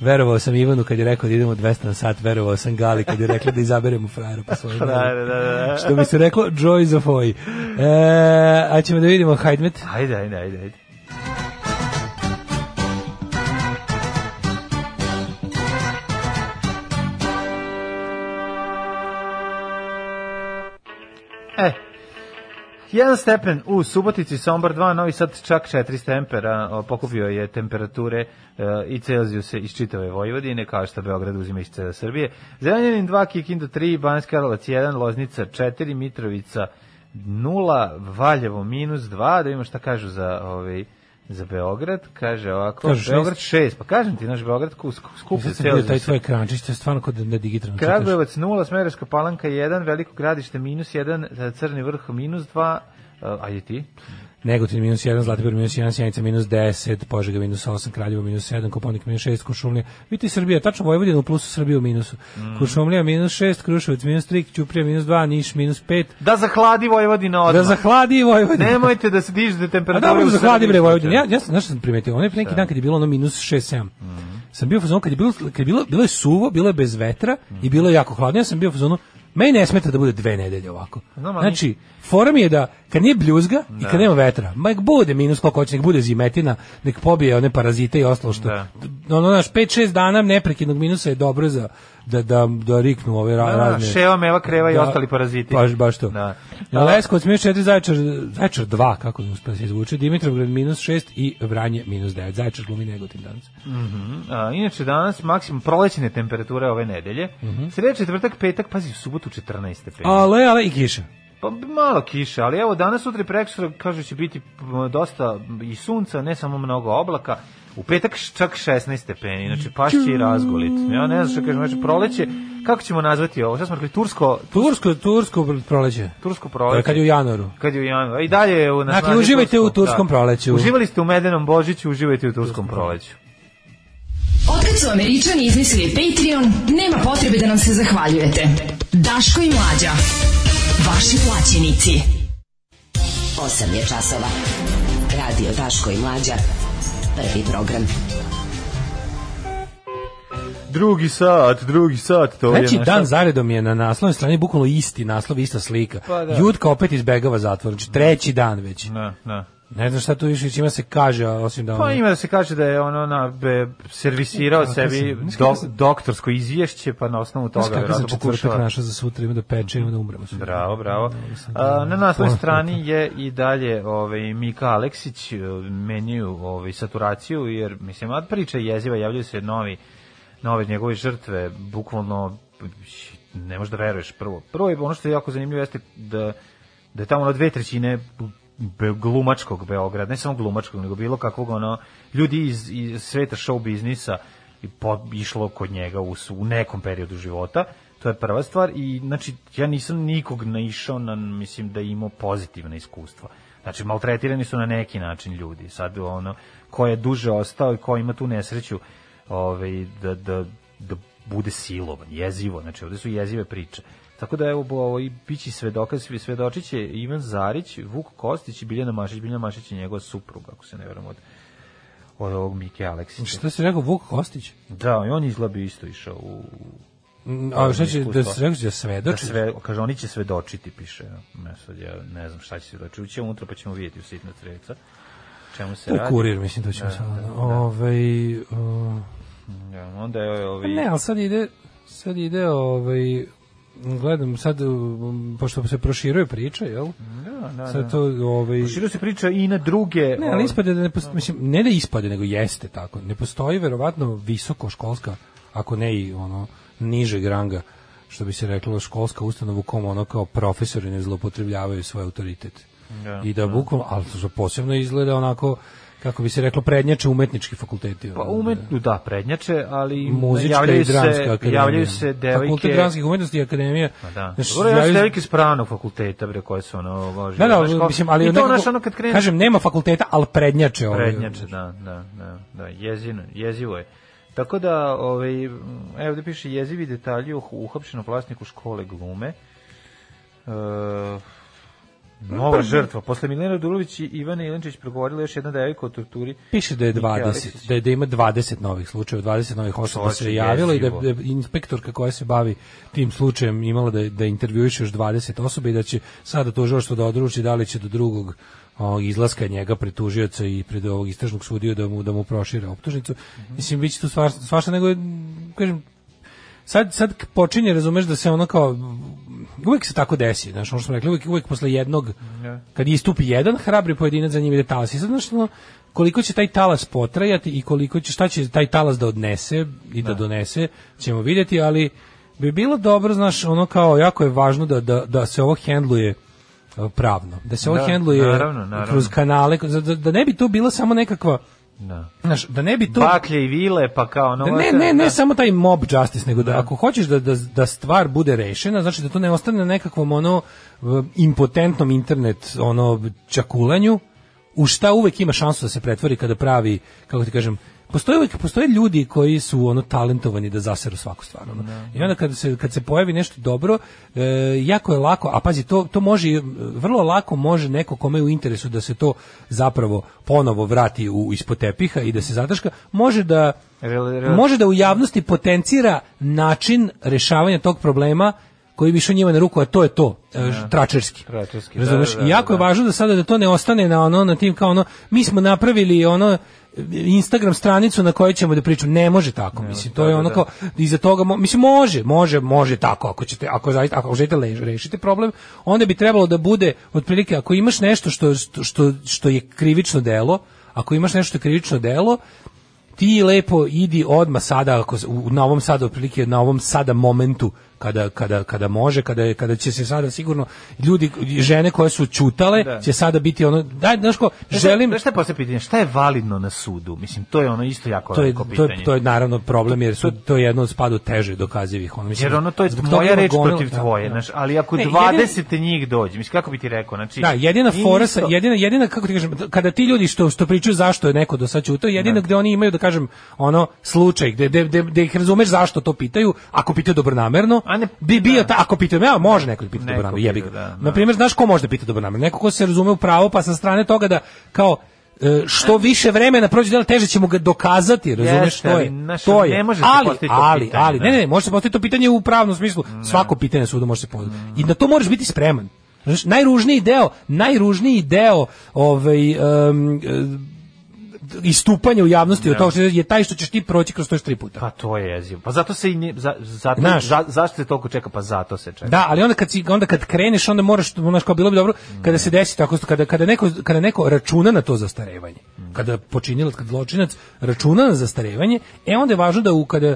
S5: Verovao sam Ivanu kad je rekao da idemo 200 na sat, verovao sam Gali kad je rekla da izaberemo frajera po svojom.
S6: Frajera, da, da, da.
S5: Što bi se reklo, Joy za foj. E, a ćemo da vidimo Hajdmet.
S6: Ajde, ajde, ajde, ajde. E, jedan stepen u Subotici, Sombor 2, Novi Sad čak 4 stempera, o, pokupio je temperature e, i Celzijuse iz čitave Vojvodine, kao što Beograd uzima iz cele Srbije. Zemljanin 2, Kikinda 3, Banjska Karlovac 1, Loznica 4, Mitrovica 0, Valjevo minus 2, da vidimo šta kažu za ovaj za Beograd, kaže ovako,
S5: Kažu šest.
S6: Beograd 6, pa kažem ti, naš Beograd ku- skuplje
S5: Sad sam vidio taj
S6: Celzijuse.
S5: tvoj ekrančić, to je stvarno kod na digitalno čitaš.
S6: Kragujevac 0, Smederska palanka 1, Veliko gradište minus 1, Crni vrh minus 2, e, a je ti?
S5: Negotin minus 1, Zlatibor minus 1, Sjenica minus 10, Požega minus 8, Kraljevo minus 7, Koponik minus 6, Kuršumlija. Vidite Srbija, tačno Vojvodina u plusu, Srbija u minusu. Kuršumlija minus 6, Kruševac minus 3, Ćuprija minus 2, Niš minus 5.
S6: Da zahladi Vojvodina odmah.
S5: Da zahladi Vojvodina.
S6: Nemojte da se dižete
S5: A
S6: temperaturu.
S5: dobro,
S6: u
S5: zahladi
S6: Srbiji. da
S5: bre Vojvodina. Ja, ja sam, znaš šta sam primetio, onaj neki dan kad je bilo ono minus 6, 7. Sam bio u fazonu, kad je bilo, kad je bilo, bilo je suvo, bilo je bez vetra i bilo je jako hladno. Ja sam bio u fazonu, meni ne smeta da bude dve nedelje ovako.
S6: Znam, ali-
S5: znači, fora mi je da kad nije bljuzga i
S6: Da.
S5: kad nema vetra, ma nek bude minus koliko hoće, nek bude zimetina, nek pobije one parazite i ostalo što.
S6: Da.
S5: Ono, znaš, 5-6 dana neprekidnog minusa je dobro za da, da, da riknu ove ra,
S6: Da, da,
S5: razne... Da,
S6: ševa, meva, kreva i ostali paraziti.
S5: Baš, baš to.
S6: Da.
S5: Na Leskovac minus 4, Zaječar, Zaječar 2, kako mi uspio da se izvuče, Dimitrovgrad minus 6 i Vranje minus 9. Zaječar glumi negotin danas.
S6: A, inače danas maksimum prolećne temperature ove nedelje. Mm
S5: Mhm.
S6: -hmm. Sreda, četvrtak, petak, pazi, u subotu 14 stepeni.
S5: Ale, ale i kiša.
S6: Pa b- malo kiše, ali evo danas, sutra i preksutra kažu će biti m, dosta i sunca, ne samo mnogo oblaka. U petak š- čak 16 stepeni, znači pašće i razgolit. Ja ne znam što kažem, znači proleće, kako ćemo nazvati ovo? Šta smo rekli, tursko,
S5: Tursko, tursko proleće. To
S6: tursko
S5: je
S6: proleće?
S5: kad je u januaru.
S6: Kad je u januaru. I dalje je u nas.
S5: Dakle,
S6: mladi
S5: uživajte
S6: tursko, da.
S5: u turskom proleću.
S6: Uživali ste u medenom božiću, uživajte u turskom proleću.
S1: Otkad su Američani izmislili Patreon, nema potrebe da nam se zahvaljujete. Daško i Mlađa. Vaši plaćenici.
S8: 8 je časova. Radio Daško i Mlađa. Prvi program.
S6: Drugi sat, drugi sat, to je
S5: Znači,
S6: naša-
S5: dan zaredom je na naslovnoj strani bukvalno isti naslov, ista slika.
S6: Pa da.
S5: Jutka opet izbegava zatvor, znači treći dan već.
S6: Na, na.
S5: Ne znam šta tu više čima se kaže, a osim da...
S6: Pa
S5: ono-
S6: ima da se kaže da je ono na be, servisirao
S5: Kako
S6: sebi
S5: sam-
S6: do, doktorsko izvješće pa na osnovu toga
S5: Znaš kakav sam
S6: verovatno
S5: četvrtak našao za sutra, ima da peče, ima da umremo. sutra.
S6: Bravo, bravo. A, na naslovnoj strani je i dalje ovaj Mika Aleksić e, menjaju ovaj saturaciju jer mislim od priče jeziva javljaju se novi nove njegove žrtve bukvalno ne možeš da veruješ prvo. Prvo je ono što je jako zanimljivo jeste da da je tamo na dve trećine be, glumačkog Beograda, ne samo glumačkog, nego bilo kakvog ono, ljudi iz, iz sveta show biznisa i po, išlo kod njega u, s- u nekom periodu života, to je prva stvar i znači ja nisam nikog naišao na, mislim da je imao pozitivna iskustva. Znači, maltretirani su na neki način ljudi. Sad, ono, ko je duže ostao i ko ima tu nesreću ovaj, da, da, da bude silovan, jezivo. Znači, ovde su jezive priče. Tako da evo bo ovo i bići svedoka, svi svedočić će Ivan Zarić, Vuk Kostić i Biljana Mašić, Biljana Mašić je njegova supruga, ako se ne verujem od od ovog Mike Aleksića.
S5: Šta si rekao, Vuk Kostić?
S6: Da, i on izgleda bi isto išao u...
S5: A šta će,
S6: Iskustva.
S5: da se rekao, da
S6: Da
S5: svedoči?
S6: sve, kaže, oni će svedočiti, piše. Ne, sad ja ne znam šta će svedočiti. Uće unutra pa ćemo vidjeti u sitna treca. Čemu se
S5: To je
S6: radi.
S5: kurir, mislim, to ćemo
S6: Da,
S5: samo.
S6: da, Pa da.
S5: Ovaj, uh, pa
S6: Ja, Da, onda je ovi...
S5: ne, ali sad ide, sad ide, ovaj, gledam, sad, um, pošto se proširuje priča, jel?
S6: Da, da, da.
S5: Sad to, ovaj...
S6: Proširuje se priča i na druge...
S5: Ne,
S6: ovaj,
S5: ali ispade da ne postoji, mislim, ne da ispade, nego jeste tako. Ne postoji verovatno visokoškolska, ako ne i ono, nižeg ranga, što bi se reklo, školska ustanova u kom ono kao profesori ne zlopotrebljavaju svoj autoritet.
S6: Da,
S5: I da bukvalno, ali to posebno izgleda onako, kako bi se reklo, prednjače umetnički fakulteti.
S6: Pa
S5: ono,
S6: umet, da, prednjače, ali
S5: muzička
S6: javljaju
S5: i dramska
S6: se,
S5: akademija.
S6: Javljaju se
S5: Fakultet
S6: devojke...
S5: dramskih umetnosti i akademija.
S6: Pa Da.
S5: Znaš,
S6: Dobro, ja
S5: javljaju
S6: sam
S5: se-
S6: devojke s pravnog fakulteta, bre, koje su ono... Bože,
S5: Da,
S6: znaš,
S5: da,
S6: kao-
S5: mislim, ali
S6: I to,
S5: nekako-
S6: znaš, ono kad krenu...
S5: Kažem, nema fakulteta, ali prednjače. ovaj,
S6: Prednjače, da, da, da, da, jezino, jezivo je. Tako da, ovaj, m, evo da piše jezivi detalji u uhapšenom vlasniku škole glume. E,
S5: Pa-
S6: nova žrtva. Posle Milena Dulović i Ivana Ilinčić progovorila još jedna devojka o torturi.
S5: Piše da je
S6: Mike
S5: 20,
S6: Aleksić.
S5: da, je, da ima 20 novih slučajeva, 20 novih osoba
S6: Čoveče,
S5: se javilo i da,
S6: jezivo.
S5: da je inspektorka koja se bavi tim slučajem imala da, da intervjuiše još 20 osoba i da će sada tužilaštvo da odruči da li će do drugog ovog izlaska njega pred tužioca i pred ovog istražnog sudiju da mu da mu prošire optužnicu. Mislim biće tu svašta, svašta nego je, kažem sad sad k- počinje razumeš da se ono kao uvek se tako desi, znaš, ono što smo rekli, uvek, uvek posle jednog, kad istupi jedan hrabri pojedinac za njim ide talas. I sad, znaš, ono, koliko će taj talas potrajati i koliko će, šta će taj talas da odnese i da, donese, ćemo vidjeti, ali bi bilo dobro, znaš, ono kao, jako je važno da, da, da se ovo hendluje e, pravno, da se ovo
S6: Da,
S5: hendluje
S6: naravno, naravno.
S5: kroz kanale, da, da- da ne bi to bila samo nekakva,
S6: Da.
S5: znaš, da ne bi to...
S6: Baklje i vile, pa kao ono...
S5: Da, ne,
S6: ovako,
S5: ne, ne
S6: da.
S5: samo taj mob justice, nego da ako hoćeš da, da, da stvar bude rešena, znači da to ne ostane na nekakvom ono v- impotentnom internet ono čakulanju, u šta uvek ima šansu da se pretvori kada pravi, kako ti kažem, postoje uvek postoje ljudi koji su ono talentovani da zaseru svaku stvar ono. I onda kada se kad se pojavi nešto dobro, e, jako je lako, a pazi to to može i, e, vrlo lako može neko kome je u interesu da se to zapravo ponovo vrati u ispod tepiha i da se zataška, može da
S6: Rel- rel-
S5: može da u javnosti potencira način rešavanja tog problema koji bi išao njima na ruku, a to je to, e, ž- tračerski.
S6: Da. Tračerski, da,
S5: Razumeš?
S6: da, da,
S5: I jako je
S6: da.
S5: važno da sada da to ne ostane na ono na tim kao ono mi smo napravili ono Instagram stranicu na kojoj ćemo da pričamo. Ne može tako, mislim.
S6: da,
S5: To je ono kao iza toga mo- mislim može, može, može tako ako ćete ako zaista ako želite le- rešiti problem, onda bi trebalo da bude otprilike ako imaš nešto što što što je krivično delo, ako imaš nešto što je krivično delo, ti lepo idi odma sada ako s- u- na ovom sada otprilike na ovom sada momentu kada, kada, kada može kada je- kada će se sada sigurno ljudi žene koje su ćutale
S6: Da.
S5: će sada biti ono daj znaš ko želim
S6: Želim... Šta je posle pitanje? Šta je validno na sudu? Mislim, to je ono isto jako
S5: to je,
S6: veliko
S5: to,
S6: pitanje.
S5: je, to je naravno problem jer su to je jedno od spadu teže dokazivih ono mislim
S6: Jer ono to je
S5: zbog toga
S6: moja
S5: ima
S6: reč
S5: gomila-
S6: protiv
S5: da,
S6: tvoje,
S5: da.
S6: znaš, ali ako
S5: Ne,
S6: 20 njih dođe, mislim kako bi ti rekao, znači
S5: Da, jedina
S6: nije
S5: fora
S6: isto-
S5: sa, jedina jedina kako ti kažem, kada ti ljudi što što pričaju zašto je neko do sad ćutao, jedino gde oni imaju da kažem ono slučaj gde gde gde, gde ih razumeš zašto to pitaju, ako pitaju dobronamerno,
S6: A ne-
S5: bi bio
S6: da.
S5: ta, ako pitaju, ja može neko da pita
S6: Neko
S5: dobronamerno, jebi ga.
S6: pita, da, da.
S5: Na primjer, znaš ko može da pita dobronamerno? Neko ko se razume u pravo, pa sa strane toga da kao e, što
S6: Znači-
S5: više vremena prođe dela teže ćemo ga dokazati, razumeš
S6: Jeste,
S5: to
S6: ali,
S5: je.
S6: znaš,
S5: to je.
S6: ne može se
S5: ali,
S6: postaviti to
S5: ali,
S6: pitanje,
S5: ali,
S6: da. Mm.
S5: ne, ne, ne, može se postaviti to pitanje u pravnom smislu. Svako pitanje na sudu može se postaviti. I na to moraš biti spreman. Znaš, najružniji deo, najružniji deo ovaj, em, e, istupanja u javnosti
S6: Da.
S5: od toga što je taj što ćeš ti proći kroz to još tri puta.
S6: Pa to je jezivo. Pa zato se i ne, za, zato,
S5: Znaš.
S6: za, zašto se toliko čeka? Pa zato se čeka.
S5: Da, ali onda kad si, onda kad kreneš, onda moraš, znaš, kao bilo bi dobro kada se desi tako kada kada neko kada neko računa na to zastarevanje. Kada počinilac, kad zločinac računa na zastarevanje, e onda je važno da u kada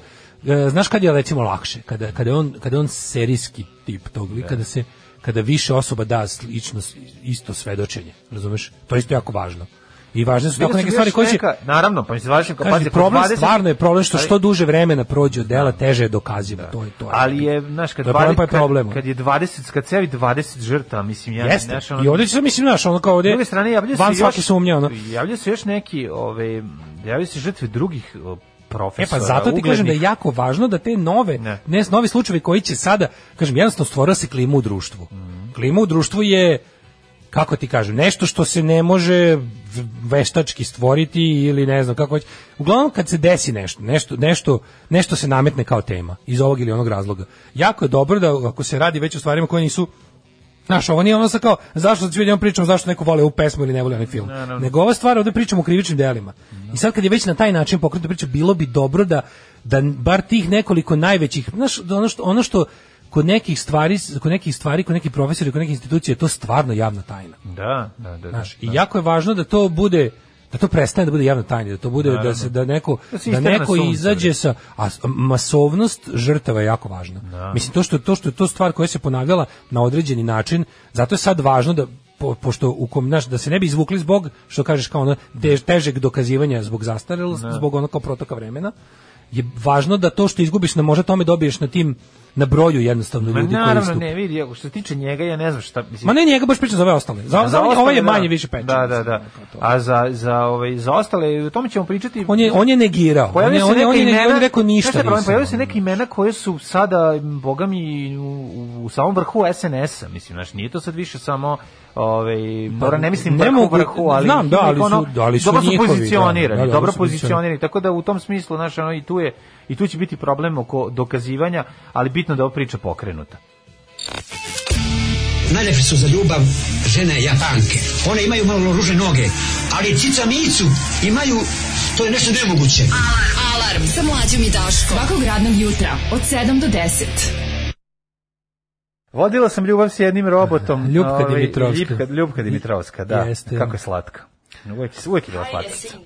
S5: e, znaš kad je recimo lakše, kada kada je on kada je on serijski tip tog lika, kada se kada više osoba da slično isto svedočenje, razumeš? To je isto jako važno. I važne su
S6: Vidio
S5: tako Da,
S6: sam
S5: neke
S6: još
S5: stvari koje će
S6: neka- Naravno, pa mislim, važno,
S5: Kaži, problem stvarno je problem što što duže vremena prođe od dela, teže je dokazivo. To je to.
S6: Da. Ali je, znaš, kad,
S5: To je problem, pa je
S6: kad-
S5: problem.
S6: Kad, je 20, kad se javi 20 žrtava, mislim, ja,
S5: Jeste.
S6: znaš, ono-
S5: I ovdje će se, mislim, znaš, ono kao
S6: S
S5: ovdje...
S6: druge strane, javljaju se
S5: van
S6: još...
S5: svake sumnje, ono.
S6: Javljaju se još neki, ove, javljaju se žrtve drugih o,
S5: E pa
S6: profesora,
S5: zato ti kažem da je
S6: uglednih.
S5: jako važno da te nove,
S6: Ne.
S5: ne. novi slučajevi koji će sada, kažem, jednostavno stvora se klima u društvu.
S6: Mhm.
S5: Klima u društvu je, kako ti kažem, nešto što se ne može v- veštački stvoriti ili ne znam kako već. Uglavnom kad se desi nešto, nešto, nešto, nešto se nametne kao tema iz ovog ili onog razloga. Jako je dobro da ako se radi već o stvarima koje nisu Znaš, ovo nije ono sa kao, zašto ću jednom pričam zašto neko voli ovu pesmu ili ne voli onaj film. Nego ova stvar ovde pričamo o krivičnim delima. I sad kad je već na taj način pokrenuta priča, bilo bi dobro da, da bar tih nekoliko najvećih, znaš, da ono što, ono što kod nekih stvari, kod nekih stvari, kod nekih profesora, i kod nekih institucija je to stvarno javna tajna.
S6: Da, da, da. da,
S5: Znaš, i jako je važno da to bude da to prestane da bude javna tajna, da to bude da se da neko
S6: Da se
S5: da
S6: istera na
S5: neko
S6: sunce,
S5: izađe sa a s- masovnost žrtava je jako važna.
S6: Da.
S5: Mislim to što to što je to stvar koja se ponavljala na određeni način, zato je sad važno da po, pošto u kom naš da se ne bi izvukli zbog što kažeš kao ono tež, težeg dokazivanja zbog
S6: Da.
S5: zastarelosti, zbog ono kao protoka vremena je važno da to što izgubiš na možda tome dobiješ na tim na broju jednostavno
S6: Ma
S5: ljudi koji
S6: naravno,
S5: istup.
S6: ne, vidi, ako što se tiče njega, ja ne znam šta, mislim,
S5: Ma ne, njega baš pričam za ove ostale. Za, za, ovaj-
S6: A
S5: ovaj je
S6: ostale, da.
S5: manje više pečen.
S6: Da, da, da. A za, za, ovaj, za ostale, o tome ćemo pričati.
S5: On je, on je negirao. On
S6: Pojavili
S5: je,
S6: se
S5: on je,
S6: neka
S5: on je,
S6: imena,
S5: on je rekao ništa.
S6: Znaš šta je problem?
S5: nisam.
S6: Pojavili se neka imena koje su sada, m, boga mi, u, u samom vrhu SNS-a, mislim, znaš, nije to sad više samo ovaj dobro ne mislim
S5: ne
S6: vrhu,
S5: mogu-
S6: vrhu, ali
S5: znam, da, ali su- da, ali su
S6: dobro su
S5: njihovi, da,
S6: pozicionirani,
S5: da, da,
S6: dobro
S5: dobro su
S6: pozicionirani. Tako da u tom smislu znaš, ono, i tu je i tu će biti problem oko dokazivanja, ali bitno da je ova priča pokrenuta.
S9: Najlepše su za ljubav žene japanke. One imaju malo ruže noge, ali cica micu imaju, to je nešto nemoguće.
S1: Alarm sa mlađom i Daškom. Svakog radnog jutra od 7 do 10.
S6: Vodila sam ljubav s jednim robotom.
S5: Ljupka
S6: ovaj,
S5: Da, Dimitrovska.
S6: Ljupka, Ljupka Dimitrovska, da.
S5: Jeste.
S6: Kako je slatka. Uvijek, uvijek je bila slatka.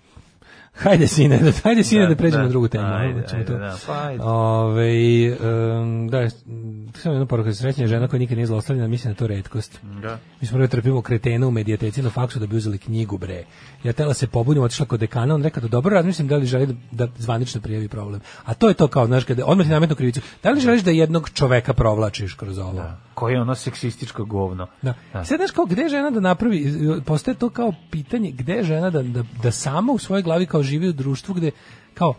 S5: Hajde sine, da, hajde sine da,
S6: Da,
S5: pređemo
S6: da,
S5: na drugu temu.
S6: ajde,
S5: ono, ćemo
S6: ajde,
S5: to.
S6: da, pa ajde.
S5: Ovaj, em, da, mm, samo jedna poruka, srećna je žena koja nikad nije zlostavljena, mislim da je to redkost.
S6: Da.
S5: Mi smo prvo trpimo kretena u medijateci na faksu da bi uzeli knjigu, bre. Ja tela se pobudim, otišla kod dekana, on rekao da dobro razmislim da li želi da, da zvanično prijavi problem. A to je to kao, znaš, kada odmah ti nametnu krivicu. Da li želiš da jednog čoveka provlačiš kroz ovo?
S6: Da. Koje je ono seksističko govno.
S5: Da. Sad znaš kao gde je žena da napravi, postaje to kao pitanje gde je žena da, da, da sama u svojoj glavi kao živi u društvu gde kao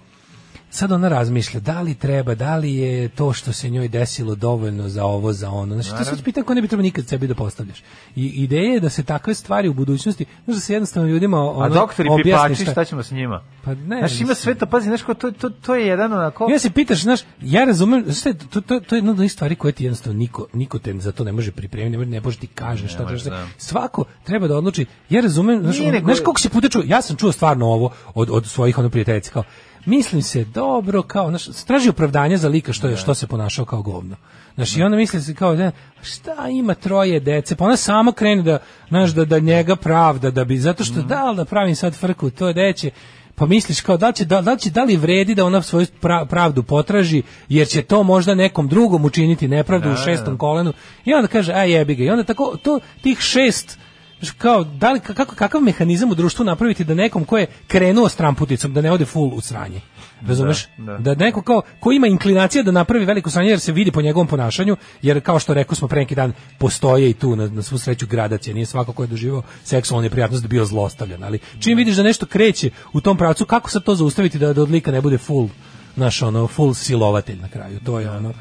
S5: sad ona razmišlja da li treba, da li je to što se njoj desilo dovoljno za ovo, za ono. Znači, to se pitan ko ne bi trebao nikad sebi da postavljaš. I ideja je da se takve stvari u budućnosti, znaš da se jednostavno ljudima ono,
S6: A doktori
S5: objasni
S6: pipači, šta ćemo s njima?
S5: Pa ne,
S6: Znaš, ima
S5: mislim.
S6: sve to, pazi, znaš, ko, to, to, to je jedan onako...
S5: Ja se pitaš, znaš, ja razumem, znaš šta je, to, to, to je jedna od onih stvari koje ti jednostavno niko, niko te za to ne može pripremiti, ne može, ne može ti kaže šta
S6: može,
S5: trebaš da.
S6: da.
S5: Svako treba da odluči, ja razumem, znaš,
S6: Nije
S5: ono,
S6: nego-
S5: znaš koliko se puta čuo, ja sam čuo stvarno ovo od, od svojih ono prijateljica, kao, mislim se dobro, kao, znaš, straži opravdanje za lika što, je, što se ponašao kao govno. Znaš, i onda misli se kao, ne, šta ima troje dece, pa ona samo krene da, znaš, da, da njega pravda, da bi, zato što da, ali da pravim sad frku, to je deće, pa misliš kao da li će da, da, li će, da li vredi da ona svoju pra- pravdu potraži jer će to možda nekom drugom učiniti nepravdu u šestom kolenu i onda kaže aj jebi ga i onda tako to tih šest znaš, kao da li kako kakav mehanizam u društvu napraviti da nekom ko je krenuo s tramputicom da ne ode full u sranje razumeš da,
S6: Da,
S5: neko kao ko ima inklinacije da napravi veliko sranje jer se vidi po njegovom ponašanju jer kao što rekao smo pre neki dan postoje i tu na, na svu sreću gradacija nije svako ko je doživio seksualnu neprijatnost bio zlostavljan ali čim vidiš da nešto kreće u tom pravcu kako se to zaustaviti da, da od lika ne bude full naš ono full silovatelj na kraju to
S6: Da,
S5: je ono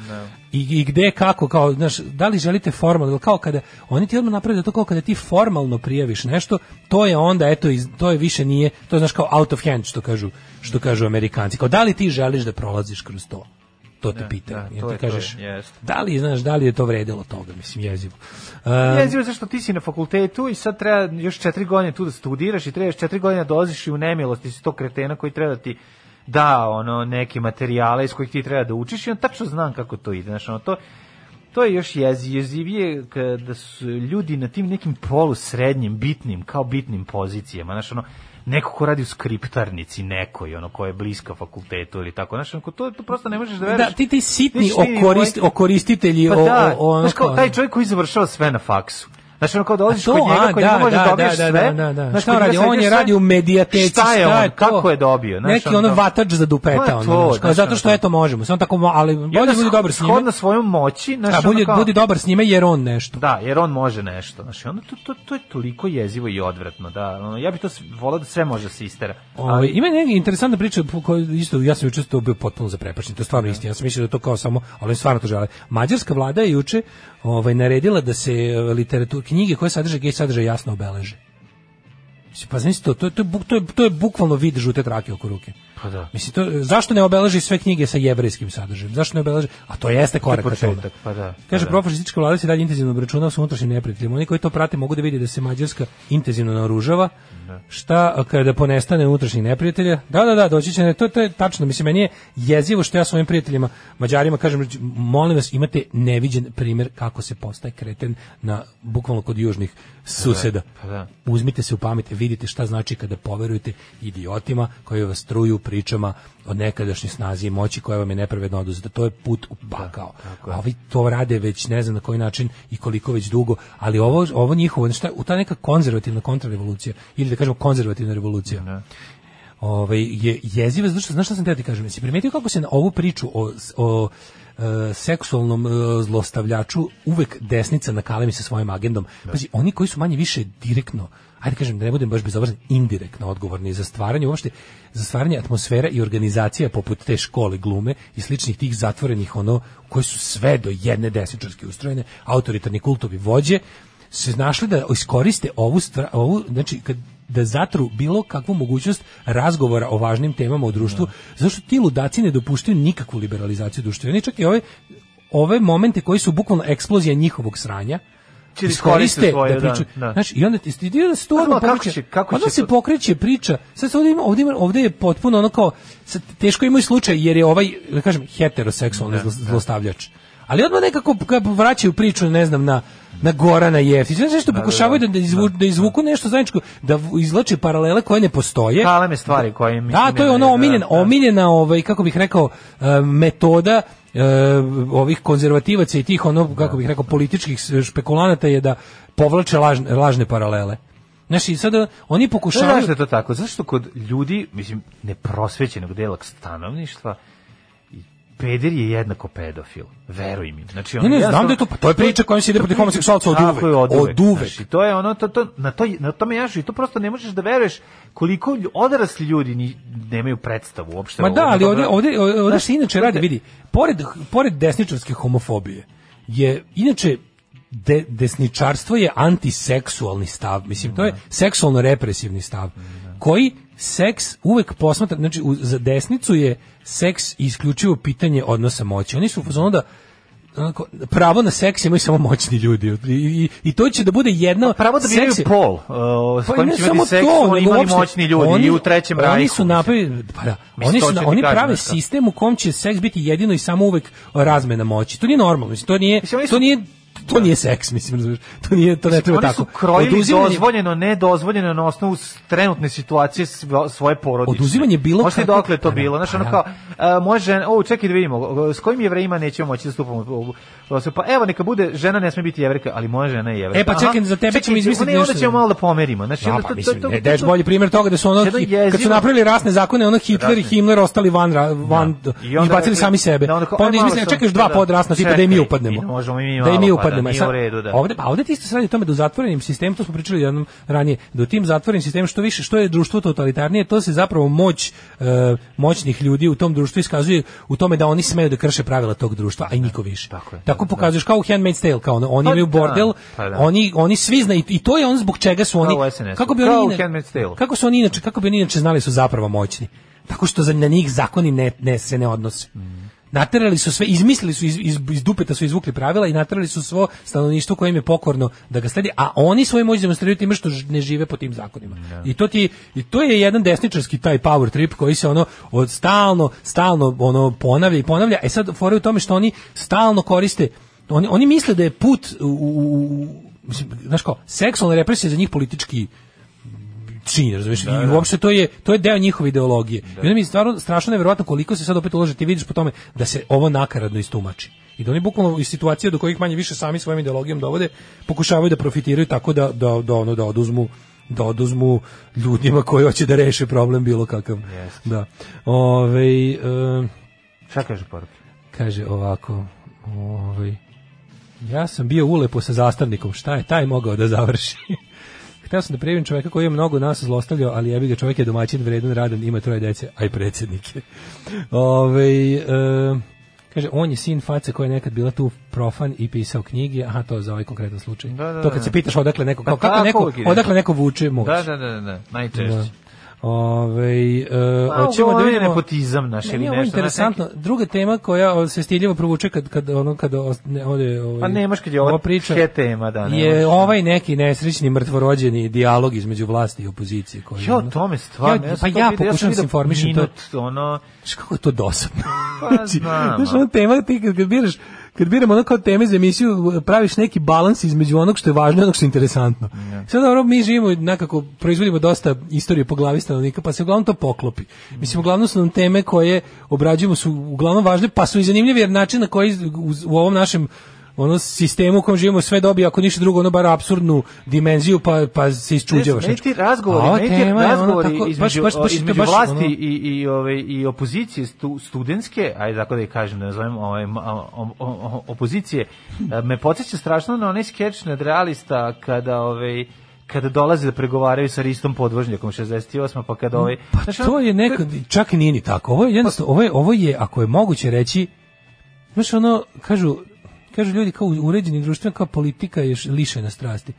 S5: I, i gde kako kao znaš da li želite formalno ili kao kada oni ti odmah naprave da to kao kada ti formalno prijaviš nešto to je onda eto iz, to je više nije to je znaš kao out of hand što kažu što kažu Amerikanci kao da li ti želiš da prolaziš kroz to to te
S6: da,
S5: pita
S6: to
S5: ti
S6: je to,
S5: kažeš
S6: jeste.
S5: da li znaš da li je to vredilo toga mislim jezivo Uh,
S6: Jezivo zašto ti si na fakultetu i sad treba još četiri godine tu da studiraš i treba još četiri godine da dolaziš i u nemilosti si to kretena koji treba da ti da ono neke materijale iz kojih ti treba da učiš i on tačno znam kako to ide. Znaš, ono, to, to je još jezi, jezivije kada su ljudi na tim nekim polusrednjim, bitnim, kao bitnim pozicijama. Znaš, ono, neko ko radi u skriptarnici nekoj, ono, ko je bliska fakultetu ili tako. Znaš, ono, to, to prosto ne možeš da veriš.
S5: da ti ti sitni
S6: Znaš, ti,
S5: okorist, okoristitelji
S6: pa
S5: o,
S6: da,
S5: o, o, ono
S6: znaš kao
S5: kao-
S6: taj čovjek koji završava sve na faksu. Znaš, ono kao dolaziš
S5: A to,
S6: kod njega,
S5: a,
S6: koji
S5: da,
S6: ne može
S5: da,
S6: da, dobiješ
S5: da, da,
S6: sve.
S5: da, da.
S6: znaš,
S5: Šta
S6: kod
S5: on radi?
S6: njega sve
S5: On je
S6: sve.
S5: radi u medijateci,
S6: Šta je
S5: šta
S6: on,
S5: je to?
S6: kako je dobio? Znaš,
S5: neki ono vatač za
S6: Pa
S5: dupeta
S6: to,
S5: ono, znaš, kao,
S6: znaš,
S5: zato što
S6: ono.
S5: eto možemo samo tako mo- ali
S6: I onda
S5: bolje da budi dobar s njime
S6: Shodno svojom moći, znaš,
S5: a
S6: ono
S5: bolje da
S6: kao-
S5: budi dobar s njime jer on nešto
S6: Da, jer on može nešto. Znaš, i onda to, to, to je toliko jezivo i odvratno. Da, ono, ja bih to s- volao da sve može da se istera.
S5: Ovaj ima neka interesantna priča po kojoj isto ja sam juče to bio potpuno zaprepašten. To je stvarno istina. Ja sam mislio da je to kao samo, ali oni stvarno to žele. Mađarska vlada je juče ovaj naredila da se e, literatur knjige koje sadrže gej sadržaj jasno obeleže. Mislim, Pa znači to, to, je- to, je, buk- to, je, to je bukvalno vid žute trake oko ruke.
S6: Pa da.
S5: Mislim, to, zašto ne obeleži sve knjige sa jevrejskim sadržajem? Zašto ne obeleži? A to jeste korak ka tome.
S6: početak, pa da,
S5: Kaže,
S6: pa da.
S5: profašistička vlada se dalje intenzivno obračunava sa unutrašnjim neprijateljima. Oni koji to prate mogu da vide da se Mađarska intenzivno naoružava.
S6: Da.
S5: Šta kada ponestane unutrašnjih neprijatelja? Da, da, da, doći će. ne, To, to je tačno. Mislim, meni je jezivo što ja svojim prijateljima, Mađarima, kažem, molim vas, imate neviđen primjer kako se postaje kreten na, bukvalno kod južnih suseda.
S6: pa da.
S5: Uzmite se u pamet, vidite šta znači kada poverujete idiotima koji vas truju pričama o nekadašnjoj snazi i moći koja vam je nepravedno oduzeta. To je put u
S6: Da,
S5: pakao. A ovi to rade već ne znam na koji način i koliko već dugo, ali ovo, ovo njihovo, šta, u ta neka konzervativna kontrarevolucija, ili da kažemo konzervativna
S6: Da.
S5: revolucija, ovaj, je jeziva, zato što, znaš šta sam teo ti kažem, jesi primetio kako se na ovu priču o, s- o e, seksualnom e, zlostavljaču uvek desnica nakalemi sa svojim agendom. Pazi, oni koji su manje više direktno, ajde kažem da ne budem baš bezobrazan, indirektno odgovorni za stvaranje uopšte, za stvaranje atmosfera i organizacija poput te škole glume i sličnih tih zatvorenih ono koji su sve do jedne desničarski ustrojene, autoritarni kultovi vođe, se našli da iskoriste ovu, stra, ovu znači kad da zatru bilo kakvu mogućnost razgovora o važnim temama u društvu,
S6: Da.
S5: zašto ti ludaci ne dopuštaju nikakvu liberalizaciju društva. Oni čak i ove, ove momente koji su bukvalno eksplozija njihovog sranja,
S6: Će da
S5: iskoriste
S6: iskoriste svoje,
S5: da pričaju.
S6: da, da.
S5: Znaš, i onda ti ti- ti- da se tu
S6: Pa,
S5: odmah
S6: a kako
S5: pokreće-
S6: će- kako
S5: odmah
S6: će
S5: se
S6: to-
S5: pokreće priča. Sad se ovdje ima, ovdje ima- ovdje je potpuno ono kao sad teško imaju slučaj jer je ovaj da kažem heteroseksualni zlo- zlostavljač. Ali odmah nekako k- vraćaju priču, ne znam, na na Gorana Jeftić. Znaš nešto pokušavaju da, da, izvu, da izvuku nešto zajedničko, da v- izvlače paralele koje ne postoje.
S6: Kaleme stvari koje mi...
S5: Da, to je ono omiljena, omiljena ovaj, kako bih rekao, e, metoda e, ovih konzervativaca i tih ono, kako bih rekao, političkih s- špekulanata je da povlače lažne, lažne paralele. Znaš, i sada oni
S6: Znaš
S5: pokušavaju...
S6: zašto je to tako? Zašto kod ljudi, mislim, neprosvećenog delog stanovništva, i peder je jednako pedofil. Veruj mi. Znači, on
S5: Ne, ne,
S6: jednostavno-
S5: znam da je to, pa to je priča kojom se ide protiv homoseksualca od
S6: Tako
S5: uvek.
S6: je,
S5: Od uvek.
S6: Znaš, i to je ono, to, to, na, to, na tome jašu i to prosto ne možeš da veruješ koliko lju- odrasli ljudi ni, nemaju predstavu uopšte.
S5: Ma
S6: o
S5: da,
S6: ovome.
S5: ali ovde, ovde, ovde
S6: pa Znaš,
S5: se inače radi, vidi, pored, pored desničarske homofobije, je inače de, desničarstvo je antiseksualni stav, mislim,
S6: Da.
S5: to je seksualno represivni stav, koji seks uvek posmatra, znači u, za desnicu je seks isključivo pitanje odnosa moći. Oni su u fazonu da onako, pravo na seks imaju samo moćni ljudi I, i, i to će da bude jedna
S6: Pravo da biraju
S5: seks je-
S6: pol, uh, s
S5: pa
S6: kojim
S5: ne
S6: će
S5: samo
S6: imati seks,
S5: to,
S6: oni
S5: nego
S6: imali
S5: uopšte,
S6: moćni ljudi i u trećem rajku.
S5: Oni su napravili, pa da,
S6: Mislim,
S5: oni,
S6: to
S5: su,
S6: ću
S5: na-
S6: ti
S5: oni
S6: kažem,
S5: prave
S6: znaš šta.
S5: sistem u kom će seks biti jedino i samo uvek razmena moći. To nije normalno, mislim, to nije,
S6: Mislim, oni su-
S5: to nije to nije seks, mislim, razumiješ. To nije, to ne treba
S6: Oni
S5: tako.
S6: su krojili
S5: Oduzimanje-
S6: dozvoljeno, nedozvoljeno na osnovu s- trenutne situacije svo- svoje porodice.
S5: Oduzimanje bilo
S6: Možete
S5: kakvog-
S6: dokle je to
S5: Pa da,
S6: bilo? Znaš,
S5: pa
S6: ono
S5: da.
S6: kao, a, moja žena, o, čekaj da vidimo, s kojim jevrejima nećemo moći da stupamo u- u- u- Pa evo, neka bude, žena ne sme biti jevrejka, ali moja žena je jevrejka.
S5: E, pa
S6: Aha,
S5: čekaj, za tebe
S6: čekaj,
S5: ćemo izmisliti
S6: ne, onda
S5: nešto.
S6: ćemo malo da pomerimo. Znači,
S5: Da,
S6: onda
S5: pa
S6: to-
S5: mislim,
S6: to- to-
S5: ne,
S6: to-
S5: daješ bolji primjer toga da su ono,
S6: Jedno jezivo-
S5: kad su napravili rasne zakone, ono Hitler i
S6: Rasne.
S5: Himmler ostali van, ra- van
S6: Da. I onda
S5: izbacili
S6: rekli-
S5: sami sebe.
S6: da onda kao,
S5: pa onda
S6: aj, malo
S5: izmislili,
S6: sam-
S5: čekaj još dva
S6: da,
S5: podrasna, tipa da i mi
S6: čekaj,
S5: upadnemo.
S6: i možemo i mi
S5: da i mi
S6: malo, pa da,
S5: upadnemo. E
S6: nije
S5: sad,
S6: u redu, da.
S5: Ovde, pa ovde ti isto se radi o tome da u zatvorenim sistemu, to smo pričali jednom ranije, da u tim zatvorenim sistemu što više, što je društvo totalitarnije, to se zapravo moć e, moćnih ljudi u tom društvu iskazuje u tome da oni smeju da krše pravila tog društva, a i niko više.
S6: Da, Tako je,
S5: Tako pokazuješ kao u Handmaid's Tale, kao ono, oni
S6: Pa
S5: imaju
S6: da,
S5: bordel,
S6: pa da.
S5: oni oni svi znaju i to je on zbog čega su
S6: Kao u
S5: oni
S6: SNS-u,
S5: kako bi
S6: kao
S5: oni
S6: u
S5: ina-
S6: Handmaid's Tale-u.
S5: kako su oni inače kako bi oni inače znali da su zapravo moćni tako što za na njih zakoni ne, ne se ne odnose Naterali su sve, izmislili su iz, iz, iz dupeta su izvukli pravila i naterali su svo stanovništvo koje im je pokorno da ga sledi, a oni svoje moći demonstriraju time što ž- ne žive po tim zakonima. I, to ti, I to je jedan desničarski taj power trip koji se ono od stalno, stalno ono ponavlja i ponavlja. E sad fora je u tome što oni stalno koriste oni, oni misle da je put u, u, u mislim, znaš kao, seksualna represija je za njih politički čin, razumiješ? I uopšte to je, to je deo njihove ideologije. I onda mi je stvarno strašno nevjerojatno koliko se sad opet ulože, ti vidiš po tome da se ovo nakaradno istumači. I da oni bukvalno iz situacije do kojih manje više sami svojim ideologijom dovode, pokušavaju da profitiraju tako da, da, da, ono, da oduzmu da oduzmu ljudima koji hoće da reše problem bilo kakav. Da. Ovaj, em,
S6: Šta kaže poruka?
S5: Kaže ovako, ovaj, ja sam bio ulepo sa zastavnikom, šta je taj mogao da završi? Hteo sam da prijavim čoveka koji je mnogo nas zlostavljao, ali jebi ga, čovek je domaćin, vredan, radan, ima troje dece, a i predsjednike. Ovaj, e, kaže, on je sin face koja je nekad bila tu profan i pisao knjige, aha, to je za ovaj konkretan slučaj.
S6: Da, da,
S5: to kad
S6: da.
S5: se pitaš odakle neko,
S6: Pa
S5: kao, kako
S6: tako
S5: neko,
S6: uvijek ide.
S5: odakle neko vuče moć.
S6: Da, da, da, da, najčešće.
S5: Da. Ovaj, e, hoćemo da
S6: Pa, uglavnom je
S5: vidimo...
S6: nepotizam naš
S5: Ne,
S6: ili
S5: nije ovo
S6: nešto, znaš,
S5: interesantno. Druga tema koja o, se stiljivo provuče kad kad ono kad os- ne, ode ovaj
S6: Pa nemaš kad je ova he tema, da, ne
S5: je
S6: možeš.
S5: ovaj neki nesrećni mrtvorođeni dijalog između vlasti i opozicije koji
S6: Jo,
S5: ono-
S6: tome stvarno.
S5: Ja,
S6: sam
S5: pa
S6: to
S5: ja
S6: vidio, sam
S5: pokušam da se
S6: vidio
S5: informišem to.
S6: minut, ono,
S5: Znaš kako je to dosadno.
S6: Pa znam,
S5: Znači, znaš,
S6: ali-
S5: ono tema ti kad, kad biraš kad biramo ono kao teme za emisiju, praviš neki balans između onog što je važno i onog što je interesantno. Sad dobro, mi živimo nekako, proizvodimo dosta istorije po glavi stanovnika, pa se uglavnom to poklopi. Mislim, uglavnom su nam teme koje obrađujemo su uglavnom važne, pa su i zanimljive, jer način na koji u, u ovom našem ono sistemu u kojem živimo sve dobije ako ništa drugo ono bar apsurdnu dimenziju pa pa se isčuđavaš.
S6: Ne, meni ti
S5: znači. A ova
S6: razgovori, meni ti
S5: tema je ono
S6: razgovori
S5: tako, baš-
S6: između,
S5: baš- baš-
S6: između
S5: baš,
S6: vlasti
S5: ono-
S6: i, i, ove, i opozicije stu, studentske, ajde tako da je kažem, da nazovem ove, ma- o- o- o- opozicije, e, me podsjeća strašno na onaj skeč nad realista kada ove, kada dolaze da pregovaraju sa Ristom podvožnjakom 68 pa kada ovaj
S5: Pa
S6: znaš, ono,
S5: to je nekad, Pa- čak i nije ni tako. Ovo je jednostavno, ovo je, ovo je, ako je moguće reći, znaš ono, kažu, kažu ljudi kao u uređenim društvima, kao politika je š- lišena strasti.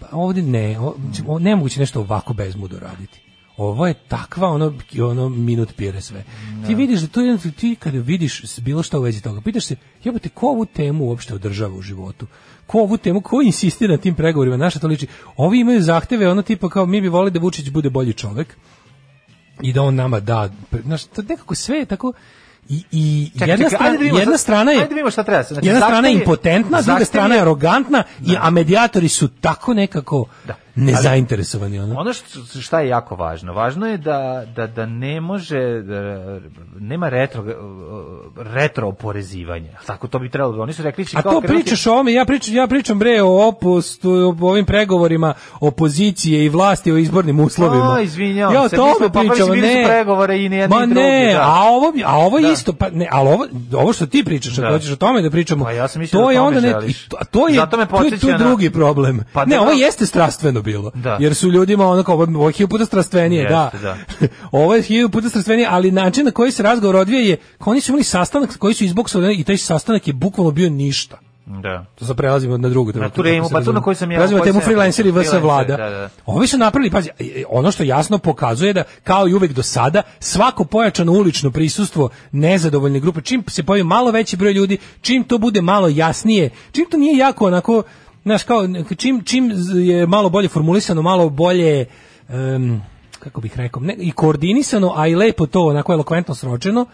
S5: Pa ovdje ne, o, mislim, o- nemoguće nešto ovako bezmudo raditi. Ovo je takva, ono, ono minut pire sve. Ti vidiš da to je, ti kada vidiš s- bilo što u vezi toga, pitaš se, jebote, ko ovu temu uopšte održava u životu? Ko ovu temu, ko insistira na tim pregovorima? Naša to liči. Ovi imaju zahteve, ono tipa kao mi bi volili da Vučić bude bolji čovek i da on nama da, pre- znaš, to nekako sve je tako I, i
S6: Čekaj,
S5: jedna,
S6: čekaj,
S5: strana,
S6: ajde da vidimo
S5: jedna
S6: sad-
S5: strana je
S6: ajde da vidimo šta treba se- znači,
S5: jedna
S6: zahtev
S5: strana je
S6: je-
S5: impotentna, druga
S6: zahtev
S5: strana
S6: je-
S5: je arogantna, i, a medijatori su tako nekako
S6: Da.
S5: nezainteresovani. Ono.
S6: Ono što, šta je jako važno? Važno je da, da, da ne može, da, nema retro, retro oporezivanje. Tako to bi trebalo. da- Oni su rekli... će
S5: A
S6: kao
S5: to
S6: krenuti-
S5: pričaš o ovome, ja pričam, ja pričam bre o opustu, o ovim pregovorima opozicije i vlasti o izbornim uslovima.
S6: A, izvinjavam
S5: ja o
S6: se,
S5: tome
S6: mi smo- pa,
S5: pričam,
S6: mislim, bili su
S5: ne.
S6: pregovore i ni jedni
S5: Ma
S6: i drugi,
S5: ne,
S6: da.
S5: a ovo, a ovo je
S6: Da.
S5: isto, pa ne, ali ovo, ovo što ti pričaš, ako
S6: Da.
S5: hoćeš o tome da pričamo,
S6: Pa ja sam mislio
S5: to
S6: da
S5: je
S6: o
S5: onda
S6: tome
S5: ne,
S6: želiš.
S5: i to- a to je,
S6: Zato me
S5: to je tu
S6: podsjeća na-
S5: drugi problem.
S6: Pa
S5: ne,
S6: da,
S5: ovo
S6: da.
S5: jeste strastveno bilo,
S6: Da.
S5: jer su ljudima ono kao, ovo je hiljadu puta strastvenije, da.
S6: Jeste, da.
S5: ovo je hiljadu puta strastvenije, ali način na koji se razgovor odvija je, kao oni su imali sastanak koji su izboksovali i taj sastanak je bukvalno bio ništa.
S6: Da.
S5: To sad prelazimo na drugu temu.
S6: tu temu, pa tu na koju sam ja-
S5: Prelazimo na
S6: koju
S5: temu
S6: sam ja-
S5: freelancer i VS
S6: freelancer,
S5: vlada.
S6: da, da.
S5: Ovi su napravili, pazi, ono što jasno pokazuje da, kao i uvek do sada, svako pojačano ulično prisustvo nezadovoljne grupe, čim se pojavi malo veći broj ljudi, čim to bude malo jasnije, čim to nije jako onako, znaš, kao, čim, čim je malo bolje formulisano, malo bolje... em, kako bih rekao, ne, i koordinisano, a i lepo to, onako elokventno sročeno,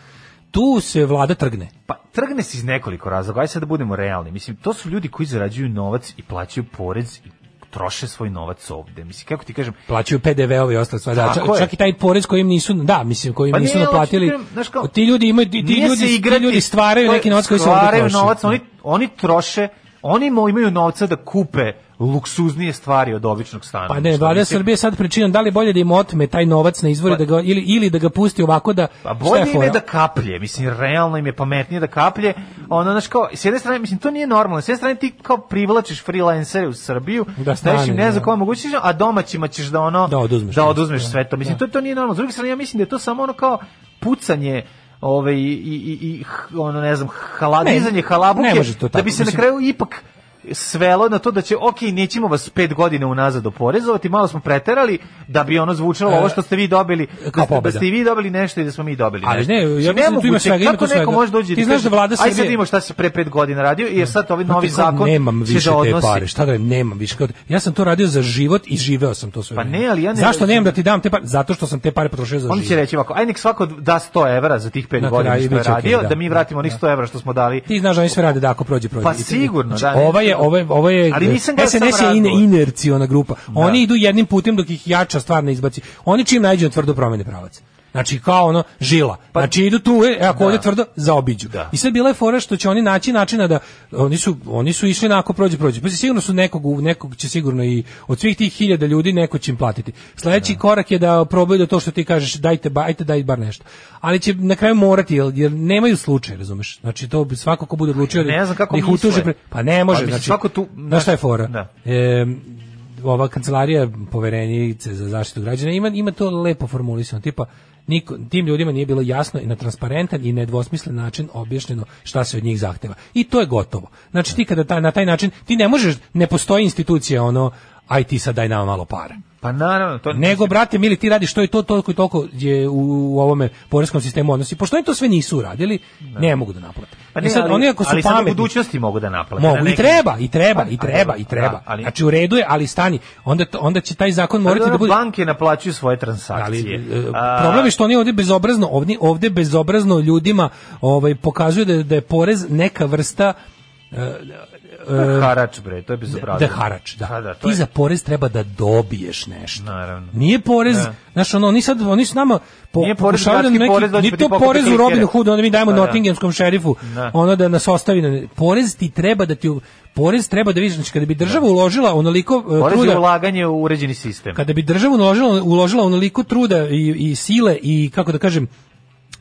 S5: tu se vlada trgne.
S6: Pa trgne se iz nekoliko razloga, aj sad da budemo realni. Mislim, to su ljudi koji zarađuju novac i plaćaju porez i troše svoj novac ovde. Mislim, kako ti kažem,
S5: plaćaju PDV-ove i ostale stvari. Da,
S6: Tako
S5: čak,
S6: je.
S5: čak i taj porez kojim nisu, da, mislim, kojim
S6: Pa
S5: nisu
S6: nije,
S5: naplatili.
S6: hoću ti kažem, znaš kao,
S5: ti ljudi imaju ti, ti
S6: Nije
S5: ljudi,
S6: se
S5: ti
S6: igrati.
S5: ljudi stvaraju
S6: To je-
S5: neki novac koji se ovde
S6: stvaraju
S5: troši. Da.
S6: novac, oni, oni troše, oni mo- imaju novca da kupe luksuznije stvari od običnog stana.
S5: Pa ne,
S6: Što
S5: vlada
S6: mislim,
S5: Srbije sad pričinam da li je bolje da im otme taj novac na izvori
S6: Pa-
S5: da ga, ili, ili da ga pusti ovako da...
S6: Pa
S5: šta je
S6: bolje im je
S5: fora?
S6: da kaplje, mislim, realno im je pametnije da kaplje. Ono, znaš, kao, s jedne strane, mislim, to nije normalno. S jedne strane ti kao privlačiš freelancere u Srbiju,
S5: Da
S6: daješ
S5: stane,
S6: im ne
S5: da.
S6: znam koje mogućiš, a domaćima ćeš da ono,
S5: Da oduzmeš.
S6: da oduzmeš sve to. Mislim, to, to nije normalno. S druge strane, ja mislim da je to samo ono kao pucanje Ove, i, i, i, i h- ono, ne znam, haladizanje,
S5: Ne,
S6: halabuke,
S5: ne može to tako,
S6: da bi se
S5: mislim.
S6: na kraju ipak svelo na to da će, ok, nećemo vas pet godina unazad oporezovati, malo smo preterali da bi ono zvučalo
S5: E,
S6: ovo što ste vi dobili,
S5: kao
S6: da, ste- da
S5: pobeda.
S6: ste i vi dobili nešto i da smo mi dobili
S5: Ali ne, ja mislim
S6: Znači,
S5: da tu ima
S6: nemoguće,
S5: svega, ima tu
S6: Kako
S5: svega.
S6: neko može doći
S5: Ti znaš da vlada
S6: Srbije... Aj sad
S5: Srbije-
S6: imamo šta si pre pet godina radio, jer sad ovaj novi
S5: Znate kako,
S6: zakon
S5: Znači, nemam
S6: će
S5: više
S6: da
S5: te
S6: odnosi...
S5: pare. Šta da radim, nemam više. Kao- Ja sam to radio za život i živeo sam to sve.
S6: Pa
S5: vreme.
S6: ne, ali ja ne-
S5: Zašto nemam da ti dam te pare? Zato što sam te pare potrošio za
S6: On će
S5: život.
S6: reći ovako, aj nek svako da 100 evra za tih pet
S5: Na
S6: godina
S5: kraju
S6: što je
S5: biće okej,
S6: radio,
S5: da.
S6: da mi vratimo onih 100 evra što smo dali.
S5: Ti znaš da oni sve rade da ako prođe prođe.
S6: Pa
S5: I ti-
S6: sigurno,
S5: znači,
S6: da, ne-
S5: Ovo je ovo je ovo je
S6: Ali nisam gledao
S5: SNS
S6: samo
S5: je ine,
S6: razgovor.
S5: inerciona grupa.
S6: Da.
S5: Oni idu jednim putem dok ih jača stvar ne izbaci. Oni čim naiđu na tvrdo promene pravac. Znači kao ono žila. znači idu tu, e, ako ovdje tvrdo zaobiđu.
S6: Pa- Da.
S5: I sad bila je fora što će oni naći načina da oni su oni su išli na ako prođe prođe. Pa sigurno su nekog u- nekog će sigurno i od svih tih hiljada ljudi neko će im platiti. Sledeći korak je da probaju da to što ti kažeš dajte ba- ajte daj bar nešto. Ali će na kraju morati jer, jer nemaju slučaj, razumeš? Znači to bi svako ko bude odlučio da
S6: Ne znam kako
S5: da ih
S6: misle.
S5: utuže pre- pa ne može,
S6: Pa mislim,
S5: znači
S6: svako tu-
S5: znaš šta je fora?
S6: Da.
S5: E, ova kancelarija poverenice za zaštitu građana ima ima to lepo formulisano, tipa niko, tim ljudima nije bilo jasno i na transparentan i nedvosmislen način objašnjeno šta se od njih zahteva. I to je gotovo. Znači ti kada ta, na taj način ti ne možeš, ne postoji institucija ono aj ti sad daj nama malo para.
S6: Pa naravno, to
S5: Nego, brate, mili, ti radiš to i to, toliko i toliko je u, u ovome poreskom sistemu odnosi. Pošto oni to sve nisu uradili, ne mogu da naplate.
S6: Pa ne,
S5: I sad,
S6: ali-
S5: oni ako su
S6: ali sad u
S5: pametni,
S6: budućnosti mogu da naplate. na
S5: Mogu, i
S6: neki-
S5: treba, i treba,
S6: Pa,
S5: i treba,
S6: ali-
S5: i treba.
S6: da, ali-
S5: Znači u redu je, ali stani, onda, to- onda će taj zakon
S6: Ali
S5: morati da
S6: ono,
S5: bude...
S6: Banke naplaćuju svoje transakcije.
S5: Ali, e,
S6: A-
S5: problem je što oni ovdje bezobrazno, ovdje, ovdje bezobrazno ljudima ovaj, pokazuju da, je- da je porez neka vrsta
S6: To je harač, bre, to je bezobrazno.
S5: Da je harač, da.
S6: Pa da, to
S5: Ti
S6: je-
S5: za porez treba da dobiješ nešto.
S6: Naravno. Da.
S5: Nije porez, znaš, ono, oni sad, oni s nama po,
S6: Nije porez,
S5: pokušavaju da
S6: gradski
S5: neki,
S6: porez, dođe
S5: nije
S6: pa ti
S5: to
S6: pokupi
S5: porez u
S6: klikere.
S5: Robin Hood, onda mi dajemo
S6: Da, da.
S5: Nottinghamskom šerifu,
S6: Da.
S5: ono da nas ostavi. Na, porez ti treba da ti, porez treba da vidiš, znači kada bi država uložila onoliko e,
S6: Porez je
S5: truda,
S6: ulaganje u uređeni sistem.
S5: kada bi država uložila, uložila onoliko truda i, i sile i kako da kažem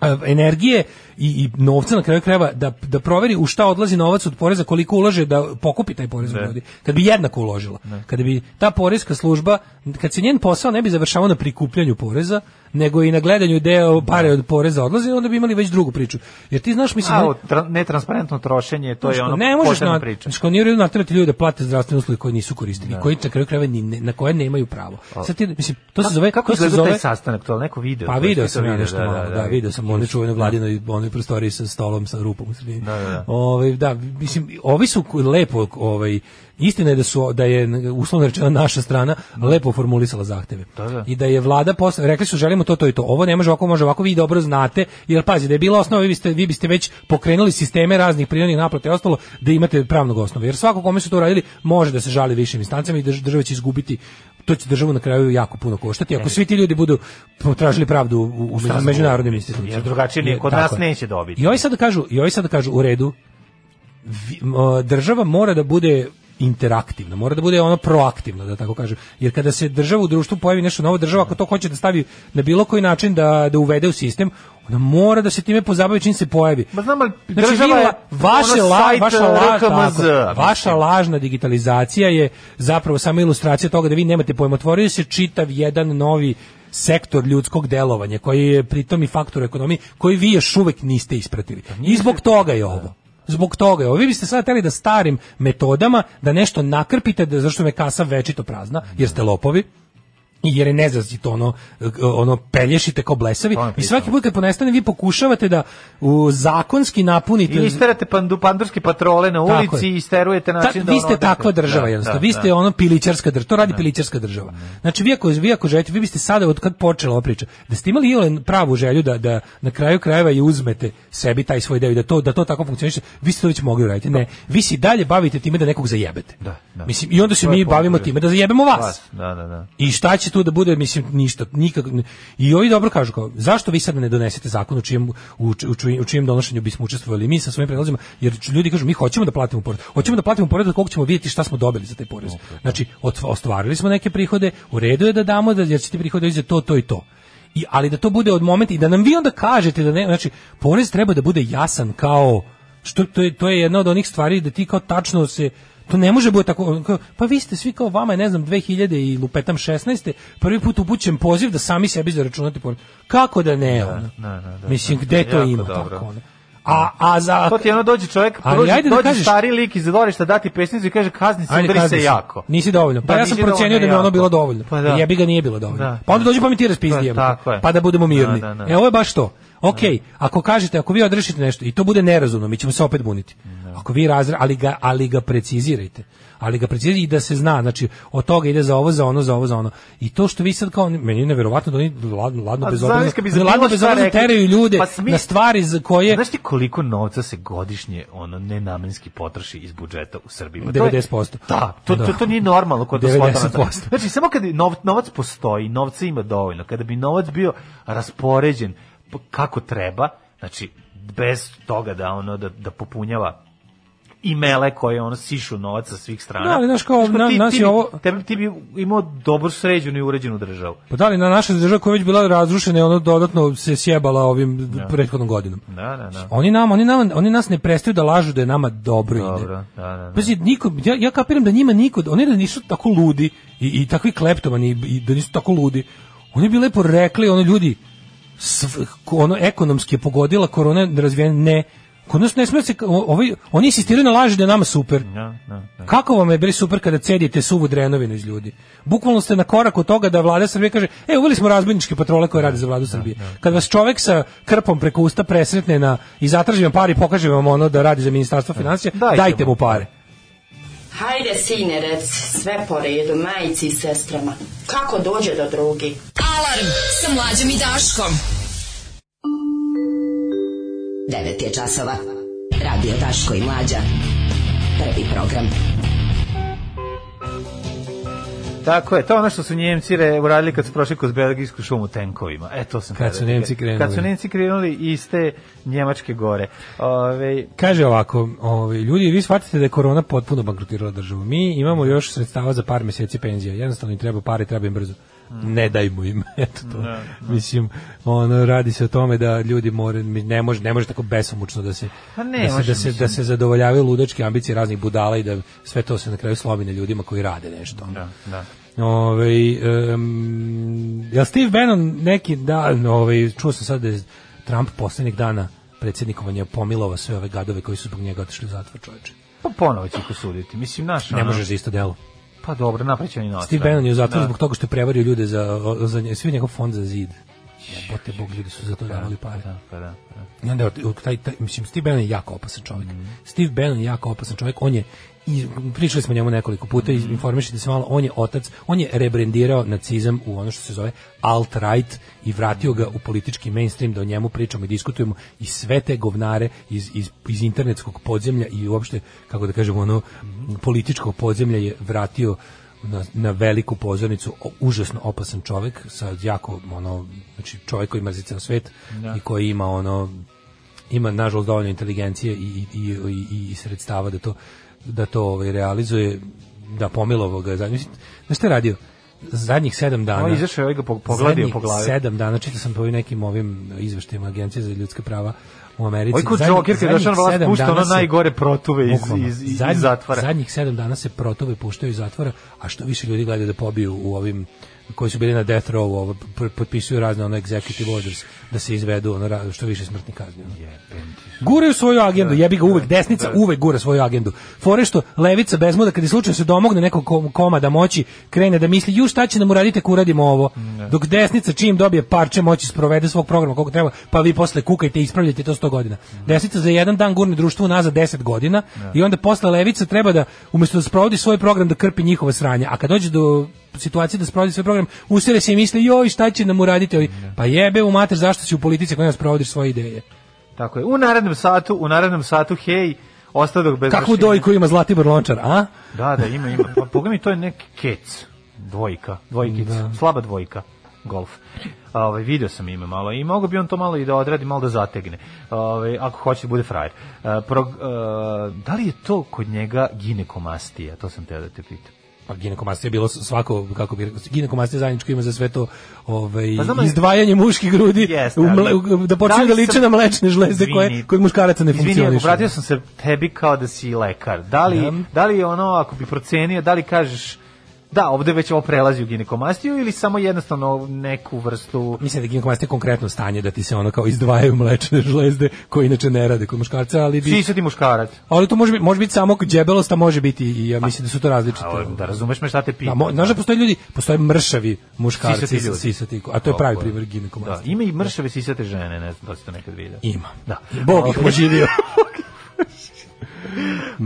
S5: e, energije i, i novca na kraju krajeva da, da proveri u šta odlazi novac od poreza, koliko ulaže da pokupi taj porez od ljudi. Kad bi jednako uložila. Kada bi ta porezka služba, kad se njen posao ne bi završavao na prikupljanju poreza, nego i na gledanju deo pare od poreza odlazi, onda bi imali već drugu priču. Jer ti znaš, mislim...
S6: A,
S5: ne-
S6: o tra- netransparentno trošenje, to je
S5: Znaš,
S6: ono
S5: ne možeš
S6: posebna
S5: na,
S6: priča. Da.
S5: Znači, kao nije u redu naterati ljude da plate zdravstvene usluge koje nisu koristili, i koji na kraju krajeva ni ne- na koje nemaju pravo. Sad ti, mislim, to se zove...
S6: Kako
S5: to se
S6: izgleda
S5: zove,
S6: taj sastanak, to je neko video?
S5: Pa
S6: koji
S5: video
S6: si to
S5: sam ja nešto
S6: da,
S5: malo, da, video sam one čuvene vladinoj onoj prostoriji sa stolom sa rupom u sredini.
S6: Da, da, da.
S5: Ovaj, da, mislim ovi su ku- lepo ovaj istina je da su da je uslovno rečeno naša strana lepo formulisala zahteve.
S6: Da, da.
S5: I da je vlada posle rekli su želimo to, to i to. Ovo ne može ovako, može ovako, vi dobro znate, jer pazi, da je bila osnova, vi biste, vi biste već pokrenuli sisteme raznih prinudnih naplata i ostalo, da imate pravnog osnova. Jer svako kome su to radili, može da se žali višim instancama i drž- država će izgubiti to će državu na kraju jako puno koštati
S6: E.
S5: ako svi ti ljudi budu potražili pravdu u, u među- međunarodnim institucijama.
S6: Jer drugačije nije, kod
S5: Tako
S6: nas
S5: je.
S6: neće dobiti.
S5: I ovi sad kažu, i ovi sad kažu u redu, vi- m, država mora da bude interaktivna, mora da bude ono proaktivna, da tako kažem. Jer kada se država u društvu pojavi nešto novo, država ako to hoće da stavi na bilo koji način da, da uvede u sistem, ona mora da se time pozabavi čim se pojavi.
S6: Ma znam, ali
S5: Znači,
S6: država
S5: vi
S6: je
S5: la- vaše
S6: ono
S5: la,
S6: sajt e,
S5: vaša, la,
S6: RKMZ,
S5: tako, vaša
S6: mislim.
S5: lažna digitalizacija je zapravo samo ilustracija toga da vi nemate pojma. Otvorio se čitav jedan novi sektor ljudskog delovanja koji je pritom i faktor u ekonomiji koji vi još uvek niste ispratili.
S6: Pa
S5: I zbog toga
S6: Da.
S5: je ovo. Zbog toga je ovo. Vi biste sada hteli da starim metodama da nešto nakrpite, da, zašto me kasa večito prazna, jer ste lopovi, i jer je nezazito ono ono pelješite kao blesavi
S6: To je
S5: i
S6: pritom.
S5: svaki put kad ponestane vi pokušavate da u, zakonski napunite
S6: I isterate pandu, pandurske patrole na
S5: Tako
S6: ulici
S5: je.
S6: i isterujete
S5: Ta-
S6: način da
S5: vi
S6: ono
S5: ste
S6: odete.
S5: takva država
S6: Da,
S5: jednostavno.
S6: da,
S5: vi ste
S6: da.
S5: ono pilićarska država. To radi pilićarska država. Znači vi ako vi ako želite, vi biste sada od kad počela ova priča, da ste imali iole pravu želju da da na kraju krajeva i uzmete sebi taj svoj deo i da to da to tako funkcioniše, vi ste to već mogli uraditi. Ne, vi se i dalje bavite time da nekog zajebete.
S6: Da, da.
S5: Mislim i onda se
S6: To je
S5: mi bavimo
S6: poanta.
S5: time da zajebemo vas.
S6: Da, da, da.
S5: I šta će tu da bude, mislim, ništa, nikak. I ovi dobro kažu kao, zašto vi sad ne donesete zakon u čijem, u, či- u, čijem- u čijem donošenju bismo učestvovali mi sa svojim predlozima, jer ću- ljudi kažu, mi hoćemo da platimo porez. Hoćemo da platimo porez, koliko ćemo vidjeti šta smo dobili za taj porez. Znači, otv- ostvarili smo neke prihode, u redu je da damo, da, jer će ti prihode ići za to, to i to. I, ali da to bude od momenta i da nam vi onda kažete da ne, znači, porez treba da bude jasan kao, što to je, to je jedna od onih stvari da ti kao tačno se to ne može biti tako kao, pa vi ste svi kao vama je, ne znam 2000 i lupetam 16. prvi put upućen poziv da sami sebi zaračunate porez. Kako da ne? ono?
S6: da, da, da.
S5: Mislim gde to
S6: Jako
S5: ima
S6: dobro. Pa
S5: tako ono? A a za
S6: To ti ono dođe čovjek,
S5: Ali
S6: prođe,
S5: ajde da
S6: dođe
S5: kažeš-
S6: stari lik iz dvorišta dati pesnicu i kaže kazni se,
S5: Ajde,
S6: udari
S5: kazni
S6: se
S5: se.
S6: jako.
S5: Nisi dovoljno. Pa
S6: Da,
S5: ja sam
S6: nisi dovoljno
S5: procenio da mi ono
S6: jako.
S5: bilo dovoljno.
S6: Pa da.
S5: Jebi ga nije bilo dovoljno.
S6: Da.
S5: Pa onda dođi pa mi ti raspizdi
S6: Da,
S5: jebote.
S6: tako je.
S5: Pa da budemo mirni.
S6: Da, da, da.
S5: E ovo je baš to. Ok, ako kažete, ako vi odrešite nešto i to bude nerazumno, mi ćemo se opet buniti.
S6: Da.
S5: Ako vi razre, ali ga, ali ga precizirajte. Ali ga precizirajte i da se zna, znači od toga ide za ovo, za ono, za ovo, za ono. I to što vi sad kao, meni je neverovatno da oni ladno, ladno
S6: A
S5: bezobrazno,
S6: znaš Pa kad bi za
S5: da ladno
S6: bilo šta
S5: bezobrazno
S6: rekli,
S5: teraju ljude
S6: pa smi-
S5: na stvari za koje...
S6: Znaš ti koliko novca se godišnje ono nenamenski potroši iz budžeta u Srbiji? Pa to je-
S5: 90%.
S6: Da, to, to,
S5: Da.
S6: to nije normalno kod
S5: 90%.
S6: 90%. Znači, samo kad nov, novac postoji, novca ima dovoljno, kada bi novac bio raspoređen p- kako treba, znači, bez toga da ono da, da popunjava i mele koje ono sišu novac sa svih strana.
S5: Da, ali znaš kao,
S6: Znači,
S5: na-
S6: ti,
S5: nas
S6: ti
S5: je
S6: bi-
S5: ovo-
S6: Tebe, ti bi imao dobro sređenu i uređenu državu.
S5: Pa da li na naša država koja je već bila razrušena i ono dodatno se sjebala ovim prethodnom godinom.
S6: Da, da, da.
S5: Oni nam, oni nam, oni nas ne prestaju da lažu da je nama dobro,
S6: Dobro,
S5: ide.
S6: da, da, da.
S5: Pazi, niko, ja, ja kapiram da njima niko, oni da nisu tako ludi i, i takvi kleptomani i, i da nisu tako ludi. Oni bi lepo rekli, ono ljudi, sv, ono ekonomski je pogodila korona razvijen ne. Kod nas ne sme se, o- ovi, oni insistiraju na laži da je nama super.
S6: Da, da, da.
S5: Kako vam je bili super kada cedite suvu drenovinu iz ljudi? Bukvalno ste na korak od toga da vlada Srbije kaže, e, uveli smo razbojničke patrole koje rade za vladu Srbije. Kad vas čovek sa krpom preko usta presretne na, i zatraži vam pare i pokaže vam ono da radi za ministarstvo financija,
S6: Dajte
S5: dajte
S6: mu.
S5: mu pare.
S10: Hajde, sine, rec, sve po redu, majici i sestrama. Kako dođe do drugi?
S1: Alarm sa mlađom i Daškom.
S8: 9 je časova. Radio Daško i Mlađa. Prvi program.
S6: Tako je, to je ono što su Njemci re, uradili kad su prošli kroz belgijsku šumu tenkovima. E, to sam
S5: Kad
S6: tada
S5: su Njemci
S6: rekao.
S5: krenuli.
S6: Kad su Njemci krenuli iz te Njemačke gore. Ove,
S5: Kaže ovako, ovaj, ljudi, vi shvatite da je korona potpuno bankrotirala državu. Mi imamo
S6: Da.
S5: još sredstava za par meseci penzija. Jednostavno im treba pare, treba im brzo.
S6: Mm.
S5: Ne dajmo im. Eto to.
S6: Da,
S5: Mislim, ono, radi se o tome da ljudi more, mi- ne može, ne može tako besomučno da se,
S6: Pa ne
S5: da se,
S6: može,
S5: da se, da
S6: mislim.
S5: se zadovoljavaju ludačke ambicije raznih budala i da sve to se na kraju slomi na ljudima koji rade nešto. ono.
S6: da, da.
S5: Ovaj um, ja Steve Bannon neki dan, ovaj čuo sam sad da je Trump poslednjeg dana predsjednikovanja pomilovao sve ove gadove koji su zbog njega otišli u zatvor, čoveče.
S6: Pa ponovo će ih osuditi. Mislim, naš,
S5: Ne
S6: ono,
S5: možeš za isto delo.
S6: Pa dobro, napraćen i noć. da.
S5: Steve Bannon je u zatvoru zbog toga što je prevario ljude za, za nje- svi njegov fond za zid. Jebote, bog, ljudi su za to davali pare.
S6: Da, pa da. pa da. Mhm.
S5: I onda u- taj, taj, mislim, Steve Bannon je jako opasan čovjek. Steve Bannon je jako opasan čovjek. On je i pričali smo o njemu nekoliko puta
S6: Mhm.
S5: i informišite se malo, on je otac, on je rebrendirao nacizam u ono što se zove alt-right i vratio ga u politički mainstream da o njemu pričamo i diskutujemo i sve te govnare iz, iz, iz internetskog podzemlja i uopšte, kako da kažemo, ono
S6: Mhm.
S5: političkog podzemlja je vratio na, na veliku pozornicu o, užasno opasan čovjek sa jako ono znači čovjek koji mrzi ceo svet
S6: Da.
S5: i koji ima ono ima nažalost dovoljno inteligencije i, i, i, i, i sredstava da to da to ovaj realizuje da pomilovao ga zadnji znači šta je radio zadnjih sedam dana
S6: Ovo izašao je, ovaj ga po- pogledio
S5: zadnjih
S6: po glavi.
S5: sedam dana čitao sam po ovim nekim ovim izveštajima agencije za ljudska prava u Americi
S6: Ovaj kod
S5: zadnjih-
S6: Joker kad je
S5: zadnjih
S6: došao na vlast
S5: sedam
S6: pušta
S5: dana
S6: ono
S5: se-
S6: najgore protuve iz,
S5: Bukvalno.
S6: iz, iz,
S5: Zadnjih-
S6: iz zatvora.
S5: Zadnjih sedam dana se protove puštaju iz zatvora, a što više ljudi gledaju da pobiju u ovim koji su bili na death row, ovo, p- potpisuju razne ono executive orders da se izvedu ono, ra- što više smrtnih kazni. ono. Guraju svoju agendu, jebi ga uvek, desnica uvek gura svoju agendu. Fore što levica bez muda, kad je slučajno se domogne nekog kom- koma da moći, krene da misli, ju šta će nam uraditi ako uradimo ovo. Dok desnica čim dobije parče moći sprovede svog programa koliko treba, pa vi posle kukajte i ispravljate to 100 godina. Desnica za jedan dan gurne društvo nazad 10 godina i onda posle levica treba da, umjesto da sprovodi svoj program, da krpi njihova sranja. A kad dođe do situacije da sprovodi svoj program, usere se i misli, joj, šta će nam uraditi ovi? Pa jebe u mater, zašto si u politici koja nas provodiš svoje ideje?
S6: Tako je. U narednom satu, u narednom satu, hej, ostadog bez
S5: Kakvu
S6: mašine.
S5: dojku ima Zlatibor Lončar, a?
S6: Da, da, ima, ima. Pa boga mi to je neki kec. Dvojka, dvojkic, slaba dvojka. Golf. A, Ovaj video sam ima malo i mogu bi on to malo i da odradi, malo da zategne. Ovaj ako hoće da bude frajer. E, prog- e, da li je to kod njega ginekomastija? To sam teo da te pitam.
S5: Pa ginekomastija je bilo svako, kako bi rekao, ginekomastija zajedničko ima za sve to ovaj,
S6: Pa znam, ali-
S5: izdvajanje muških grudi,
S6: Jeste,
S5: u
S6: ali-
S5: mle- u- da počinju
S6: li
S5: da liče
S6: sam-
S5: na mlečne žlezde koje
S6: Izvini.
S5: kod muškaraca ne
S6: Izvini,
S5: funkcionišu.
S6: ako vratio sam se tebi kao da si lekar. Da li,
S5: Da.
S6: da li je ono, ako bi procenio, da li kažeš da, ovde već ovo prelazi u ginekomastiju ili samo jednostavno neku vrstu...
S5: Mislim da je ginekomastija konkretno stanje da ti se ono kao izdvajaju mlečne žlezde koje inače ne rade kod muškarca, ali bi...
S6: Svi su ti muškarac.
S5: Ali to može biti, može biti samo djebelost, a može biti i ja mislim da su to različite.
S6: A, Da razumeš me šta te
S5: Da,
S6: pitam.
S5: mo, znaš da postoje ljudi, postoje mršavi muškarci,
S6: Sisati ljudi.
S5: sisati, a to je pravi
S6: Tako je.
S5: primjer ginekomastije.
S6: Da, ima i mršave sisate žene, ne znam da li si to nekad vidio.
S5: Ima.
S6: Da.
S5: Bog ih poživio.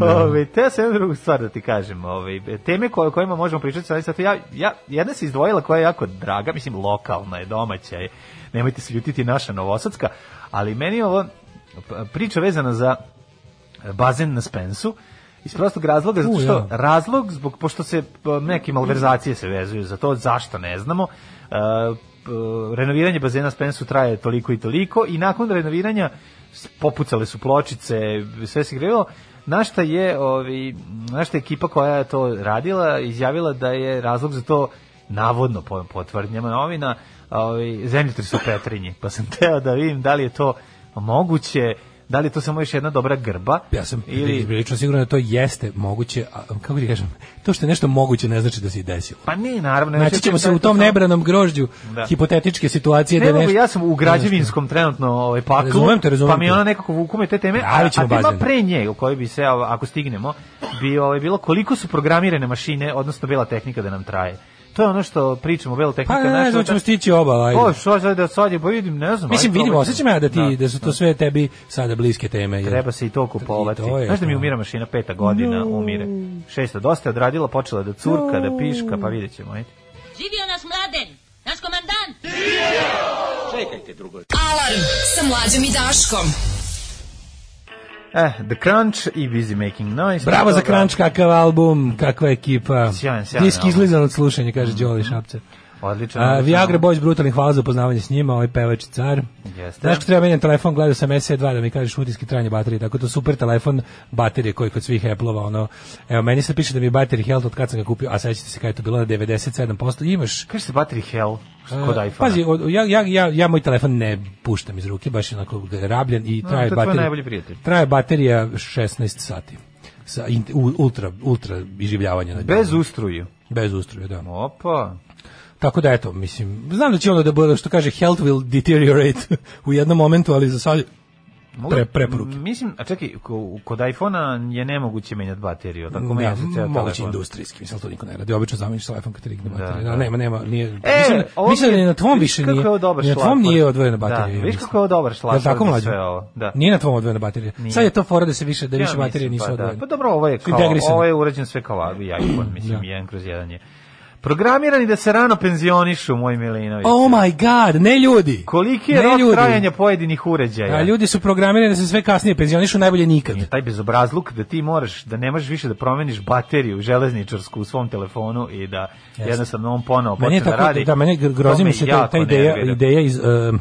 S6: Ove, te sam jednu drugu stvar da ti kažem. Ove, teme koje, o kojima možemo pričati, sad, sad, ja, ja, jedna se izdvojila koja je jako draga, mislim lokalna je, domaća je, nemojte se ljutiti naša Novosadska, ali meni je ovo p- priča vezana za e, bazen na Spensu, iz prostog razloga, zato
S5: U,
S6: što
S5: ja.
S6: razlog, zbog, pošto se p- neke malverzacije se vezuju za to, zašto ne znamo, e, p- renoviranje bazena Spensu traje toliko i toliko i nakon renoviranja s- popucale su pločice, sve se grevilo, našta je, ovi, našta je ekipa koja je to radila, izjavila da je razlog za to navodno po, po tvrdnjama novina, ovi, zemljotres u Petrinji, pa sam teo da vidim da li je to moguće, da li je to samo još jedna dobra grba,
S5: Ja sam
S6: ili
S5: prilično siguran da to jeste moguće, a kako ti kažem, to što je nešto moguće ne znači da se i desilo.
S6: Pa ne, naravno. ne
S5: Naći
S6: očekujem
S5: ćemo se
S6: da je
S5: u
S6: to
S5: tom
S6: samo-
S5: nebranom grožđu
S6: Da.
S5: hipotetičke situacije.
S6: Ne
S5: da
S6: mogu,
S5: nešto-
S6: ja sam u građevinskom trenutno ovaj, paklu,
S5: Razumem te, razumem
S6: pa mi
S5: te.
S6: ona nekako vuku me te teme, a, a
S5: Javit ćemo
S6: tema
S5: bazen.
S6: pre nje, u kojoj bi se, a, ako stignemo, bi ovaj, bilo koliko su programirane mašine, odnosno bela tehnika da nam traje. To je ono što pričamo, bela tehnika.
S5: Pa ne,
S6: naša,
S5: ne znam,
S6: da-
S5: ćemo stići oba. Ajde.
S6: O, što sad da sad je, pa vidim, ne znam.
S5: Mislim,
S6: ajde, ovaj-
S5: vidimo,
S6: probaj.
S5: osjećam ja da, ti, da, su to sve tebi sada bliske teme. Jer...
S6: Treba se i to kupovati.
S5: I to je
S6: Znaš da mi
S5: to.
S6: umira mašina peta godina, umire. Šesta, dosta je odradila, počela da curka, da piška, pa vidjet ćemo, ajde.
S3: Živio naš mladen, naš komandant.
S1: Alarm sa mlađom i Daškom.
S6: Eh, The Crunch i Busy Making Noise.
S5: Bravo za
S6: Toga-
S5: Crunch, kakav album, kakva ekipa.
S6: Sjajan, sjajan
S5: Disk
S6: album. Mhm.
S5: izlizan od slušanja, kaže Đoli Šapce.
S6: Odlično.
S5: A,
S6: odlično.
S5: Viagra Boys brutalni hvala za upoznavanje s njima, ovaj pevač je car.
S6: Jeste.
S5: Znaš ko treba menjam telefon, gledao sam SE2 da mi kažeš utiske trajanja baterije, tako to super telefon baterije koji kod svih Apple-ova, ono, evo, meni se piše da mi je battery health od kad sam ga kupio, a sećate se kada je to bilo na 97%, imaš
S6: Kaže se battery hell kod iPhone.
S5: E, Pazi, od- ja, ja, ja, ja moj telefon ne puštam iz ruke, baš je onako ga je rabljen i
S6: No,
S5: traje
S6: to je tvoj
S5: baterija.
S6: najbolji prijatelj.
S5: Traje baterija 16 sati. Sa in- u- ultra, ultra iživljavanje. na
S6: bez
S5: njemu.
S6: ustruju.
S5: bez ustruje, da.
S6: Opa.
S5: Tako da eto, mislim, znam da će ono da bude što kaže health will deteriorate u jednom momentu, ali za sad
S6: Mogu-
S5: pre, preporuke.
S6: M, Mislim, a čekaj, ko- kod iPhone-a je nemoguće menjati bateriju, tako menja se
S5: da,
S6: ceo
S5: moguće
S6: telefon.
S5: industrijski, mislim, ali to niko ne radi. Obično zameniš telefon kad rigne baterija. Da,
S6: da.
S5: nema, nema, nije.
S6: E,
S5: mislim,
S6: ovo
S5: mislim da
S6: mi
S5: ni
S6: je-
S5: na tvom
S6: vidiš
S5: više
S6: kako
S5: nije.
S6: je ovo dobar
S5: ni na tvom
S6: šlagvort.
S5: nije odvojena
S6: Da,
S5: baterija.
S6: vidiš
S5: mislim.
S6: kako je ovo dobar šlagvort
S5: Jel tako
S6: za
S5: mlađe?
S6: sve ovo, da.
S5: Nije na tvom odvojena baterija.
S6: Nije.
S5: Sad je to fora da se više da
S6: Ja
S5: više baterije
S6: mislim,
S5: nisu
S6: pa da.
S5: odvojene.
S6: Pa dobro, ovo je kao,
S5: Integrisane.
S6: ovo je urađen sve kao i iPhone,
S5: Da.
S6: mislim, jedan kroz jedan je. Programirani da se rano penzionišu, moj Milinović.
S5: Oh my god, ne ljudi.
S6: Koliki je
S5: Ne
S6: rok
S5: ljudi.
S6: trajanja pojedinih uređaja?
S5: A ljudi su programirani da se sve kasnije penzionišu, najbolje nikad.
S6: Je taj bezobrazluk da ti moraš, da ne možeš više da promeniš bateriju železničarsku u svom telefonu i da jednostavno on ponovo
S5: Meni
S6: počne
S5: je
S6: da
S5: tako,
S6: radi.
S5: da, mene
S6: To
S5: grozi mi
S6: me
S5: se ta,
S6: jako
S5: ta ideja,
S6: nervira.
S5: ideja iz... em,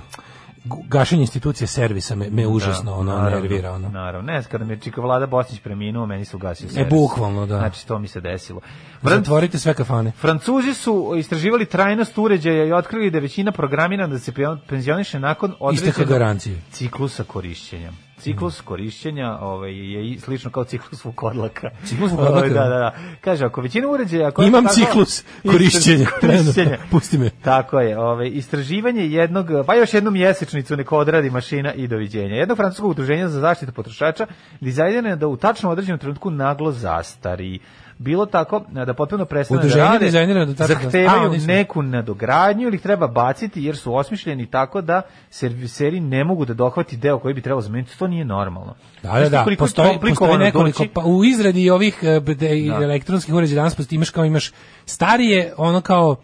S5: gu- gašenje institucije servisa me, me užasno ono,
S6: Da, naravno, Da.
S5: nervira. Ono.
S6: Naravno, ne, kada mi je Čika Vlada Bosnić preminuo, meni se ugasio servis.
S5: bukvalno, da.
S6: Znači, to mi se desilo. Vran,
S5: Zatvorite sve kafane.
S6: Francuzi su istraživali trajnost uređaja i otkrili da je većina programirana da se pe- penzioniše nakon
S5: Isteka
S6: određenog
S5: garancije.
S6: ciklusa korišćenja.
S5: Mhm.
S6: Ciklus korišćenja ovaj, je i slično kao ciklus vukodlaka.
S5: Ciklus vukodlaka?
S6: Ovaj, Da, da, da. Kaže, ako većina uređaja... koja-
S5: Imam
S6: tako-
S5: ciklus korišćenja.
S6: Istraž- korišćenja.
S5: Pusti me.
S6: Tako je. Ovaj, istraživanje jednog, pa još jednu mjesečnicu neko odradi mašina i doviđenja. Jedno francusko udruženje za zaštitu potrošača dizajnirano je da u tačno određenom trenutku naglo zastari. Bilo tako da potpuno prestane da
S5: Udruženje
S6: rade,
S5: dizajnirano da tačno zastari. A,
S6: zahtevaju
S5: oni su-
S6: neku nadogradnju ili ih treba baciti jer su osmišljeni tako da serviseri ne mogu da dohvati deo koji bi trebalo zameniti. To nije normalno.
S5: Da,
S6: Znaš
S5: da,
S6: ti
S5: da,
S6: koliko je to
S5: postoji, postoji
S6: komplikovano
S5: nekoliko,
S6: doći?
S5: pa u izradi ovih e, bde- i
S6: Da.
S5: elektronskih uređaja danas postoji, imaš kao imaš starije, ono kao,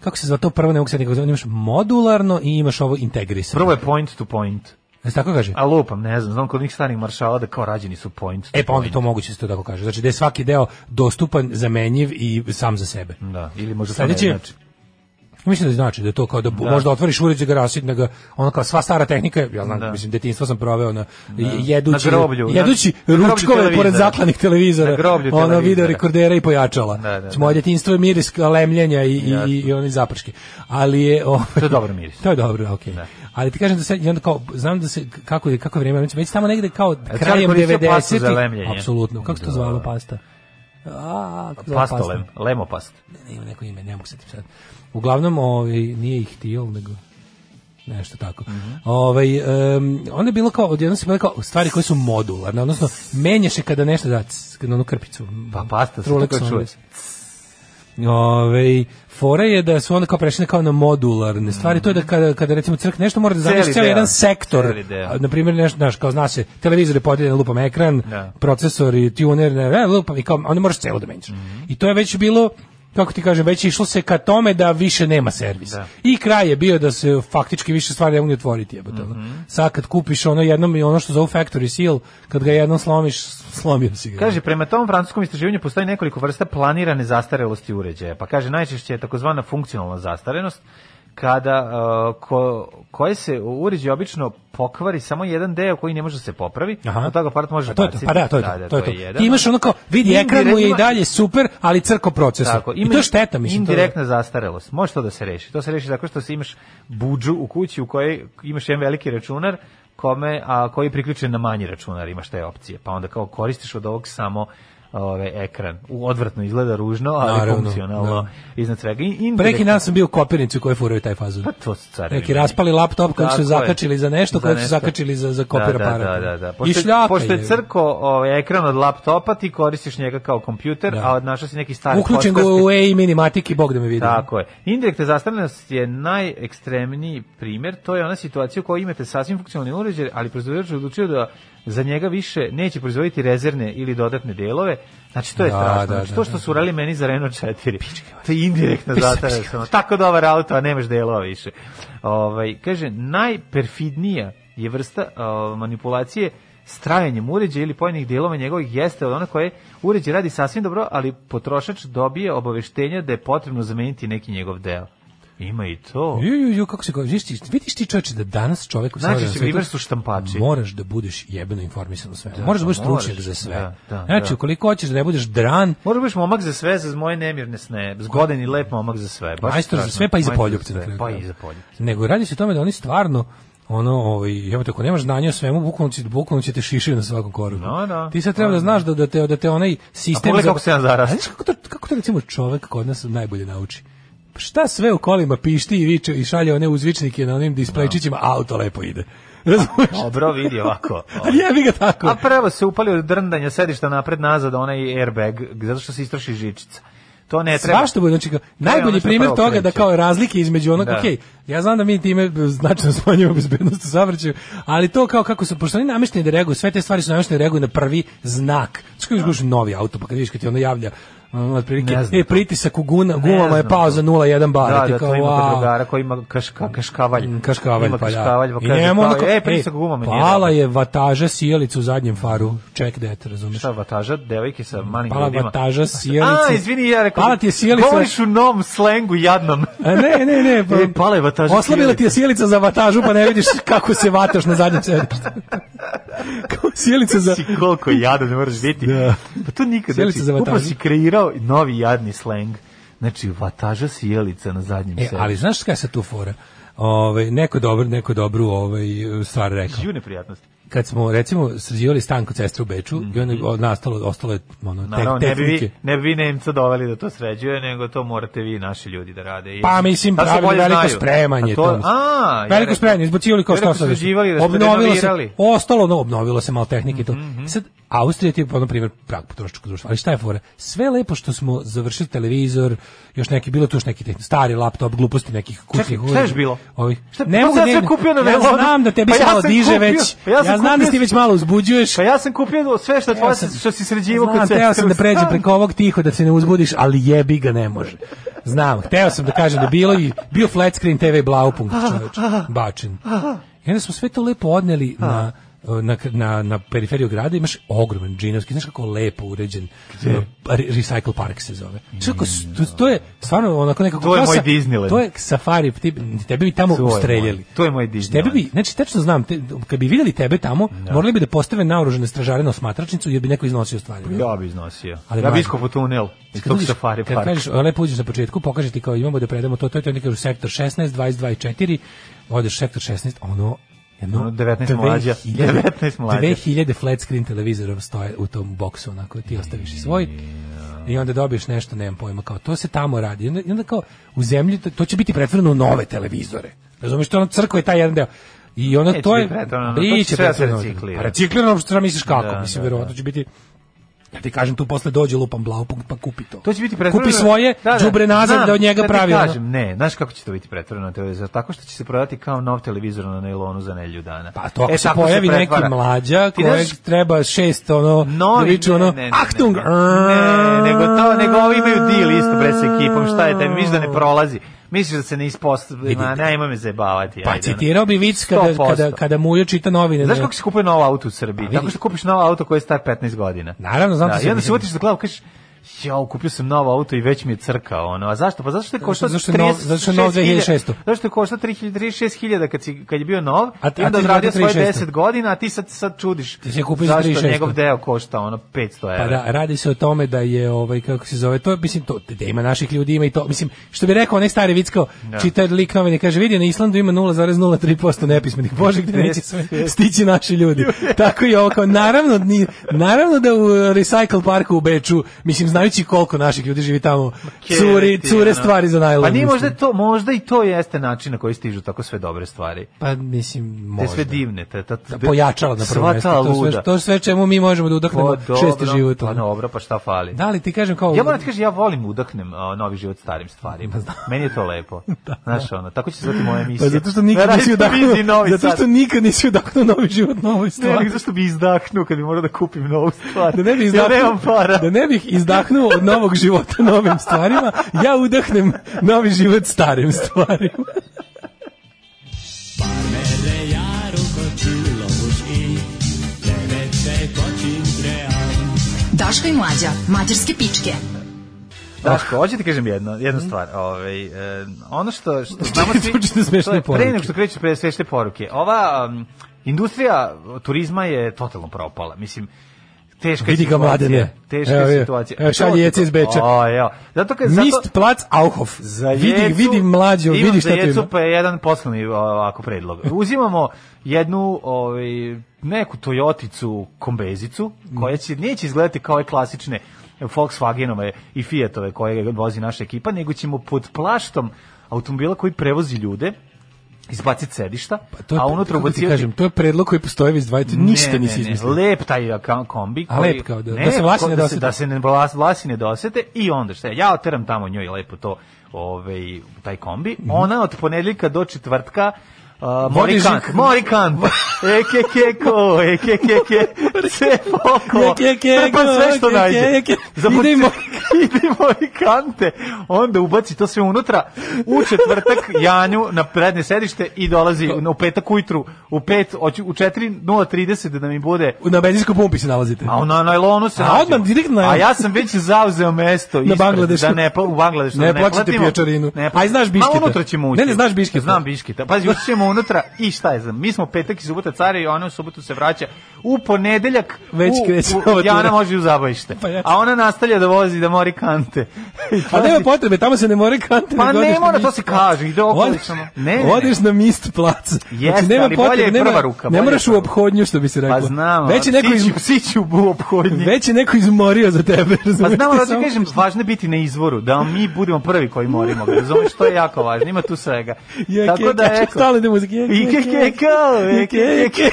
S5: kako se zva to prvo, ne mogu se nekako zove, imaš modularno i imaš ovo integrisano.
S6: Prvo je point to point.
S5: Jesi tako kaže?
S6: A lupam, ne znam, znam kod njih starih maršala da kao rađeni su point to
S5: E pa onda
S6: point.
S5: to moguće se to tako kaže. Znači da je svaki deo dostupan, zamenjiv i sam za sebe.
S6: Da, ili možda to ne
S5: Sledeći je-
S6: znači.
S5: Mislim da znači da je to kao da, da. možda otvoriš uređaj ga rasidne ga, ono kao sva stara tehnika, ja znam,
S6: Da.
S5: mislim detinjstvo sam proveo na jedući
S6: Na groblju, na-
S5: jedući
S6: na groblju
S5: ručkove pored
S6: televizora.
S5: zaklanih televizora,
S6: Na groblju
S5: ono
S6: televizora.
S5: video rekordera i pojačala.
S6: Da, da, da.
S5: Moje detinjstvo je miris lemljenja i, i, i, i oni zaprški. Ali je ovaj,
S6: To je dobar miris.
S5: To je dobro, okej. Ali ti kažem da se i onda kao znam da se kako je kako je vreme, već tamo negde kao
S6: li
S5: krajem
S6: koristio pastu za
S5: 90
S6: lemljenje?
S5: Apsolutno. Kako se to zvalo pasta? A, kako se zvala pasta?
S6: Pastolem, lemopast.
S5: Ne, ima neko ime, ne mogu se setim sad. Uglavnom, ovaj, nije ih tijel, nego nešto tako.
S6: Mhm.
S5: ovaj, em, onda je bilo kao, odjedno se bilo kao stvari koje su modularne, odnosno menjaš je kada nešto da, cs, kada onu krpicu.
S6: Pa pasta se
S5: Trulex
S6: tako
S5: onda
S6: čuje.
S5: se- Ovaj, fora je da su onda kao prešli kao na modularne stvari, to je da kada, kada recimo crk nešto mora da
S6: Mhm. Celi
S5: zamiješ cijeli
S6: deo,
S5: jedan sektor,
S6: celi deo.
S5: A, na primjer nešto, znaš, kao zna se, televizor je podeljen lupam ekran,
S6: Da.
S5: procesor i tuner, ne, ne, lupam i kao, onda moraš celo da menjaš.
S6: Mhm.
S5: I to je već bilo, kako ti kažem, već je išlo se ka tome da više nema servisa.
S6: Da.
S5: I kraj je bio da se faktički više stvari ne mogu ni otvoriti. jebote, ono.
S6: Mhm.
S5: Sad kad kupiš ono jednom i ono što zove factory seal, kad ga jednom slomiš, slomio si ga.
S6: Kaže, prema tom francuskom istraživanju postoji nekoliko vrsta planirane zastarelosti uređaja. Pa kaže, najčešće je takozvana funkcionalna zastarenost, kada uh, ko, koje se u uređaju obično pokvari samo jedan deo koji ne može da se popravi,
S5: Aha.
S6: od toga aparat može
S5: A to je to,
S6: baciti.
S5: pa da, to je to. to, je to.
S6: jedan.
S5: Ti imaš ono kao, vidi, ekran mu je i
S6: Indirektno-
S5: dalje super, ali crko procesor.
S6: Tako,
S5: E I to je šteta, mislim. to je-
S6: Indirektna zastarelost. Može to da se reši. To se reši tako što se imaš budžu u kući u kojoj imaš jedan veliki računar kome, a koji je priključen na manji računar, imaš te opcije. Pa onda kao koristiš od ovog samo ove, ekran. U, odvratno izgleda ružno, ali
S5: Naravno,
S6: funkcionalno iznad svega.
S5: Pre
S6: I,
S5: neki
S6: indirektna-
S5: dan sam bio u kopirnici u kojoj furaju taj fazon.
S6: Pa to su carevi.
S5: Neki
S6: meni.
S5: raspali laptop kojeg
S6: Tako
S5: su
S6: je.
S5: zakačili za nešto, kojeg su
S6: nešto.
S5: zakačili za, za kopir
S6: da, da,
S5: aparat.
S6: Da, da, da.
S5: I
S6: Pošto,
S5: šljaka
S6: je, pošto je
S5: je.
S6: crko ovaj, ekran od laptopa, ti koristiš njega kao kompjuter,
S5: Da.
S6: a odnašao si neki stari
S5: Uključen ga
S6: podcast.
S5: u EI minimatiki, bog da me vidi.
S6: Tako je. Indirektna zastavljenost je najekstremniji primjer. To je ona situacija u kojoj imate sasvim funkcionalni uređaj, ali proizvođač je odlučio da za njega više neće proizvoditi rezervne ili dodatne delove. Znači, to je
S5: Da,
S6: strašno.
S5: da,
S6: znači,
S5: da,
S6: to
S5: da,
S6: što su urali meni za Renault 4. To je indirektna zastavljenost. ono, Tako dobar auto, a nemaš delova više. Ovaj, kaže, najperfidnija je vrsta o, manipulacije s trajanjem uređaja ili pojedinih delova njegovih jeste od ona koje uređaj radi sasvim dobro, ali potrošač dobije obaveštenja da je potrebno zameniti neki njegov deo. Ima i to.
S5: Ju, ju, ju, kako se govori, vidiš ti, vidiš ti čovječe da danas čovjek u
S6: Znači,
S5: savremenom svetu
S6: survivor su štampači.
S5: Moraš da budeš jebeno informisan u svemu. moraš da budeš
S6: moraš.
S5: stručnjak za sve.
S6: Da, da,
S5: znači,
S6: da.
S5: ukoliko hoćeš da ne budeš dran,
S6: Može biš momak za sve, za moje nemirne sne. Zgodan i lep momak za sve. Baš
S5: majstor za
S6: strašno.
S5: sve pa i za
S6: Majstor
S5: poljupce. na
S6: sve,
S5: kraju
S6: Pa i
S5: krajeva.
S6: za poljupce.
S5: Nego radi se o tome da oni stvarno ono ovaj jebote ako nemaš znanja o svemu bukvalno će bukvalno će te šišaju na svakom koraku.
S6: No, no.
S5: Ti sad treba da znaš da da te da te onaj sistem
S6: pogledaj kako se ja
S5: A
S6: zarastam.
S5: znaš kako to kako to recimo čovek kod nas najbolje nauči. Pa Šta sve u kolima pišti i viče i šalje one uzvičnike na onim displejčićima, auto lepo ide. Razumeš?
S6: Dobro, vidi ovako.
S5: Ali jebi ga tako.
S6: A prvo se upali od drndanja sedišta napred nazad onaj airbag, zato što se istroši žičica. To ne E, treba.
S5: Svašta bude, znači kao,
S6: ono
S5: najbolji
S6: što
S5: primjer
S6: prvo
S5: toga da
S6: kreće.
S5: kao razlike između onog,
S6: Da.
S5: okej, ja znam da mi time značajno smanjujemo bezbednost u saobraćaju, ali to kao kako su pošto oni namešteni da reaguju, sve te stvari su nameštene da reaguju na prvi znak. Što je uzguš novi auto, pa kad vidiš kad ti ono javlja ono, otprilike,
S6: Da. Ne znam
S5: e,
S6: to.
S5: pritisak u guna, gumama je
S6: znam
S5: pao
S6: to.
S5: za 0,1 bar.
S6: Da,
S5: ti
S6: da,
S5: kao,
S6: to ima kod
S5: "Wow."
S6: drugara koji ima kaška, kaškavalj.
S5: Mm, Kaškavalj,
S6: ima
S5: pa
S6: kaškavalj,
S5: da.
S6: pa
S5: I
S6: kaže,
S5: njemu
S6: kao,
S5: onako,
S6: e, pritisak guma mi nije
S5: Pala
S6: dobro.
S5: je vataža sijalica u zadnjem faru. Check that, razumeš?
S6: Šta vataža, devojke sa malim
S5: Mm, Pala
S6: ljudima.
S5: vataža sijalica.
S6: A, izvini, ja rekao.
S5: Pala ti je sijalica.
S6: Govoriš u novom slengu jadnom.
S5: A ne, ne, ne. Pa,
S6: E, pala je vataža
S5: Oslabila ti je sjelica za vatažu, pa ne vidiš kako se vataš na zadnjem sedištu. Kao sjelica za...
S6: si koliko jadan moraš biti.
S5: Da.
S6: Pa to nikad.
S5: Sjelica
S6: Znači,
S5: za
S6: upravo
S5: vatažu.
S6: si kreirao novi jadni sleng. Znači, vataža sjelica na zadnjem
S5: E,
S6: sebi.
S5: ali znaš šta je sad tu fora? Ovaj neko je dobro, neko je dobru ovaj stvar rekao.
S6: Žiju neprijatnosti.
S5: Kad smo recimo sređivali stan kod sestre u Beču i onda je o- nastalo ostalo je ono tek,
S6: Mhm. Naravno, ne bi,
S5: tehnike.
S6: vi, ne bi vi Nemca doveli da to sređuje, nego to morate vi, naši ljudi, da rade. I-
S5: Pa mislim
S6: Sad se
S5: pravili
S6: bolje
S5: veliko
S6: znaju.
S5: spremanje
S6: A to.
S5: tamo.
S6: A, ja
S5: veliko
S6: rekao-
S5: spremanje, izbacivali kao
S6: ja
S5: šta
S6: rekao,
S5: sad.
S6: sređivali, da ste
S5: Obnovilo se,
S6: renovirali. Mhm,
S5: ostalo, no, obnovilo se malo tehnike i to. Sad, Austrija ti je, na primjer, prag potrošačkog društva. Ali šta je fora? Sve lepo što smo završili televizor, još neki, bilo je tu još neki tehn- stari laptop, gluposti nekih
S6: Čekaj,
S5: kućnih
S6: šta je još bilo?
S5: Ovih.
S6: Šta-
S5: ne
S6: pa
S5: mogu, da
S6: sad
S5: ne,
S6: sam kupio na
S5: ja
S6: Velonu.
S5: znam da tebi
S6: Pa
S5: se
S6: ja
S5: malo
S6: sam
S5: diže
S6: kupio-
S5: već.
S6: pa ja sam
S5: ja znam da
S6: kupio-
S5: ti već malo uzbuđuješ.
S6: Pa ja sam kupio sve što, tvoje, što si sređivo
S5: Znam,
S6: kad se...
S5: Teo sam da pređem preko ovog tiho da se ne uzbudiš, ali jebi ga ne može. Znam, hteo sam da kažem da je bilo i bio flat screen TV Blaupunkt, čoveč, bačen. I onda smo sve to lepo odneli na na, na, na periferiju grada imaš ogroman džinovski, znaš kako lepo uređen e, re- Recycle Park se zove. Znaš kako, s- to, to je stvarno onako nekako...
S6: To je
S5: kao
S6: moj
S5: sa-
S6: Disneyland.
S5: To je safari, ti, tebe bi tamo
S6: To je moj-
S5: ustreljeli.
S6: to je moj Disneyland.
S5: Tebe bi, znači, tečno znam, te, kad bi vidjeli tebe tamo, morali bi da postave naoružene stražare na osmatračnicu jer bi neko iznosio stvari.
S6: Ja bi iznosio.
S5: Ali
S6: ja bi
S5: mlađe.
S6: iskopao tunel iz
S5: Kad
S6: tog
S5: uđeš-
S6: safari
S5: kad
S6: parka.
S5: kažeš, o, lepo uđeš na početku, pokaže ti kao imamo da predamo to, to je to, i oni kažu sektor 16, 22 i 4, odeš sektor 16, ono, jedno,
S6: Ono 19 mlađa,
S5: 2000
S6: 19 mlađa.
S5: 2000 flat screen televizora stoje u tom boksu, onako, ti ostaviš i svoj, i onda dobiješ nešto, nemam pojma, kao to se tamo radi. I onda, i onda kao, u zemlji, to, to će biti pretvoreno u nove televizore. Razumeš, to je ono crkva je taj jedan deo. I onda
S6: Neće
S5: to je...
S6: biti pretvoreno, to će
S5: Biće
S6: sve da se
S5: pretvoreno.
S6: reciklira.
S5: Pa Reciklirano, što misliš kako?
S6: Da,
S5: Mislim,
S6: da,
S5: verovatno će biti ja ti kažem tu posle dođe lupan blaupunkt pa kupi to.
S6: To će biti pretvoreno.
S5: Kupi svoje,
S6: Da, da,
S5: đubre nazad
S6: znam,
S5: da od njega
S6: ti
S5: pravi. ono.
S6: Kažem, ne, znaš kako će to biti pretvoreno na televizor? Tako što će se prodati kao nov televizor na nailonu za nedelju dana. E,
S5: Pa to ako se
S6: tako
S5: pojavi neki
S6: pretvara.
S5: mlađa
S6: Ti
S5: kojeg
S6: znaš,
S5: treba šest ono
S6: Novi,
S5: da viču
S6: ne,
S5: ono
S6: ne, ne,
S5: Achtung.
S6: Ne, ne, nego to, nego ovi imaju deal isto bre sa ekipom, šta je, da mi misliš da
S5: Pa
S6: ne prolazi. Misliš da se ne ispostavi, ma nemoj me zajebavati.
S5: da. Pa
S6: ajde, ono.
S5: citirao bi vic kada
S6: 100%.
S5: kada kada Mujo čita novine.
S6: Znaš
S5: na-
S6: kako se kupuje novo auto u Srbiji?
S5: Pa vidi.
S6: Tako što kupiš novo auto koji je star 15 godina.
S5: Naravno, znam to
S6: da,
S5: sam
S6: I onda se
S5: mislio.
S6: utiš za glavu, kažeš, jao, kupio sam novo auto i već mi je crkao, ono. A zašto? Pa zašto što je košta
S5: zašto je nov-
S6: 36
S5: zašto je nov 2600?
S6: Zašto je košta 3000 36.000 kad, si, kad je bio nov,
S5: A-
S6: a,
S5: a
S6: i onda
S5: ti
S6: odradio
S5: si
S6: svoje
S5: platio
S6: 10
S5: 3600.
S6: godina, a ti sad, sad čudiš
S5: Ti si je kupio za
S6: zašto
S5: 3600.
S6: njegov deo košta, ono, 500
S5: Pa
S6: evra.
S5: da, radi se o tome da je ovaj kako se zove to, mislim to da ima naših ljudi ima i to. Mislim što bi rekao onaj stari vic kao
S6: Da.
S5: čita lik novine kaže vidi na Islandu ima 0,03% nepismenih. Bože gde neće sve stići naši ljudi. Tako i ovo kao naravno ni- naravno da u recycle parku u Beču, mislim znajući koliko naših ljudi živi tamo, curi,
S6: Kjeti,
S5: cure
S6: ono.
S5: stvari za najlon.
S6: Pa nije
S5: mislim.
S6: možda to, možda i to jeste način na koji stižu tako sve dobre stvari.
S5: pa mislim
S6: Te
S5: možda.
S6: sve divne, te, ta,
S5: Da pojačala na prvo
S6: sva
S5: mesto.
S6: ta
S5: To sve-
S6: luda.
S5: To sve čemu mi možemo da udahnemo
S6: Pa dobro,
S5: šesti život.
S6: Pa
S5: ono.
S6: dobro, pa šta fali?
S5: Da li ti kažem kao
S6: Ja moram ti kažem, ja volim udahnem a, novi život starim stvarima.
S5: Da,
S6: Meni je to lepo. Znaš, ono, tako će se zvati moja
S5: Pa
S6: emisija.
S5: zato što nikad nisi
S6: da
S5: udahnuo, zato što nikad nisi udahnuo novi život, novoj
S6: Ne, nego
S5: stvari.
S6: zašto bi izdahnuo kad bi morao da kupim novu stvar.
S5: Da ne bih
S6: Ja
S5: izdahnuo,
S6: nemam para.
S5: da ne bih izdahnuo od novog života novim stvarima, ja udahnem novi život starim stvarima.
S1: Daško i mlađa, mađarske pičke.
S6: Daško, hoću ti kažem jedno,
S5: Mhm.
S6: jednu stvar. Ovaj, e, ono što, što znamo svi...
S5: Zvučite smešne
S6: to je
S5: poruke.
S6: Pre nego što kreću pre smešne poruke. Ova um, industrija turizma je totalno propala. Mislim, teška je
S5: Vidi ga,
S6: situacija.
S5: mladene.
S6: Teška
S5: Evo,
S6: je
S5: evo.
S6: situacija.
S5: Evo, šalje E
S6: To ti-
S5: Jece iz Beča.
S6: O, evo. Zato kad, E, zato,
S5: Mist plac Auhof.
S6: Za
S5: Vidi,
S6: Jecu-
S5: vidi mlađo,
S6: imam
S5: vidi šta
S6: za
S5: tu
S6: Jecu,
S5: ima.
S6: pa je jedan poslani ovako predlog. Uzimamo jednu ovaj, neku Toyoticu kombezicu, koja će, neće izgledati kao ove klasične Volkswagenove i Fiatove koje vozi naša ekipa, nego ćemo pod plaštom automobila koji prevozi ljude izbaciti sedišta,
S5: Pa to je,
S6: a unutra
S5: kako ti
S6: ubaciti...
S5: kažem, to je predlog koji postoji već 20,
S6: Ne,
S5: ništa
S6: ne,
S5: nisi
S6: ne,
S5: izmislio.
S6: Lep taj ka- kombi.
S5: A lep kao da- da se vlasi ne
S6: da
S5: dosete.
S6: Da se ne vlas, vlasi ne dosete i onda šta je, ja oteram tamo njoj lepo to, ovaj, taj kombi.
S5: Mhm.
S6: Ona od ponedeljka do četvrtka Uh,
S5: Vodiš
S6: Morikan,
S5: ih-
S6: Morikan, eke keko, eke keke, sve poko,
S5: Eke, keko,
S6: trpa sve što
S5: eke,
S6: najde,
S5: keke.
S6: Zapuca-
S5: Ide i Morikan.
S6: ide Morikante, onda ubaci to sve unutra, u četvrtak Janju na prednje sedište i dolazi u petak ujutru, u pet, oću- u 4.030 da mi bude
S5: Na benzinskoj pumpi se nalazite.
S6: A Pa na najlonu se
S5: A
S6: nađe.
S5: odmah direktno na-
S6: A ja sam već zauzeo mesto ispred,
S5: Bangladešu.
S6: Da ne, pa- u Bangladešu
S5: Ne
S6: da ne
S5: plaćate
S6: platimo.
S5: pijačarinu.
S6: Ne pla-
S5: A i znaš Biškita.
S6: Ma unutra ćemo ući.
S5: Ne, ne, znaš Biškita.
S6: Znam Biškita. Pazi, ući ćemo unutra i šta je znam. Mi smo petak i subota care i ona u subotu se vraća. U ponedeljak
S5: Već
S6: u,
S5: kreće
S6: u-
S5: nova tura.
S6: Jana može i u zabavište.
S5: Pa ja-
S6: A ona nastavlja da vozi da mori kante. Pa I
S5: A
S6: pazi,
S5: nema potrebe, tamo se ne more kante.
S6: Pa
S5: nego
S6: ne
S5: odeš na
S6: mora,
S5: mist
S6: to se kaže, ide okolo
S5: Odeš-
S6: samo. Ne, ne, ne.
S5: Odeš na mist plac. Znači,
S6: Jeste, ali bolje je prva ruka, bolje
S5: Ne
S6: je
S5: moraš u
S6: prva.
S5: obhodnju, što bi se reklo.
S6: Pa znam.
S5: Već je neko, iz,
S6: siću, siću u obhodnji.
S5: već je neko izmorio za tebe.
S6: Pa
S5: razumeš,
S6: znamo
S5: ti
S6: da ti
S5: samo-
S6: kažem, važno je biti na izvoru, da mi budemo prvi koji morimo ga, razumiješ, to je jako važno, ima tu svega.
S5: Je,
S6: Tako da,
S5: je,
S6: eto,
S5: stalno ide muzika. je,
S6: I ke, ke, kao, e, ke,
S5: je,
S6: ke,
S5: ke.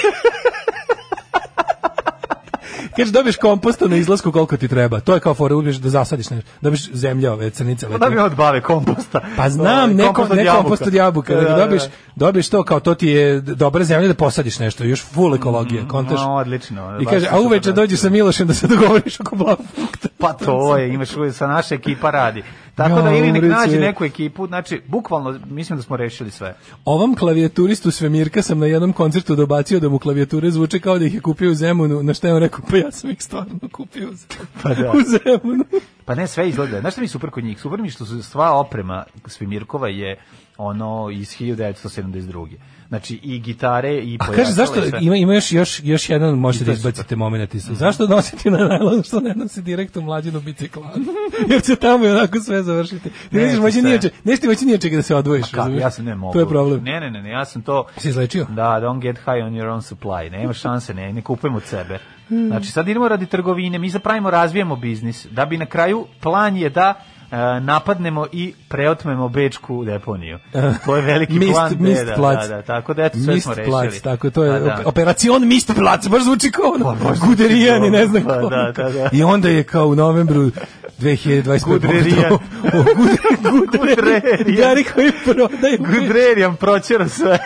S5: Kažeš dobiješ komposta na izlasku koliko ti treba. To je kao fora uzmeš da zasadiš nešto. Dobiješ zemlja ove crnice
S6: da
S5: letim.
S6: mi odbave komposta.
S5: Pa znam,
S6: Ovaj,
S5: neko, neko kompost od jabuka. Da,
S6: Da, da,
S5: dobiješ, dobiješ to kao to ti je dobra zemlja da posadiš nešto. Još full ekologije. kontaš.
S6: Mm, no, odlično,
S5: I
S6: baš
S5: kaže,
S6: je
S5: a
S6: super,
S5: uveče
S6: da.
S5: dođi sa Milošem da se dogovoriš oko blavunkta.
S6: Pa to je, imaš uvijek, sa naša ekipa radi. Tako
S5: Ja,
S6: da ili nek
S5: umriću
S6: nađe
S5: je.
S6: neku ekipu, znači, bukvalno, mislim da smo rešili sve.
S5: Ovom klavijaturistu Svemirka sam na jednom koncertu dobacio da mu klavijature zvuče kao da ih je kupio u Zemunu, na što je on rekao, pa ja sam ih stvarno kupio u Zemunu.
S6: Pa da.
S5: U Zemunu.
S6: Pa ne, sve izgleda. Znaš šta mi je super kod njih? Super mi je što su sva oprema Svemirkova je ono iz 1972. Znači i gitare i
S5: A
S6: pojačala
S5: kaže, zašto,
S6: i sve.
S5: ima, ima još, još, još jedan, možete da
S6: I to je
S5: izbacite moment isto. Zašto nositi na najlon što ne nosi direkt u mlađinu biciklan? Jer će tamo i onako sve završiti. Ti
S6: Neće
S5: nećeš moći
S6: se.
S5: nije čega, nećeš ti moći nije čega da se odvojiš.
S6: Ka,
S5: razumiješ?
S6: ja sam ne mogu.
S5: To je problem.
S6: Ne, ne, ne, ne, ja sam to...
S5: Si izlečio?
S6: Da, don't get high on your own supply. Nema šanse, ne, ne kupujem od sebe. Znači, sad idemo radi trgovine, mi zapravimo, razvijemo biznis, da bi na kraju plan je da e, napadnemo i preotmemo bečku deponiju. To je veliki
S5: Mist-
S6: plan. deda,
S5: Mist plac.
S6: Da, da, tako da eto, sve
S5: Mist
S6: smo rešili.
S5: plac, tako, to je
S6: Da, da.
S5: op- operacion Mist plac, baš zvuči kao ono,
S6: Pa, baš zvuči
S5: Guderijan i ne
S6: dobro,
S5: znam
S6: pa,
S5: ko.
S6: da, da, da.
S5: I onda je kao u novembru 2025.
S6: Guderijan.
S5: pogotovo- o, Gude- Guderijan.
S6: Guderijan.
S5: Gari koji prodaju.
S6: Gudrerijan proćera sve.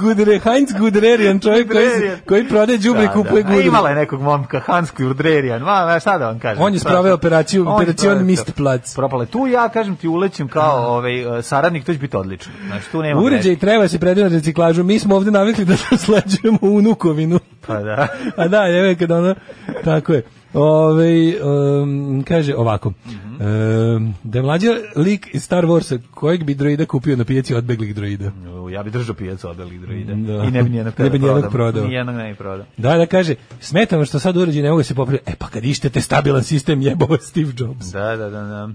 S5: Gudere, Heinz Guderijan, čovjek koji,
S6: Guderijan.
S5: koji prodaje đubre i
S6: Da,
S5: kupuje
S6: da. A
S5: gudru.
S6: Imala je nekog momka, Hans Gudrerijan, ma, ma, šta da vam kažem.
S5: On je spravio operaciju-
S6: On je
S5: operacion
S6: spravio to.
S5: Mist plac. Da.
S6: Propale. Tu ja, kažem ti, ulećem kao ovaj, e, saradnik, to će biti odlično. Znači, tu nema
S5: Uređaj
S6: greške.
S5: treba se predati na reciklažu. Mi smo ovde navikli da nasleđujemo unukovinu.
S6: Pa da.
S5: A da, je uvek kad ono, tako je. Ove, um, kaže ovako, um, da je mlađa lik iz Star Warsa, kojeg bi droida kupio na pijaci odbeglih droida?
S6: U, Ja bi držao pijacu od Elite Druida.
S5: Da.
S6: I ne bi nijednog tada
S5: Ne bi nijednog
S6: prodao.
S5: prodao.
S6: Nijednog ne bi prodao.
S5: Da, da kaže, smetamo što sad uređaj ne mogu da se popraviti. E pa kad ištete stabilan sistem jebova Steve Jobs.
S6: Da, da, da, da.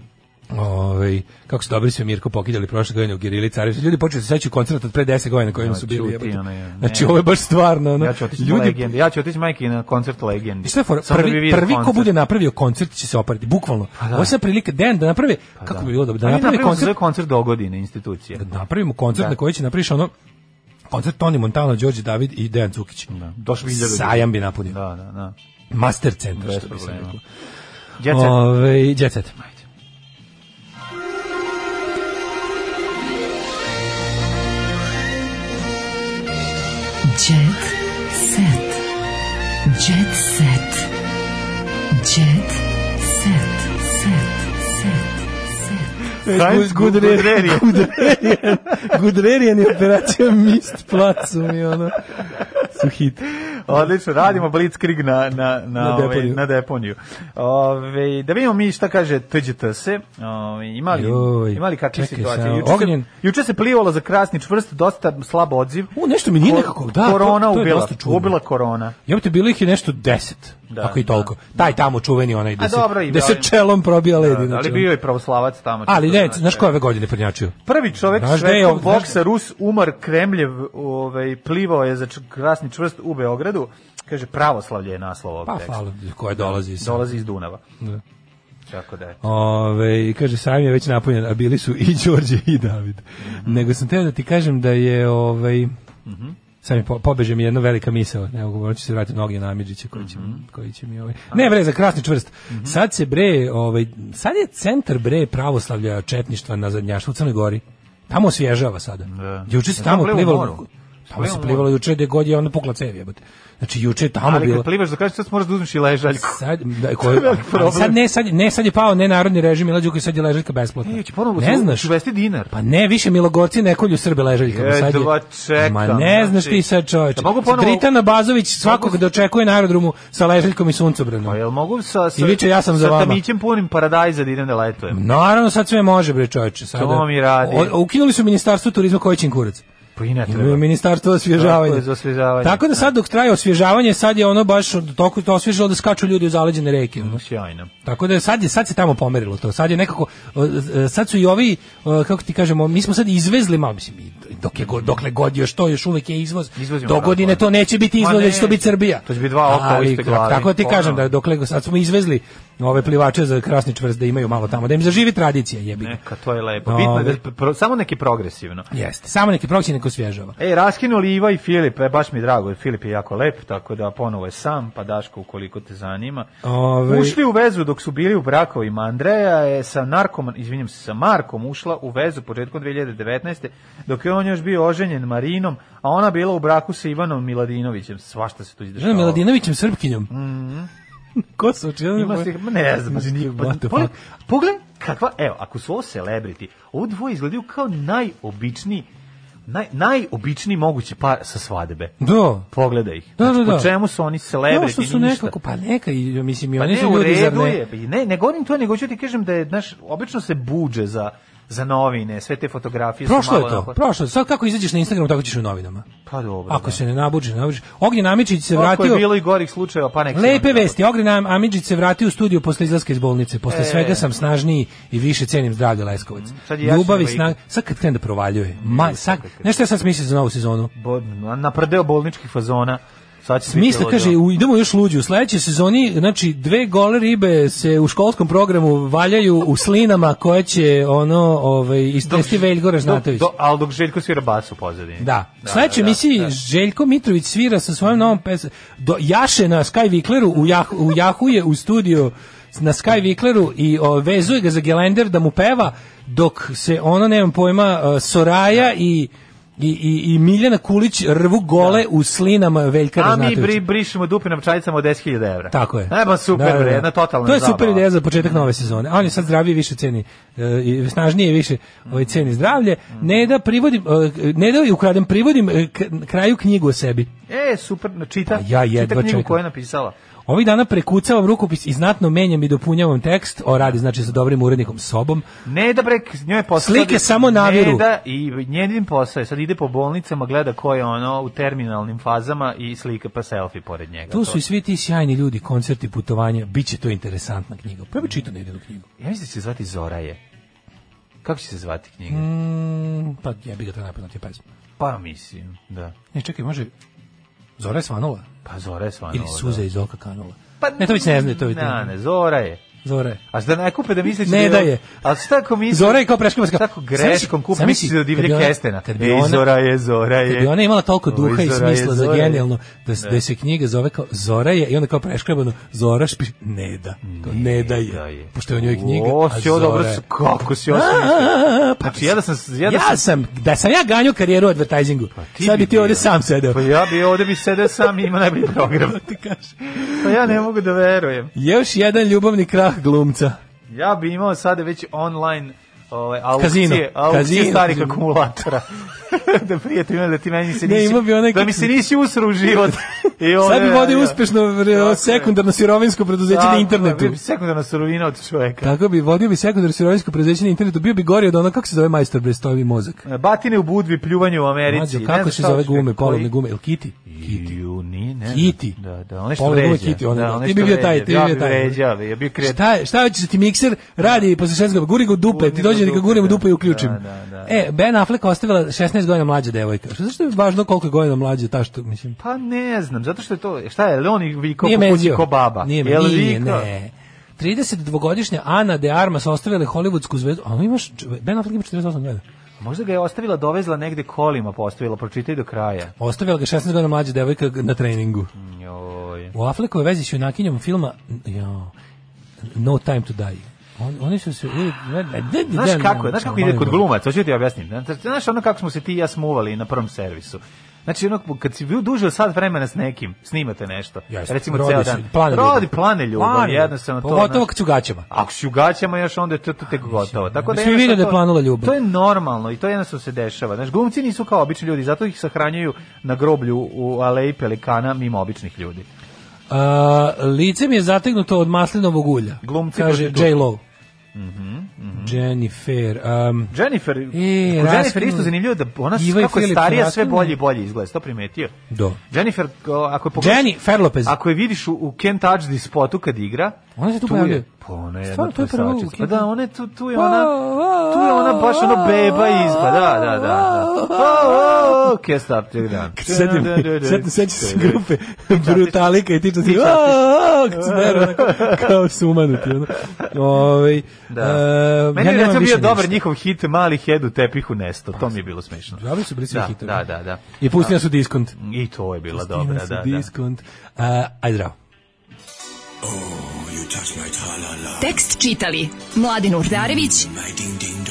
S5: Ovaj kako su dobri sve Mirko pokidali prošle godine u Girili Carević. Ljudi počeli se sećaju koncerta od pre 10 godina na kojem
S6: Ja,
S5: su bili.
S6: Da, čuti,
S5: jebote.
S6: ono je, ne.
S5: Znači ovo je baš stvarno, ono.
S6: Ja ću otići na
S5: ljudi
S6: legendi. Ja ću otići majke na koncert legendi.
S5: I šta je fora?
S6: Samo da bi
S5: Prvi,
S6: vidio
S5: prvi ko
S6: koncert. Pa
S5: bude napravio koncert će se opariti, bukvalno. Ovo je sad prilika, den, da naprave, kako bi bilo dobro, da
S6: Ali
S5: naprave
S6: napravimo sve
S5: koncert,
S6: koncert do godine, institucije.
S5: da napravimo koncert na koji će napriš ono, koncert Toni Montana, Đorđe David i Dejan Cukić. Da.
S6: Došlo bi hiljada ljudi.
S5: Sajam bi napunio.
S6: Da, da, da.
S5: Master centar,
S6: Bez
S5: što bi se
S6: problema.
S5: reklo.
S6: Jet set.
S5: Ove, Jet Set.
S1: Jet set. Jet set. Jet set. Set. Set.
S6: Heinz
S5: Guderian.
S6: Guderian.
S5: Guderian. Guderian je operacija Mist placu mi ono. Su hit.
S6: Odlično, radimo blitzkrieg na, na, na,
S5: Na
S6: na deponiju.
S5: deponiju.
S6: Ovaj, na deponiju. Ovaj, da vidimo mi šta kaže TGTS. Ovaj, imali,
S5: Joj,
S6: imali kakve
S5: čekaj,
S6: situacije.
S5: samo,
S6: Juče se,
S5: ognjen.
S6: juče se plivalo za krasni čvrst, dosta slab odziv.
S5: U, nešto mi nije
S6: Ko-
S5: nekako, da, to-
S6: Korona
S5: to je
S6: ubila,
S5: dosta čudno.
S6: ubila korona.
S5: Ja te bilo ih je nešto deset,
S6: Da,
S5: ako i toliko. Taj tamo čuveni onaj
S6: A
S5: da se,
S6: dobro, i
S5: da se
S6: ovaj-
S5: čelom probija led.
S6: Da, ali bio je pravoslavac tamo.
S5: Znači, Ali
S6: čisto
S5: ne,
S6: znači.
S5: znaš ko je ove godine prednjačio?
S6: Prvi čovek
S5: Znaš gde je
S6: svetskog
S5: ovo- znaš-
S6: boksa, Rus Umar Kremljev, ovaj, plivao je za č- krasni čvrst u Beogradu. Kaže, pravoslavlje je naslov ovog
S5: Pa Da.
S6: teksta.
S5: hvala, koja dolazi iz...
S6: Dolazi iz Dunava. Tako da je.
S5: Ove, i kaže, sam je već napunjen, a bili su i Đorđe i David.
S6: Mhm.
S5: Nego sam teo da ti kažem da je, ovaj, sam je po, pobeže mi jedna velika misao, ne mogu, morat ću se vratiti noge na Amidžića koji će,
S6: Mhm.
S5: koji će mi, ovaj, ne bre, za krasni čvrst. Sad se bre, ovaj, sad je centar bre pravoslavlja četništva na zadnjaštvu u Crnoj Gori. Tamo osvježava sada.
S6: Da.
S5: Juče se
S6: Ja
S5: tamo
S6: sam plivao u moru.
S5: plivalo, tamo se
S6: Plivao u
S5: plivalo
S6: moru.
S5: juče gde god je onda pukla cev jebote. Znači juče je tamo
S6: Ali
S5: bilo.
S6: kad plivaš da kažeš sad moraš da uzmeš i ležaljku.
S5: Sad, da, ko,
S6: veliki problem.
S5: ali sad, ne, sad, ne, sad je pao nenarodni režim i Đukić, sad je ležaljka besplatna.
S6: E, će ponovo
S5: ne
S6: se-
S5: znaš?
S6: ću vesti dinar.
S5: Pa ne, više Milogorci ne kolju Srbe ležaljkama. Sad je,
S6: Jedva čekam,
S5: Ma ne znaš
S6: znači.
S5: ti sad čoveče.
S6: Da mogu ponovo-
S5: Dritana Bazović svakog
S6: Mogu-
S5: da očekuje na aerodromu sa ležaljkom i
S6: Pa
S5: suncobranom.
S6: jel mogu sa, sa,
S5: I viče, ja sam za
S6: sa
S5: vama.
S6: tamićem punim paradajza da idem da letujem?
S5: Naravno, sad sve može, bre čoveče. Sada,
S6: To mi radi.
S5: O- ukinuli su ministarstvo turizma koji će im kurac.
S6: Pa i ne
S5: Imaju
S6: treba.
S5: ministarstvo osvježavanja.
S6: Tako je, za osvježavanje.
S5: Tako da sad dok traje osvježavanje, sad je ono baš toliko to osvježilo da skaču ljudi u zaleđene reke. ono.
S6: Sjajno.
S5: Tako da je sad je sad se tamo pomerilo to. Sad je nekako e, sad su i ovi e, kako ti kažemo, mi smo sad izvezli malo mislim i dok je go- dokle god još to još uvek je izvoz.
S6: Izvozimo,
S5: Do godine
S6: tako
S5: to
S6: je.
S5: neće biti
S6: Ma
S5: izvoz,
S6: ne.
S5: jer će to biti Srbija.
S6: To će biti dva oka u
S5: Ali,
S6: istoj glavi.
S5: Tako da ti kažem
S6: Ono.
S5: da dokle sad smo izvezli ove plivače za krasni čvrst da imaju malo tamo da im zaživi tradicija, jebi. ga.
S6: Neka, E, to je lepo. Bitno je da,
S5: Ove.
S6: je pro- samo neki progresivno.
S5: Jeste. Samo neki proći neko svježava.
S6: Ej, E, raskinuli Iva i Filip, e, baš mi je drago, jer Filip je jako lep, tako da ponovo je sam, pa Daško ukoliko te zanima.
S5: Ove-
S6: Ušli u vezu dok su bili u brakovima. Andreja je sa narkom, izvinjam se, sa Markom ušla u vezu početkom 2019. dok je on još bio oženjen Marinom, a ona bila u braku sa Ivanom Miladinovićem. Svašta se tu izdešava.
S5: Žena Miladinovićem Srpkinjom. Mhm. Ko su očigledno-
S6: Ima se, ma ne znam, znači, nik-
S5: What the
S6: pa-
S5: fuck?
S6: pogledaj kakva, evo, ako su ovo celebrity, ovo dvoje izgledaju kao najobičniji, naj, najobičniji mogući par sa svadebe.
S5: Da.
S6: Pogledaj ih.
S5: Da, da,
S6: Znači, po
S5: da.
S6: čemu su oni celebrity?
S5: Kao što su
S6: ništa.
S5: nekako, pa neka, i, mislim, i
S6: Pa
S5: oni
S6: ne,
S5: su
S6: u
S5: ljudi, zar
S6: redu
S5: ne?
S6: je. pa i Ne, ne govorim to, nego ću ti kažem da je, znaš, obično se buđe za za novine, sve te fotografije su
S5: Prošlo je
S6: malo
S5: to,
S6: onako-
S5: prošlo je. Sad kako izađeš na Instagram, tako ćeš i u novinama.
S6: Pa dobro.
S5: Ako
S6: da.
S5: se ne nabuđe, ne nabuđe. Ognjen Amičić se
S6: Koliko je
S5: vratio...
S6: bilo i gorih slučajeva, pa nek se
S5: Lepe
S6: onda-
S5: vesti, Ognjen Am- Amidžić se vratio u studiju posle izlaska iz bolnice. Posle
S6: E. Mm,
S5: svega sam snažniji i više cenim zdravlje Leskovac.
S6: sad je jači
S5: Ljubav i
S6: nego
S5: snag... Sad kad krene da provaljuje. Ma, sad, nešto ja sad smislim za novu sezonu.
S6: Bo- Naprdeo bolničkih fazona. Sad će biti
S5: Smisle,
S6: ludo.
S5: kaže, u, idemo još luđu. U sledećoj sezoni, znači, dve gole ribe se u školskom programu valjaju u slinama koje će, ono, ovaj, istresti Veljko Ražnatović.
S6: Do, do, ali dok Željko svira bas u pozadini.
S5: Da. U sledećoj emisiji Željko Mitrović svira sa svojom novom pesmom. Do, jaše na Sky Vikleru, u, jah, u Jahu je u studiju na Sky Vikleru i o, vezuje ga za gelender da mu peva, dok se ono, nemam pojma, e, Soraja i I, i, i Miljana Kulić rvu gole u slinama Veljka
S6: A mi
S5: Ražnatovića.
S6: bri, brišemo dupinom čajicama od 10.000 evra.
S5: Tako je.
S6: E, ba, super, da, jedna totalna
S5: To je
S6: zabava.
S5: super ideja za početak nove sezone. A on je sad zdraviji više ceni, e, i snažnije više ovaj, ceni zdravlje. Ne da privodim, e, ne da ju ukradem, privodim e, k- kraju knjigu o sebi.
S6: E, super, no, čita.
S5: Pa ja jedva
S6: čita knjigu
S5: čekam.
S6: koju je napisala.
S5: Ovih dana prekucavam rukopis i znatno menjam i dopunjavam tekst. O, radi znači sa dobrim urednikom sobom.
S6: Ne da brek, njoj je posao.
S5: Slike samo naviru.
S6: Ne da, i njenim posao je, sad ide po bolnicama, gleda ko je ono u terminalnim fazama i slika pa selfie pored njega.
S5: Tu su i svi ti sjajni ljudi, koncerti, putovanja. Biće to interesantna knjiga. Pa ja bi čitao nedeljnu knjigu.
S6: Ja mislim da će se zvati Zoraje. Kako će se zvati knjiga?
S5: Mm, pa ja bi ga to napravno ti pesma.
S6: Pa mislim, da.
S5: Ne, čekaj, može... Zora je svanula?
S6: Pa Zora je stvarno.
S5: Ili
S6: ovo,
S5: suze
S6: da.
S5: iz oka kanula?
S6: Pa,
S5: ne, to već ne znaju, to već ne
S6: Ne,
S5: znaju.
S6: ne, Zora je.
S5: Zora je.
S6: A da ne kupe da misliš
S5: Ne da je.
S6: A šta ako misliš?
S5: Zora je kao preškrivarska.
S6: Tako greškom
S5: Zamisli-
S6: kupi misliš da
S5: zamisli
S6: divlje
S5: kad bi ona-
S6: kestena.
S5: kad bi
S6: Ej,
S5: ona-
S6: Zora je, Zora je.
S5: Kad Da bi ona imala toliko
S6: Oj,
S5: duha i
S6: Zora E, je,
S5: smisla za
S6: Zora je.
S5: genijalno da, s- da se knjiga zove kao Zora je i onda kao preškrabano Zora špi ne da to ne da je,
S6: da je.
S5: pošto je u njoj knjiga
S6: O,
S5: a
S6: si ovo dobro,
S5: Zora je.
S6: kako si ovo
S5: A, a, a, pa
S6: Znači, ja da sam, ja da
S5: ja
S6: sam, Pa
S5: sam da sam ja ganjao karijeru u advertisingu
S6: ti
S5: sad bi
S6: bi
S5: ti ovde
S6: bio.
S5: sam sedeo Da
S6: pa ja bi ovde bi sedeo sam i imao najbolji program.
S5: ti kažeš
S6: Pa ja ne mogu da verujem.
S5: još jedan ljubavni krah glumca
S6: Ja bi imao sada već online ovaj, aukcije,
S5: Kazino.
S6: aukcije
S5: Kazino.
S6: starih akumulatora. da prijatelj ima da ti meni se
S5: Ne,
S6: nisi,
S5: imao bi onaj
S6: da mi
S5: kako-
S6: se nisi usro u život. I
S5: sad bi
S6: one-
S5: vodio
S6: ja.
S5: uspešno
S6: Tako je.
S5: re- sekundarno sirovinsko preduzeće na
S6: Tako,
S5: internetu
S6: bio bi Sekundarna surovina od čoveka.
S5: Tako bi vodio bi sekundarno sirovinsko preduzeće na internetu, bio bi gori od onog kako se zove majstor bez tovi mozak.
S6: Batine u budvi, pljuvanje u Americi.
S5: Mađo,
S6: ne
S5: Da. kako
S6: znam
S5: se
S6: šta
S5: zove
S6: hoćeš,
S5: gume,
S6: koji-
S5: polovne gume, ili kiti?
S6: Kitiju, nije, ne. znam.
S5: Kiti.
S6: Da, da, one što
S5: Polovne
S6: vređa.
S5: gume kiti, one,
S6: da,
S5: da.
S6: one
S5: Ti
S6: što
S5: bi bio taj,
S6: vređa.
S5: ti bi
S6: ja
S5: bio
S6: bi
S5: taj.
S6: vređao, ja bi kret.
S5: Šta, je- šta će se ti mikser radi posle 16 godina? Guri ga u dupe,
S6: Gurni
S5: ti
S6: ga u
S5: dođe da ga
S6: dupe,
S5: gurim u
S6: da.
S5: dupe i uključim.
S6: Da, da, da.
S5: E, Ben Affleck ostavila 16 godina mlađa devojka. Što zašto je važno koliko je godina mlađa ta što, mislim,
S6: Pa ne znam, zato što je to, šta je, Leon i Viko
S5: nije
S6: po kući
S5: menzio.
S6: ko baba.
S5: Nije,
S6: Jel
S5: nije,
S6: vikao?
S5: ne. 32-godišnja Ana de Armas ostavila je hollywoodsku zvezdu. A on imaš, Ben Affleck ima 48 godina.
S6: Možda ga je ostavila, dovezla negde kolima, postavila, pročitaj do kraja.
S5: Ostavila ga 16 godina mlađa devojka na treningu.
S6: Joj.
S5: U Affleckove vezi s junakinjom filma jo, No Time to Die. On, oni su se... uvijek-
S6: E, Znaš kako, je, znaš kako ide kod glumaca, hoću da ti objasniti. Znaš ono kako smo se ti i ja smuvali na prvom servisu. Znači, ono, kad si bio duže od sat vremena s nekim, snimate nešto.
S5: Jeste,
S6: recimo
S5: rodi
S6: ceo
S5: se-
S6: dan.
S5: plane ljubav.
S6: rodi plane ljubav,
S5: Plane.
S6: jednostavno to.
S5: Pogotovo
S6: znaš.
S5: kad si u gaćama.
S6: Ako si u gaćama još onda je to, to tek gotovo. Tako
S5: Svi
S6: da jednostavno
S5: vide da je
S6: to-
S5: planula ljubav.
S6: To je normalno i to jednostavno se dešava. Znaš, glumci nisu kao obični ljudi, zato ih sahranjuju na groblju u aleji pelikana mimo običnih ljudi.
S5: A, E, lice mi je zategnuto od maslinovog ulja.
S6: Glumci Mhm,
S5: kaže
S6: prostitutke.
S5: J-Lo. Jennifer. Um,
S6: Jennifer,
S5: E,
S6: kod Jennifer
S5: raskinula-
S6: isto zanimljivo da ona
S5: Iva i
S6: kako je
S5: Filip
S6: starija sve
S5: raskinula.
S6: bolje i bolje izgleda, si to primetio.
S5: do.
S6: Jennifer, o, ako je pogledaš-
S5: Jenny Ferlopez.
S6: Ako je vidiš u, u Can't Touch This spotu kad igra,
S5: Ona se tu
S6: je-
S5: pojavljuje.
S6: Pa ona je jedna
S5: Stvarno, to je prvo u
S6: plesačica. Pa
S5: Can't
S6: da,
S5: Touch-
S6: ona je tu, tu je ona, tu je ona baš ono beba izba, da, da, da. da. Oh, oh, oh, can't stop Da, till dawn.
S5: Sedim, sedim, sećam se
S6: da.
S5: grupe Brutalika i tiče se,
S6: Ti častiš.
S5: "Aaa", kad se
S6: Da,
S5: deru, onako, kao sumanuti. Ono. Ove,
S6: Da.
S5: e,
S6: Meni je
S5: nemam
S6: recimo
S5: više
S6: bio dobar
S5: ništa.
S6: njihov hit Mali head u tepihu nesto, to mi je bilo smešno.
S5: Dobri su bili svi
S6: Da,
S5: hitovi.
S6: da, da, da.
S5: I pusti nas u diskont.
S6: I to je bila
S5: Pusti
S6: dobra,
S5: nas u
S6: da, da.
S5: diskont. A, Ehm, ajde, zdravo.
S1: Tekst čitali Mladin Urdarević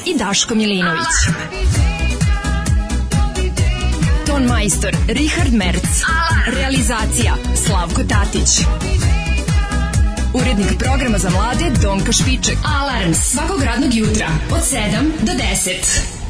S1: i Daško Milinović. Ton majstor Richard Merc. Realizacija Slavko Tatić. Urednik programa za mlade Donka Špiček. Alarm svakog radnog jutra od 7 do 10.